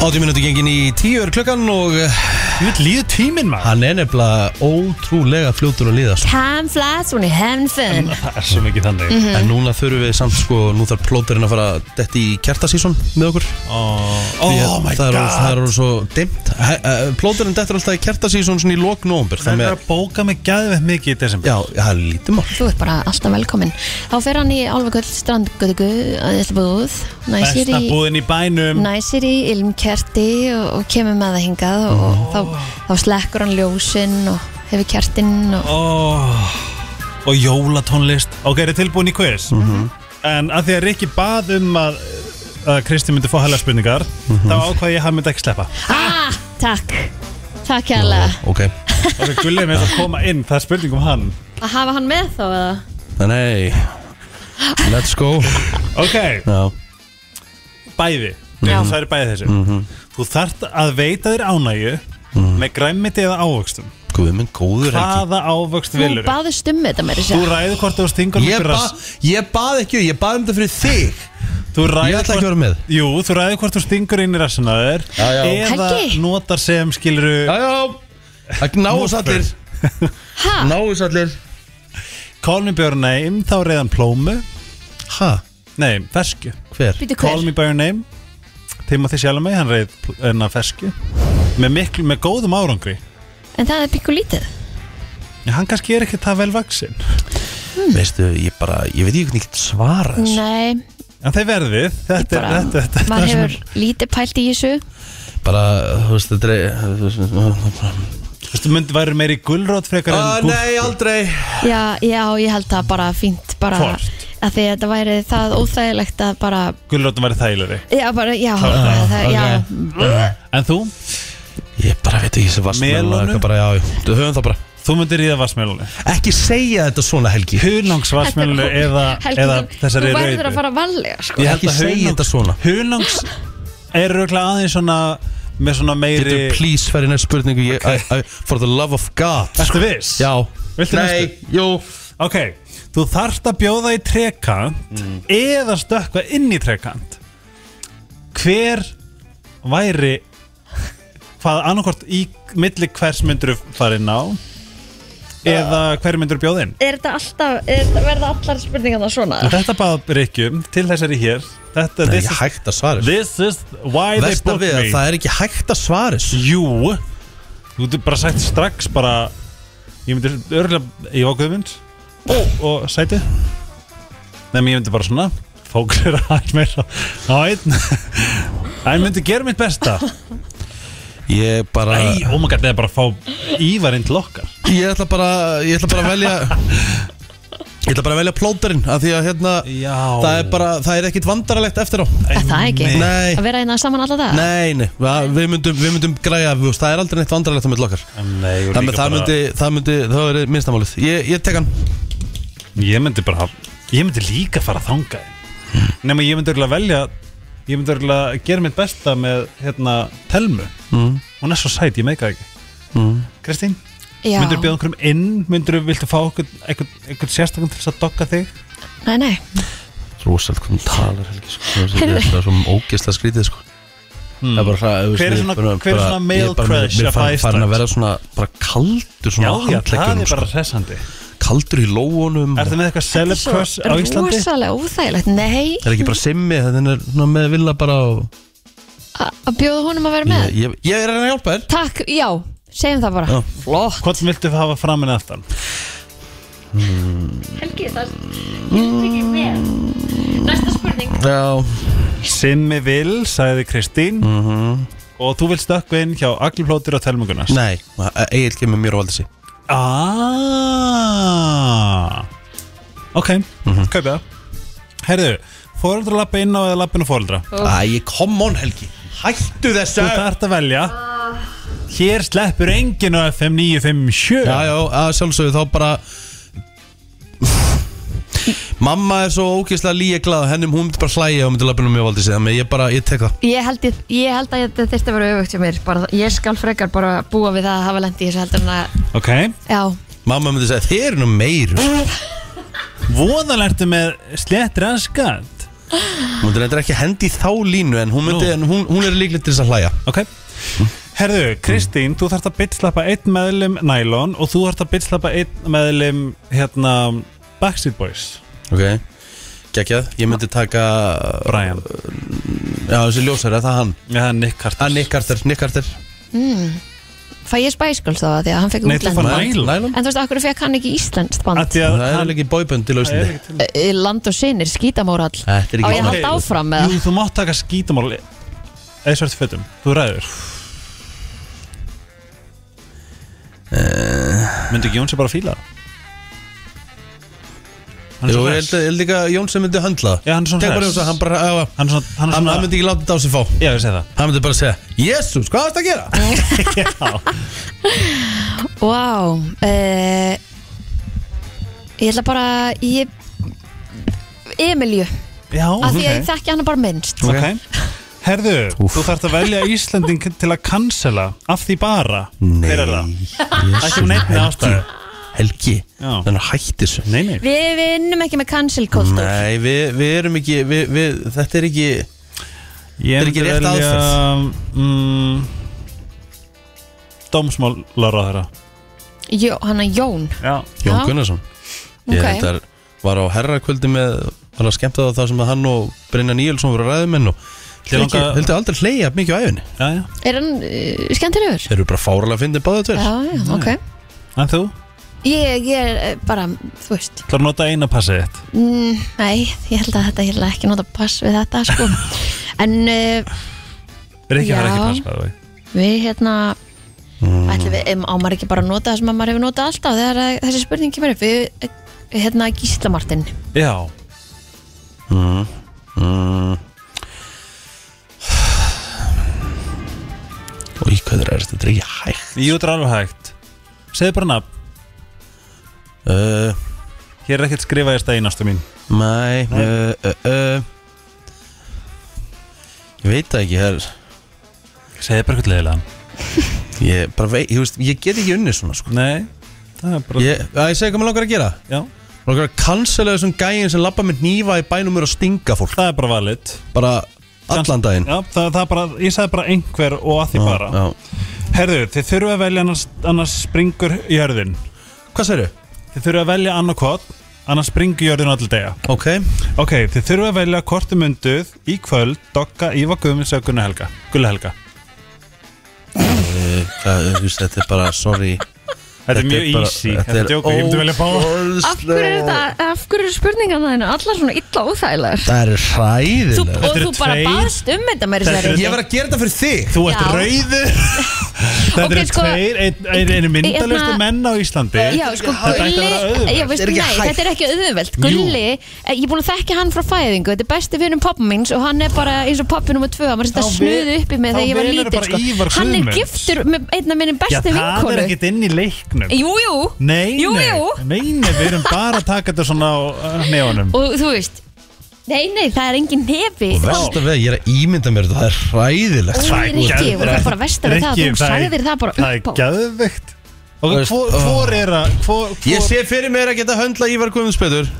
Speaker 1: 80 minúti gengin í 10 er klukkan og uh,
Speaker 3: Þú veit, líður tíminn maður
Speaker 1: hann er nefnilega ótrúlega fljótur að líðast
Speaker 2: Time flies when you're having fun
Speaker 3: Það er svo mikið þannig
Speaker 2: Mhm.
Speaker 1: En núna þurfum við samt sko, nú þarf plóterinn að fara dett í kjartasísón með okkur
Speaker 3: Oh,
Speaker 1: Því að
Speaker 3: my
Speaker 1: það er, orðið- Það
Speaker 3: god
Speaker 1: er orðið svo dimmt uh, Plóterinn dettur alltaf í kjartasísón svona í lok nóumbur
Speaker 3: Það er að bóka mig gæðveitt mikið í desember
Speaker 1: Já, það er lítið mál
Speaker 2: Þú ert bara alltaf velkomin Þá fer hann í Álfagull, Strandgöðugu, Æðisbúð Næsir
Speaker 3: Besta
Speaker 2: í
Speaker 3: búðin í bænum
Speaker 2: Næsir í ilmkerti og, og kemur með það hingað og, þá, þá slekkur hann ljósin og hefur kertinn og
Speaker 3: oh, og jólatónlist ok, er þið tilbúin í quiz
Speaker 1: Mhm.
Speaker 3: en að því að Rikki bað um að að Kristi myndi fá hægla spurningar þá
Speaker 1: Mhm.
Speaker 3: ákvað ég að hann myndi ekki sleppa
Speaker 2: ah, Takk, takk hérlega
Speaker 1: Ok,
Speaker 3: og svo gullið með þess að koma inn það er spurning um hann
Speaker 2: Að hafa hann með þá eða?
Speaker 1: Nei, let's go
Speaker 3: ok,
Speaker 1: Já,
Speaker 3: bæði
Speaker 2: Já.
Speaker 3: það eru bæði þessu
Speaker 1: Mhm.
Speaker 3: þú þart að veita þér ánægju með græmmiti eða ávöxtum
Speaker 1: guð minn góður Helgi
Speaker 3: hvaða ávöxt
Speaker 2: Þú
Speaker 3: vilur
Speaker 2: baðist um þetta meira
Speaker 3: þú
Speaker 2: sér
Speaker 3: ræður hvort þú stingur
Speaker 1: Ég, ba ég bað ekki, ég bað um þetta fyrir þig
Speaker 3: Þú ræður
Speaker 1: Ég ætla
Speaker 3: hvort-
Speaker 1: ekki að vera með.
Speaker 3: Jú, þú ræður hvort þú stingur inn í rassina þér
Speaker 1: já.
Speaker 3: Eða
Speaker 2: Helgi?
Speaker 3: notar sem skiluru
Speaker 1: já Það náðus allir
Speaker 2: Ha,
Speaker 1: Náðus allir
Speaker 3: Call me by your name, þá reyðan plómu
Speaker 1: Ha,
Speaker 3: Nei, fesku
Speaker 1: hver?
Speaker 2: býtu
Speaker 3: Call
Speaker 2: hver?
Speaker 3: me by your name Timothy Chalamet, hann reyð enna fesku Með miklu, með góðum árangri
Speaker 2: En það er pikku lítið
Speaker 3: En hann kannski er ekki það vel vaksin
Speaker 1: Veistu, ég bara, ég veit ekki hvernig ég get svara þessu
Speaker 2: um. Nei,
Speaker 3: En þeir verðið, þetta er
Speaker 2: bara,
Speaker 3: þetta, þetta,
Speaker 2: maður
Speaker 3: þetta
Speaker 2: hefur lítið pælt í þessu
Speaker 1: Bara, þú veist, þetta er
Speaker 3: Þú veist, myndi væri meiri gulrót frekar
Speaker 2: Ah,
Speaker 3: en gúl
Speaker 1: Nei, aldrei
Speaker 2: Já, já, ég held það bara fínt bara
Speaker 3: Hvort?
Speaker 2: að því að þetta væri það óþægilegt að bara,
Speaker 3: Gulrótum væri þægilegri
Speaker 2: já, bara, já,
Speaker 1: Ah,
Speaker 3: var það.
Speaker 2: það, já,
Speaker 3: En þú,
Speaker 1: Ég bara veit ekki sem vassmjölu
Speaker 3: Melónu?
Speaker 1: Bara, já, já, þú höfum það bara
Speaker 3: þú myndir ríða vassmjölunni
Speaker 1: Ekki segja þetta svona, Helgi
Speaker 3: Hunnangsvassmjölunni eða,
Speaker 2: Helgi,
Speaker 3: eða
Speaker 2: þú-
Speaker 3: þessari
Speaker 2: Þú verður
Speaker 3: rauðu
Speaker 2: að fara varlega, sko
Speaker 1: Ég held að segja þetta svona
Speaker 3: Hunangs er röglega aðeins svona með svona meiri
Speaker 1: Getur please færi næst spurningu ég, I, I, For the love of God
Speaker 3: Ertu viss?
Speaker 1: Sko, Já
Speaker 3: Viltu
Speaker 1: Nei, jú
Speaker 3: Ok, þú þarft að bjóða í trekant
Speaker 1: Mm.
Speaker 3: eða stökkva inn í trekant Hver væri hvað annarkort í milli hvers myndur fara inn á eða hver myndur bjóða inn
Speaker 2: Er þetta alltaf, er, þetta- verða allar spurningarna svona?
Speaker 3: En Þetta bað Rikjum til þessari hér Þetta,
Speaker 1: Það er
Speaker 3: this,
Speaker 1: ekki
Speaker 3: is,
Speaker 1: hægt að svara þessu.
Speaker 3: this is why they
Speaker 1: Versta
Speaker 3: booked
Speaker 1: við að
Speaker 3: me
Speaker 1: það er ekki hægt að svara þessu.
Speaker 3: Jú Þú getur bara sagt strax bara Ég myndi örgulega Ég var guðmynd Og sæti Nei, menn ég myndi bara svona Fóksir aðeins meira á einn Það myndi gera mitt besta
Speaker 1: Ég bara
Speaker 3: Æ, oh my god, það er bara að fá Ívarinn til okkar
Speaker 1: Ég ætla bara Ég ætla bara að velja Ég ætla bara að velja plóterinn Af því að hérna
Speaker 3: Já.
Speaker 1: Það er bara Það er ekkit vandaralegt eftir á
Speaker 2: Er það ekki?
Speaker 1: Nei.
Speaker 2: Að vera einna saman alla dag?
Speaker 1: Nei, nei va- Við myndum, við myndum græja við, Það er aldrei neitt vandaralegt á mitt okkar
Speaker 3: Nei,
Speaker 1: Það, með, það myndi Það myndi Það verið minnstamálið ég, ég tek hann
Speaker 3: Ég myndi bara Ég myndi líka fara þangað Nei, menn ég myndi örgulega velja Ég myndi örgulega gera mitt besta með Hérna, Telmu mm. Hún er svo sæt, ég meika ekki mm. Kristín?
Speaker 2: Já.
Speaker 3: Myndur þú bjóða einhverjum inn? Myndur þú viltu fá einhvern, einhvern, einhvern sérstakann til þess að dogga þig?
Speaker 2: Nei, nei,
Speaker 1: Rósalt hvernig talar Helgi sko. Það er svo ógeðslega skrítið sko. mm. bara, það,
Speaker 3: Hver er svona- hver er svona male crush
Speaker 1: Mér
Speaker 3: of
Speaker 1: fann farin
Speaker 3: Iceland?
Speaker 1: að vera svona Bara kaldur svona á handleggjunum, sko.
Speaker 3: hressandi
Speaker 1: kaldur í lóunum
Speaker 3: Er það með eitthvað
Speaker 2: þetta er
Speaker 3: celeb crush á Íslandi?
Speaker 2: rosalega óþægilegt, nei,
Speaker 1: er ekki bara simmi þannig er svona með vilja bara og,
Speaker 2: a- að bjóða honum að vera með
Speaker 1: ég, ég, ég er að reyna að hjálpa þér
Speaker 2: Takk, já, segjum það bara
Speaker 1: Já.
Speaker 2: Flott
Speaker 3: Hvort viltu hafa fram en aftan?
Speaker 2: Helgi, það skilst ekki með Næsta spurning
Speaker 1: já,
Speaker 3: Simmi vil, sagði Kristín Og þú vilt stökkva inn hjá Agliplótur og Telmungunas
Speaker 1: nei, Egil kemur mér og valdi sig Mhm.
Speaker 3: Ah, Ok, mm -hmm. kaupið það Herðu, fóreldra lappa inn á eða lappa inn á fóreldra
Speaker 1: Æ, come on Helgi Hættu þessu
Speaker 3: Þú þarft að velja Hér sleppur enginn á FM 957
Speaker 1: Já, já, að sjálfsögðu þá bara Mamma er svo ógeðslega líka glað Hennum hún myndi bara hlæja og myndi lappinu mjög valdísi Þannig að ég bara, ég tek það
Speaker 2: Ég held, ég, ég held að þetta þurfti að vera auðvögt hjá mér bara, Ég skal frekar bara búa við það að hafa lendi í þessu heldur en að
Speaker 3: Ok
Speaker 2: Já,
Speaker 1: Mamma myndi segja, þeir eru nú meir
Speaker 3: Voðalertu með slett raskat
Speaker 1: Hún myndi reyndar ekki hendi í þá línu En hún, myndi,
Speaker 3: Nú.
Speaker 1: en hún, hún er líklega til þess að hlæja
Speaker 3: Ok
Speaker 1: Mhm.
Speaker 3: Herðu, Kristín, þú þarft að bitslappa einn meðlum nælon og þú þarft að bitslappa einn meðlum hérna Backstreet Boys
Speaker 1: Ok Gekjað, ég myndi taka Uh,
Speaker 3: Brian
Speaker 1: Já, þessi ljósari, það er hann
Speaker 3: Já, það er Nick Carter
Speaker 1: Hann Nick Carter, Nick Carter
Speaker 2: fæ ég Spice Girls þá því að hann fekk
Speaker 3: Nei, þú
Speaker 2: útlend
Speaker 3: fær
Speaker 2: band.
Speaker 3: Nylon.
Speaker 1: Nælum
Speaker 2: En þú veist, akkur fekk hann ekki íslenskt
Speaker 3: Af
Speaker 2: band
Speaker 3: því að
Speaker 1: Það er
Speaker 3: hann-
Speaker 1: ekki bóibönd til
Speaker 3: Það er
Speaker 1: lausnandi
Speaker 3: ekki til
Speaker 2: Eh, Land og sinir, skítamórall Á
Speaker 1: Þetta er
Speaker 2: ég að
Speaker 1: ekki
Speaker 2: halda áfram með
Speaker 3: Jú, þú mátt taka skítamál eða svart fötum, þú ræður
Speaker 1: Eh.
Speaker 3: Myndi ekki Jónsi bara fíla það? Hann er
Speaker 1: Jú,
Speaker 3: svo
Speaker 1: ég
Speaker 3: hress.
Speaker 1: held ég held ekki að Jónsson myndi höndla það
Speaker 3: Já, hann er svona
Speaker 1: Tek bara
Speaker 3: hress.
Speaker 1: Jónsson, hann bara á,
Speaker 3: Hann er svona, hann er
Speaker 1: hann,
Speaker 3: svona
Speaker 1: hann myndi ekki láta þetta á sig fá
Speaker 3: Já, ég segi það
Speaker 1: Hann myndi bara segja Jésús, hvað er þetta að gera?
Speaker 2: Vá eh, Ég ætla bara ég, Emilju
Speaker 3: Já,
Speaker 2: Af því að ég þekki hann bara minnst
Speaker 3: Ok Herðu, þú þarft að velja Íslanding til að cancela af því bara Hver er það? Ekki
Speaker 1: Jésús,
Speaker 3: um neinni ástæðu
Speaker 1: Helgi
Speaker 3: Já.
Speaker 1: Þannig að hætti þessu
Speaker 3: Nei, nei
Speaker 2: Við vinnum ekki með cancel kultúr
Speaker 1: Nei, við, við erum ekki við, við, Þetta er ekki
Speaker 3: Ég
Speaker 1: Þetta er ekki rétt
Speaker 3: mm, Dómsmálar á þeirra
Speaker 2: Jó, hann að Jón
Speaker 3: Já
Speaker 1: Jón
Speaker 2: Já.
Speaker 1: Gunnarsson Ég
Speaker 2: Ok.
Speaker 1: reyndar var á herrakvöldi með Hann var skemmt að það sem að hann og Brynja Níelsson voru ræðumenn og
Speaker 3: Þér
Speaker 1: Helgi
Speaker 3: langar-
Speaker 1: heldur aldrei hleyja mikið á æfinni
Speaker 3: Já, já
Speaker 2: Er hann uh, skemmtilegur?
Speaker 1: Þeir eru bara fáralega að fyndi báðu tver
Speaker 2: Já, já, ok
Speaker 3: En þú?
Speaker 2: Ég, ég er eh, bara, þú veist
Speaker 3: Það er að nota eina passið þitt
Speaker 2: mm, Nei, ég held að þetta Ég held að ekki nota pass við þetta sko. En uh,
Speaker 3: Rikki
Speaker 2: Já.
Speaker 3: þarf ekki pass bæði
Speaker 2: við hérna ætlum við, um, á maður ekki bara að nota það sem að maður hefur notað alltaf þegar eh, þessi spurning kemur upp Við, eh, hérna, Gísla Martin
Speaker 3: Já
Speaker 1: Og í hvað er þetta? Þetta er ekki hægt
Speaker 3: Jú, þetta er alveg hægt Segðu bara nafn
Speaker 1: uh,
Speaker 3: Hér er ekkert skrifað í stæðin ástu mín
Speaker 1: Nei, uh, uh, uh. Ég veit það ekki her. uh.
Speaker 3: Segðu bara eitthvað leðilega
Speaker 1: Ég bara veit, ég, veist, ég get ekki unni svona sko.
Speaker 3: Nei Það er bara
Speaker 1: Ég, að ég segi hvað maður langar að gera
Speaker 3: Já
Speaker 1: Maður langar að cancela þessum gæin sem lappa með nýfa í bænum er að stinga fólk
Speaker 3: Það er bara valid
Speaker 1: Bara allan daginn
Speaker 3: Já, það, það er bara Ég sagði bara einhver og að því bara
Speaker 1: Já.
Speaker 3: Herðu, þið þurfa að velja annars, annars springur jörðin
Speaker 1: Hvað segirðu?
Speaker 3: Þið þurfa að velja annarkot Annars springur jörðin allir degja
Speaker 1: Ok,
Speaker 3: Ok, þið þurfa að velja hvort þið mynduð Í kvöld, Dokka, Íva Guðmunds og Gunna Helga Gulla Helga
Speaker 1: það, þú veist, þetta er bara, sorry
Speaker 3: Þetta er mjög
Speaker 1: bara-
Speaker 3: easy Þetta er djóka, ég myndi velja báða
Speaker 2: Af hverju er
Speaker 1: ógeðslega-
Speaker 2: þetta, af hverju eru spurningarna þínu Allar svona illa óþægilegar
Speaker 1: Það er
Speaker 2: Þú,
Speaker 1: hræðilega
Speaker 2: og
Speaker 3: eru
Speaker 2: þú bara
Speaker 3: tveir-
Speaker 2: baðst um þetta meiri
Speaker 3: Þetta
Speaker 2: sér
Speaker 3: eru-
Speaker 1: Ég var að gera þetta fyrir þig
Speaker 3: Þú ert
Speaker 2: Já.
Speaker 3: rauður Þetta
Speaker 2: Ok,
Speaker 3: eru
Speaker 2: sko,
Speaker 3: tveir ein- ein- einu myndalustu
Speaker 2: hérna-
Speaker 3: menn á Íslandi
Speaker 2: Já, sko,
Speaker 3: Þetta ætti að vera
Speaker 2: Gulli
Speaker 3: auðvelt.
Speaker 2: já, veist,
Speaker 1: Þetta er ekki
Speaker 2: nei,
Speaker 1: hægt.
Speaker 2: Þetta er ekki auðvelt Gulli, eh, ég er búin að þekka hann frá fæðingu Þetta er besti vinum pappa míns og hann er bara eins og pappi nummer tvö Hann var þetta
Speaker 3: Þá
Speaker 2: snuðu
Speaker 3: ve-
Speaker 2: uppi með
Speaker 3: þá
Speaker 2: þegar ég var
Speaker 3: velurðu
Speaker 2: lítil
Speaker 3: bara
Speaker 2: sko.
Speaker 3: Ívar
Speaker 2: Hann er
Speaker 3: Guðmunds.
Speaker 2: giftur með einna minni
Speaker 3: Já,
Speaker 2: bestu
Speaker 3: það er
Speaker 2: vinkonu
Speaker 3: ekkert inn í leiknum
Speaker 2: Jú, jú
Speaker 3: Nei,
Speaker 2: Jú,
Speaker 3: nei,
Speaker 2: jú.
Speaker 3: nei, nei, við erum bara að taka þetta svona á uh, neonum
Speaker 2: Og þú veist Nei, nei, það er engin nefi Sko,
Speaker 1: Vest að veða, ég er að ímynda mér þetta, það er hræðilegt
Speaker 2: Úr, Rikki, og það er bara vestar við það að
Speaker 3: Rikki,
Speaker 2: Þú sagðir það bara
Speaker 3: Það er
Speaker 2: upp á
Speaker 3: gæðveikt
Speaker 1: Þú
Speaker 3: Og
Speaker 1: veist,
Speaker 3: hvor,
Speaker 1: oh.
Speaker 3: hvor er að hvor, hvor,
Speaker 1: Ég sé fyrir mér að geta höndla Ívar Guðmunds betur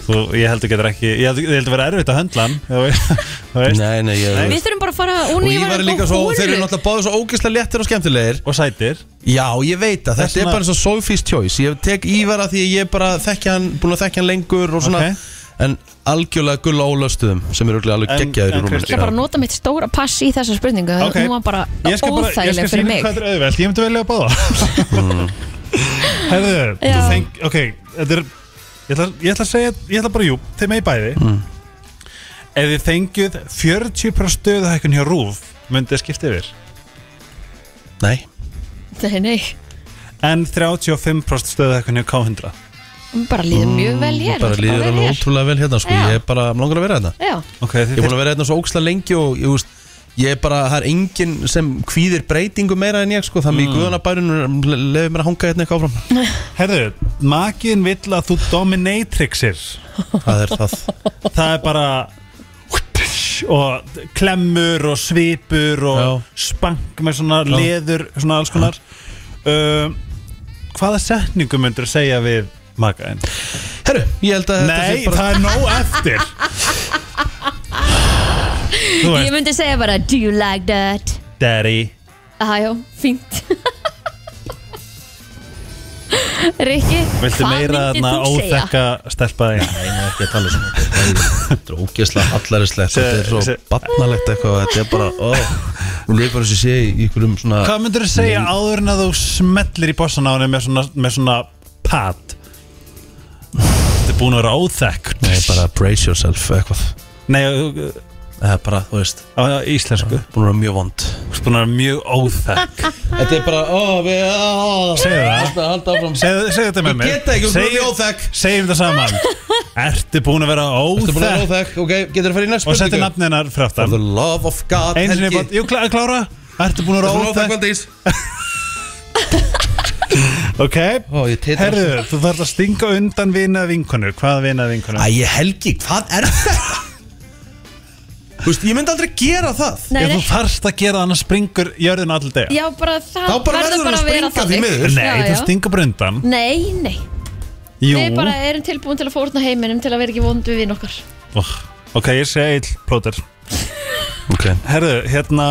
Speaker 3: Þú, Ég heldur getur ekki Ég heldur held að vera erfitt að höndla hann þú veist- þú veist.
Speaker 1: Nei, nei, ég
Speaker 2: Við þurfum bara að fara
Speaker 1: Og
Speaker 2: hún í
Speaker 1: Ívar er
Speaker 2: var
Speaker 1: líka svo, þeir eru náttúrulega báðið svo ógeðslega léttir og skemmtilegir
Speaker 3: Og sætir
Speaker 1: Já, ég veit að
Speaker 3: Þess
Speaker 1: þetta er
Speaker 3: vegna-
Speaker 1: bara eins og Sophie's Choice Ég tek Ívar að því að ég bara þekkja hann, búin að þekkja hann lengur og svona
Speaker 3: Ok.
Speaker 1: En algjörlega gulla ólastuðum sem eru örugglega alveg
Speaker 3: En-
Speaker 1: geggjaður í
Speaker 3: en
Speaker 1: rúminu sko.
Speaker 2: Það er bara að nota mitt stóra pass í þessa spurningu
Speaker 3: Ok.
Speaker 2: Hún var bara
Speaker 3: Ég skal bara-
Speaker 2: óþægileg fyrir mig
Speaker 3: Ég skal sýna hvað þetta er auðvelt, ég myndi velja að báða
Speaker 1: Mm.
Speaker 3: Herðu,
Speaker 2: Já.
Speaker 3: þú þeng, ok, þetta er Ég ætla, ég ætla að segja, ég ætla bara jú, þeir megi bæði
Speaker 1: Mm.
Speaker 3: Ef þið þengjuð 40% stöðahækkun hjá RÚV myndið þið skipta yfir
Speaker 1: Nei,
Speaker 2: Nei, nei
Speaker 3: en 35% stöðahækkun hjá K100
Speaker 2: bara líður mjög vel hér
Speaker 1: Mm, Bara
Speaker 2: ætla
Speaker 1: líður
Speaker 2: vel
Speaker 1: alveg
Speaker 2: hér.
Speaker 1: ótrúlega vel hérna sko.
Speaker 2: Já.
Speaker 1: Ég er bara mig langar að vera hérna
Speaker 2: Já,
Speaker 3: Ok, þið
Speaker 1: Ég er búin að vera hérna svo óksla lengi og ég, veist, ég er bara, það er enginn sem kvíðir breytingu meira en ég sko, þannig mm. í guðanabærunum lefið mér að hanga hérna eitthvað áfram
Speaker 3: Herðu, makin vill að þú dominatrixir
Speaker 1: Það er það
Speaker 3: Það er bara og klemmur og svipur og
Speaker 1: Já.
Speaker 3: spank með svona leður svona alls konar um, Hvaða setningu myndur segja við makaðin?
Speaker 1: Herru, ég held að þetta
Speaker 3: Nei,
Speaker 1: sé bara
Speaker 3: það er nóg eftir Þú
Speaker 2: ég
Speaker 3: veist,
Speaker 2: myndi segja bara Do you like that?
Speaker 3: daddy
Speaker 2: Aðjó, fínt Rikki,
Speaker 3: Viltu
Speaker 2: hvað
Speaker 3: meira
Speaker 2: myndir
Speaker 3: þarna
Speaker 2: þú segja?
Speaker 3: óþekka stelpaði?
Speaker 1: Nei, nei, ekki að tala um svona Þetta er ógeðslega hallarislegt Þetta er svo
Speaker 3: Se-
Speaker 1: barnalegt eitthvað Þetta er bara, ó Hún leik bara sem sé í einhverjum svona
Speaker 3: Hvað myndur þú segja áður en að þú smellir í bossan á henni með svona, með svona pad? Þetta er búin að vera óþekk
Speaker 1: Nei, bara brace yourself eitthvað
Speaker 3: Nei, uh,
Speaker 1: Það er bara, þú veist,
Speaker 3: á á íslensku
Speaker 1: búin að vera mjög vond
Speaker 3: Þú ert búin að vera mjög óþekk
Speaker 1: Þetta er bara, ó, við, ó
Speaker 3: Segðu það.
Speaker 1: Halda- Halda áfram
Speaker 3: Segðu segðu þetta með
Speaker 1: Ég
Speaker 3: mér
Speaker 1: get það ekki, þú ert búin að vera mjög óþekk.
Speaker 3: Segjum það saman Ertu búin að vera
Speaker 1: Þetta er búin að vera
Speaker 3: óþekk
Speaker 1: óþekk, ok, getur að fara í næst
Speaker 3: Og setja nafninar
Speaker 1: For
Speaker 3: fráttan
Speaker 1: the love of God,
Speaker 3: Einu sinni, bara-
Speaker 1: Helgi
Speaker 3: jú, klá- klára Ertu búin að
Speaker 1: Þetta
Speaker 3: vera
Speaker 1: er óþekk Valdís
Speaker 3: óþekk Ok
Speaker 1: Ó, ég titra
Speaker 3: Herðu, þú þarf að stinga undan vina vinkonur Hvaða vina vinkonur?
Speaker 1: Æ, Helgi, hvað er þetta? Þú veist, ég myndi aldrei gera það
Speaker 2: Nei,
Speaker 3: Ef þú
Speaker 2: nei,
Speaker 3: þarfst að gera þannig springur jörðin all dag
Speaker 2: já bara það
Speaker 1: Þá bara verður hún að
Speaker 2: vera
Speaker 1: springa því
Speaker 2: þannig.
Speaker 1: miður.
Speaker 3: Nei,
Speaker 2: Já,
Speaker 3: þú
Speaker 2: já.
Speaker 3: stingur bara undan
Speaker 2: Nei, nei,
Speaker 3: Jú
Speaker 2: við bara erum tilbúin til að fórna heiminum til að vera ekki vondu við okkar
Speaker 3: oh, Ok, ég segi eill plóter
Speaker 1: Ok
Speaker 3: Herðu, hérna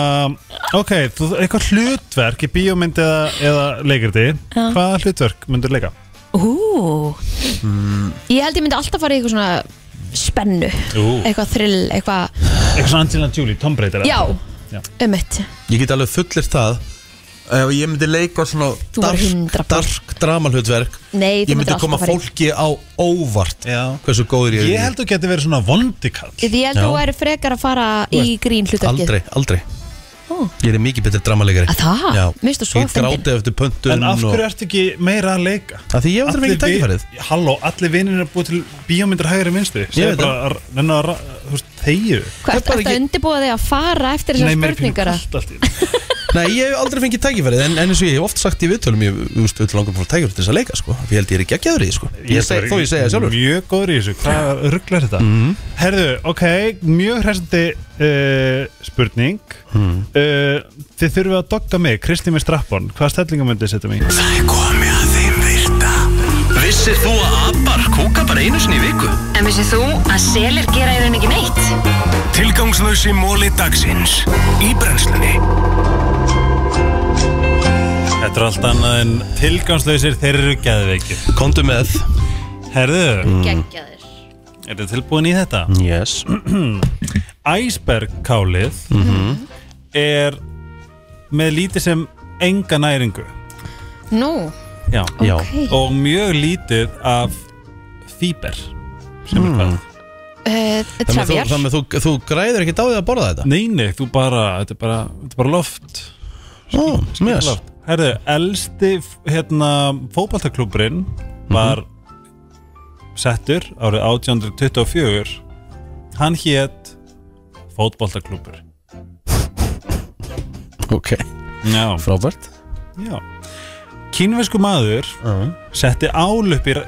Speaker 3: Ok, þú, eitthvað hlutverk í bíómynd eða, eða leikriti Hvaða hlutverk myndur leika?
Speaker 2: Ú
Speaker 1: Mm.
Speaker 2: Ég held ég myndi alltaf fara í eitthvað svona spennu
Speaker 3: Ú.
Speaker 2: Eitthvað thrill, eitthvað
Speaker 3: Eitthvað svona Angelina Jolie, Tom Brady
Speaker 2: Já,
Speaker 3: Já.
Speaker 2: um eitt
Speaker 1: Ég get alveg fullir það Ef ég myndi leika svona
Speaker 2: Þú væri 100%.
Speaker 1: dark, dark dramalhutverk
Speaker 2: Nei,
Speaker 1: Ég
Speaker 2: þú myndir
Speaker 1: myndi
Speaker 2: alltaf
Speaker 1: koma
Speaker 2: fara í-
Speaker 1: fólki á óvart
Speaker 3: Já.
Speaker 1: Hversu góður ég er
Speaker 3: Ég held þú geti verið svona vondikall
Speaker 2: Því ég held
Speaker 1: Já.
Speaker 2: þú væri frekar að fara
Speaker 1: Þú
Speaker 2: í grín hlutverkið
Speaker 1: Aldrei, aldrei
Speaker 2: Ó.
Speaker 1: Ég er mikið betur dramalegari
Speaker 2: Að það?
Speaker 1: Já
Speaker 2: Mér finnst þú svo
Speaker 1: Ég get
Speaker 2: fyndin.
Speaker 1: grátið eftir pöntun
Speaker 3: En af hverju
Speaker 1: og...
Speaker 3: ertu ekki meira að leika?
Speaker 1: Af því ég hef aldrei fengið
Speaker 3: Allir vi-
Speaker 1: tækifærið
Speaker 3: Halló, allir vinir er búið til bíómyndir hægri vinstri
Speaker 1: veit
Speaker 3: Segðu bara, nennu að, ra- þú veist, þegju
Speaker 2: Hvað,
Speaker 1: bara
Speaker 2: ertu að
Speaker 1: ekki-
Speaker 2: undirbúa þig að fara eftir þessar
Speaker 3: mér er pínu
Speaker 2: spurningar?
Speaker 3: kalt allt í einu.
Speaker 1: Nei, ég hef aldrei fengið tækifærið En, en eins og ég hef oft sagt í viðtölum Ég veist, öll langar fór tækifærið til þess að leika sko. Ég held ég er ekki að geður í því, sko. ég seg, Þó ég segja það sjálfur Mhm.
Speaker 3: Mjög góður í þessu, hvað rugglar þetta? Herðu, ok, mjög hressandi uh, spurning
Speaker 1: Mhm.
Speaker 3: uh, Þið þurfum að dogga mig, Kristín með strappon Hvaða stellingar myndið setja mig? í?
Speaker 4: Það er komið að þeim virta Vissir þú að abar kúka bara einu sinni í viku?
Speaker 8: En vissið þú að selir gera í raun ekki neitt?
Speaker 4: Tilgangslösi móli dagsins Í brennslunni
Speaker 3: Þetta er allt annað en tilgangslausir þeir eru geðveikir
Speaker 1: Kondu með
Speaker 3: Herðu,
Speaker 1: Mhm.
Speaker 2: Geggjaðir
Speaker 3: er þið tilbúin í þetta?
Speaker 1: Yes
Speaker 3: Æsbergkálið
Speaker 1: Mhm.
Speaker 3: er með lítið sem enga næringu
Speaker 2: Nú,
Speaker 3: Já,
Speaker 1: Já.
Speaker 2: ok
Speaker 3: og mjög lítið af fíber sem er hvað
Speaker 2: uh,
Speaker 1: Þannig að
Speaker 2: Trefjar
Speaker 1: þú, þannig að þú, þú græður ekki dáið að borða þetta
Speaker 3: Nei, nei, þú bara, þetta er bara, þetta er bara loft
Speaker 1: Ó, yes.
Speaker 3: Loft Herðu, elsti f- hérna, fótballtaklúbrinn var settur árið 1824 Hann hét fótballtaklúbur
Speaker 1: Ok,
Speaker 3: Já,
Speaker 1: frábært
Speaker 3: já Kínversku maður setti ál upp í ra-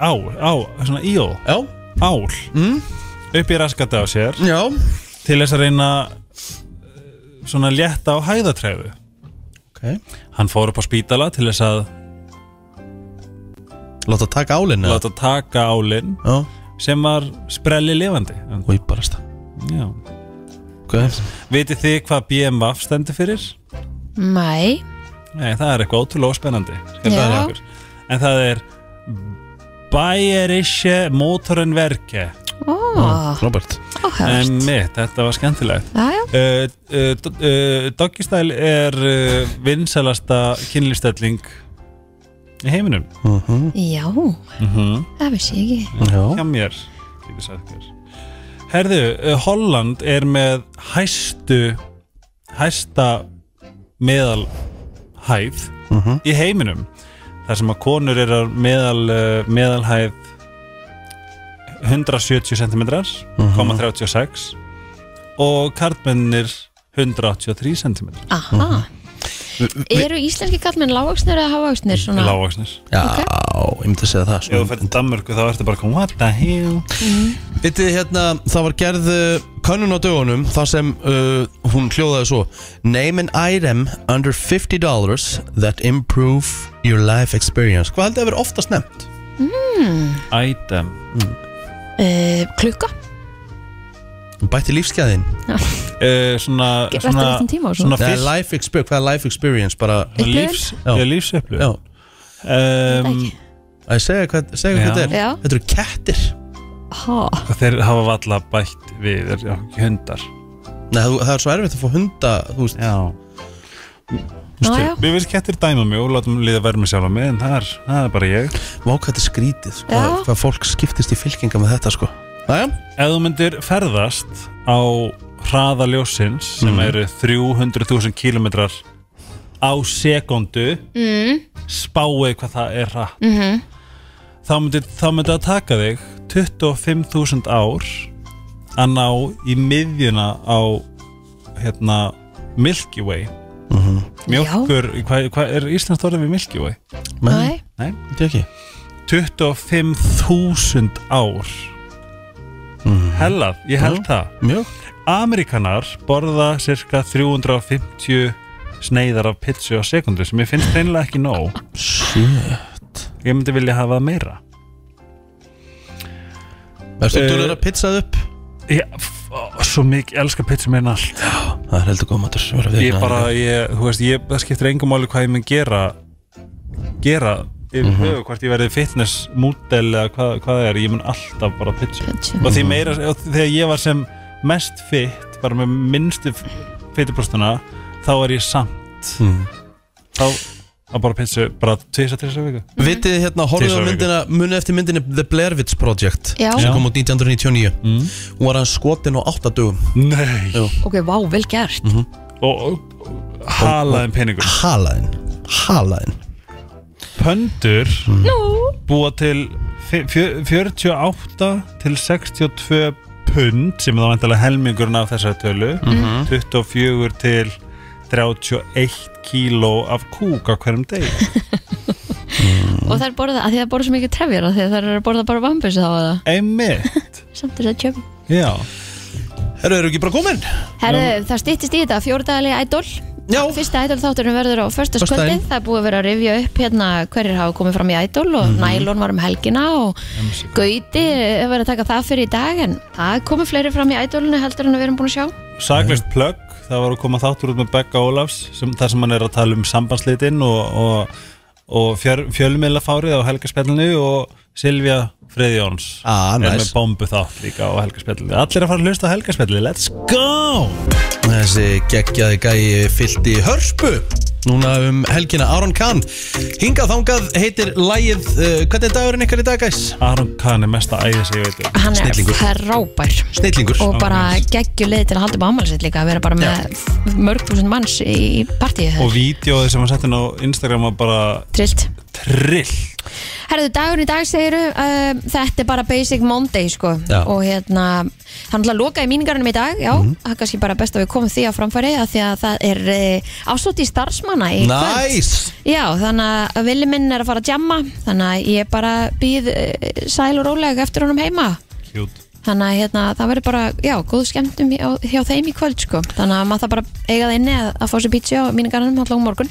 Speaker 3: á, á, svona íó,
Speaker 1: Já,
Speaker 3: ál upp í raskati á sér
Speaker 1: já
Speaker 3: til þess að reyna eh, svona létta á hæðatrefu
Speaker 1: okay.
Speaker 3: hann fór upp á spítala til þess að
Speaker 1: Láta taka álinn eða?
Speaker 3: láta taka álinn
Speaker 1: Já,
Speaker 3: sem var sprelli lifandi
Speaker 1: og ég barast
Speaker 3: Já.
Speaker 1: það
Speaker 3: vitið þið hvað BMF stendur fyrir?
Speaker 2: Mæ,
Speaker 3: Nei, það er eitthvað ótrúlega spennandi
Speaker 2: Já.
Speaker 3: en það er Bayerische Motorenwerke
Speaker 2: ó,
Speaker 1: Frábært
Speaker 2: áhægt
Speaker 3: en mitt, þetta var skemmtilegt
Speaker 2: Jæja,
Speaker 3: uh, uh, do- uh, Doggystyle er uh, vinsalasta kynlýstelling í heiminum
Speaker 2: já,
Speaker 1: Mhm.
Speaker 2: það vissi ég ekki
Speaker 1: Já,
Speaker 3: hjá mér getur sagt þér Herðu, eh, Holland er með hæstu Mhm. hæsta meðalhæð í heiminum þar sem að konur eru að meðal, uh, meðalhæð 170 cm Mhm. 0,36 og karlmennir 183 cm
Speaker 2: Aha. Eru íslenski kallmenn lágvaksnir eða hávaksnir? Svona?
Speaker 3: lágvaksnir
Speaker 1: Já,
Speaker 2: Ok.
Speaker 1: ég myndi að segja það sko.
Speaker 3: Ef þú fyrir til Danmörku þá ertu bara að koma What the hell?
Speaker 1: Vitið þið hérna, það var gerð uh, könnun á dögunum þar sem uh, hún hljóðaði svo Name an item under $50 that improve your life experience Hvað heldur að vera oftast nefnt?
Speaker 3: Item
Speaker 2: Uh, klukka?
Speaker 1: Bætti lífsgæðin
Speaker 3: uh, Svona
Speaker 2: Ge-
Speaker 3: svona,
Speaker 2: vertu lítinn tíma á svona?
Speaker 3: svona
Speaker 1: Eða life
Speaker 3: fyrst
Speaker 1: experience, hvað er life experience? Bara,
Speaker 2: Upplifun?
Speaker 3: lífs,
Speaker 1: Já.
Speaker 3: já, lífsöflu
Speaker 1: já,
Speaker 3: um,
Speaker 2: Ekki.
Speaker 1: að ég segja hvað, segja hvað
Speaker 3: Já.
Speaker 1: þetta er
Speaker 2: Já.
Speaker 1: Þetta eru kettir
Speaker 2: Ha.
Speaker 3: Þeir hafa valla bætt við er, já, hundar
Speaker 1: Nei, þú- það er svo erfitt að fá hunda, þú veist
Speaker 3: Já
Speaker 2: Ná, já.
Speaker 3: Mér finnst kettir dæma mig og látum liða verð mig sjálf að mig en það er, það er bara ég
Speaker 1: Vá hvað þetta er skrítið, sko,
Speaker 2: Já.
Speaker 1: hvað fólk skiptist í fylkinga með þetta, sko Næja,
Speaker 3: Ef þú myndir ferðast á hraða ljósins sem eru 300.000 kilometrar á sekundu mm. spáið hvað það er hratt -hmm. þá myndir þá myndi að taka þig 25.000 ár að ná í miðjuna á hérna Milky Way mm -hmm. Mjölkur, hvað hva er Íslands orðið við Milky Way?
Speaker 1: menn,
Speaker 2: Nei.
Speaker 3: Nei
Speaker 1: þetta ekki
Speaker 3: 25.000 ár Hellað, ég held það
Speaker 1: Mjög,
Speaker 3: Amerikanar borða cirka 350 sneiðar af pizzu á sekundu sem ég finnst reynilega ekki nóg
Speaker 1: shit
Speaker 3: ég myndi vilja hafa meira
Speaker 1: Erstu
Speaker 3: Eh,
Speaker 1: dúlur að pizzað upp?
Speaker 3: ég, f- ó, svo mikið, ég elska pizzu meina allt
Speaker 1: Það er heldur góð matur ég,
Speaker 3: ég bara, ég, þú veist, ég, það skiptir engum máli hvað ég mun gera gera yfir höfu, hvort ég verði fitness múdel eða hvað, hvað það er, ég mun alltaf bara pizzu
Speaker 2: Pizzu.
Speaker 3: og því meira, og þegar ég var sem mest fit, bara með minnstu fitupróstuna, þá er ég samt
Speaker 1: Mm.
Speaker 3: þá að bara pizzu, bara tvisa til þessa viku
Speaker 1: Vitið þið hérna, horfið á
Speaker 3: Tvisvar í viku.
Speaker 1: myndina Munið eftir myndinni The Blair Witch Project
Speaker 2: Já.
Speaker 1: Sem
Speaker 2: Já.
Speaker 1: kom út 1999 mm. Hún var hann skotin á 8 dögum
Speaker 3: Nei
Speaker 1: Jú.
Speaker 2: Ok, vá, vel gert.
Speaker 1: Mhm.
Speaker 3: og, og, um og halaðin peningur
Speaker 1: Halaðin Halaðin
Speaker 3: Pöndur
Speaker 2: Nú,
Speaker 3: búa til fi- fjö- 48 til 62 pund sem er þá vantilega helmingurinn af þessari tölu 24 til 31 kíló af kúk á hverjum deg
Speaker 2: og
Speaker 1: Mhm.
Speaker 2: það er borðað, að því það borðað svo mikið trefjar að því það er borðað bara bambus þá að það.
Speaker 3: einmitt
Speaker 2: Samt er það tjöfn.
Speaker 3: já
Speaker 1: Herru, eru ekki bara komin?
Speaker 2: Herðu, það stýttist í þetta, fjórdagalega ædol.
Speaker 1: Já.
Speaker 2: Fyrsta ædol þátturinn verður á
Speaker 1: Föstudaginn.
Speaker 2: förstaskvöldið. Það er búið að vera að rifja upp hérna hverjir hafa komið fram í ædol og
Speaker 1: Mhm.
Speaker 2: nælon var um helgina og gauti hefur verið að taka það fyrir í dag en það komið fleiri fram í ædolinu heldur en við erum búin að sjá.
Speaker 3: Saklist plögg, það var að koma þáttur út með Begga Ólafs sem, þar sem hann er að tala um sambandslitin og, og, og fjör, fjölmiðlafárið á helgaspjallinu og Silvja Friðjóns
Speaker 1: Ah,
Speaker 3: er
Speaker 1: nice.
Speaker 3: með bombu þátt líka á helgaspjallinu Allir að fara að hlusta á helgaspjallinu, let's go!
Speaker 1: Þessi geggjaði gæi fyllt í hörpu Núna um helgina Aron Kahn Hingað þangað heitir lægið uh, Hvernig er dagurinn ykkar í dag, gæs?
Speaker 3: Aron Kahn er mesta æðis ég veit um.
Speaker 2: Hann er
Speaker 1: Snillingur.
Speaker 2: frábær.
Speaker 1: Snillingur
Speaker 2: og bara geggju leið til að halda upp ámælisitt líka að vera bara með f- mörg þúsund manns í partíu
Speaker 3: Og vídeoði sem hann setti inn á Instagram var bara
Speaker 2: trillt
Speaker 3: trill
Speaker 2: Herðu, dagurinn í dag segiru uh, þetta er bara basic monday sko
Speaker 1: Já.
Speaker 2: og hérna, hann ætla að loka í míningarunum í dag, já, það er kannski bara best að við komum því á framfæri að því að það er uh, ásótt í starfsmanna í kvöld.
Speaker 1: Næs
Speaker 2: Já, þannig að villi minn er að fara að jamma þannig að ég bara býð uh, sæl og rólega eftir honum heima
Speaker 3: Cute
Speaker 2: þannig að hérna, það verður bara já, góð skemmtum hjá, hjá þeim í kvöld sko. þannig að maður það bara eiga það inni að, að fá sér pítsi á míningarnum allan um morgun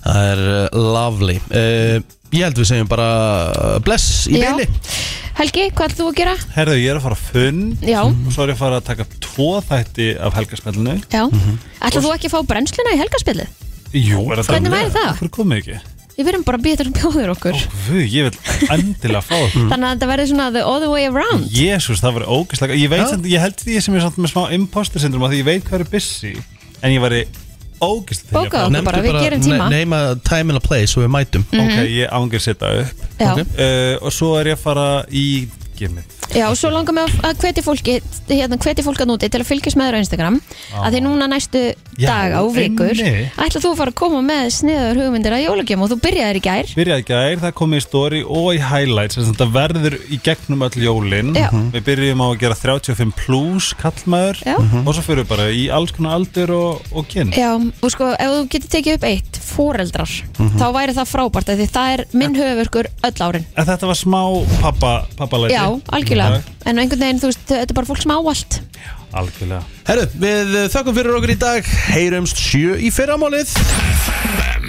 Speaker 1: Það er uh, lovely uh, Ég held við segjum bara uh, bless í
Speaker 2: Já.
Speaker 1: beili
Speaker 2: Helgi, hvað ætlum þú að gera?
Speaker 3: Herðu, ég er að fara að fund
Speaker 2: Já.
Speaker 3: og svo er ég að fara að taka tvo þætti af helgaspjallinu
Speaker 2: Já, mm
Speaker 3: Mhm.
Speaker 2: þú ekki að fá brennsluna í helgarspillið?
Speaker 3: Jú, er þetta
Speaker 2: Hvernig væri það?
Speaker 3: Hvernig komið ekki?
Speaker 2: Við verðum bara að býja þetta um bjóður okkur
Speaker 3: Guð, ég vil endilega fá það
Speaker 2: þannig að þetta verður svona the other way around
Speaker 3: Jésús, það var ógæslega Ég veit
Speaker 1: Já.
Speaker 3: sem, ég held því sem ég er samt með smá imposter syndrom að því ég veit hvað er busy en ég væri ógæslega til í að
Speaker 2: Bókaðu.
Speaker 3: fá-
Speaker 2: Nefndu bara, við gerum tíma.
Speaker 1: ne- Neyma time and a place og við mætum
Speaker 3: Ok, Eh, ég ángir setja upp
Speaker 2: Mhm. Já,
Speaker 1: Ok.
Speaker 3: uh, og svo er ég að fara í ekki einmitt.
Speaker 2: Já, og svo langar mig að- að hveti fólki hérna, hveti fólk að núti til að fylgjast með þér á Instagram að því núna næstu
Speaker 3: Já,
Speaker 2: daga og vikur
Speaker 3: einmitt.
Speaker 2: ætla þú að fara að koma með sniður hugmyndir að jólagjöfum og þú byrjaðir í gær
Speaker 3: Byrjaði gær, það komið í story og í highlights þess að þetta verður í gegnum öll jólin Mhm.
Speaker 2: Já.
Speaker 3: Við byrjum á að gera 35 plus kallmaður Mhm.
Speaker 2: Já.
Speaker 3: og svo fyrir við bara í alls konar aldur og, og kyn
Speaker 2: Já, og sko, ef þú getur tekið upp eitt foreldrar, þá væri það frábært af því það er minn höfurkur öll árin
Speaker 3: En þetta var smá pappa, pappalæti Mhm.
Speaker 2: Já, algjörlega, en á einhvern veginn, þú veist, þetta er bara fólk sem á allt
Speaker 3: Algjörlega
Speaker 1: Herru, við eh, þökkum fyrir okkur í dag Heyrumst sjö í fyrramálið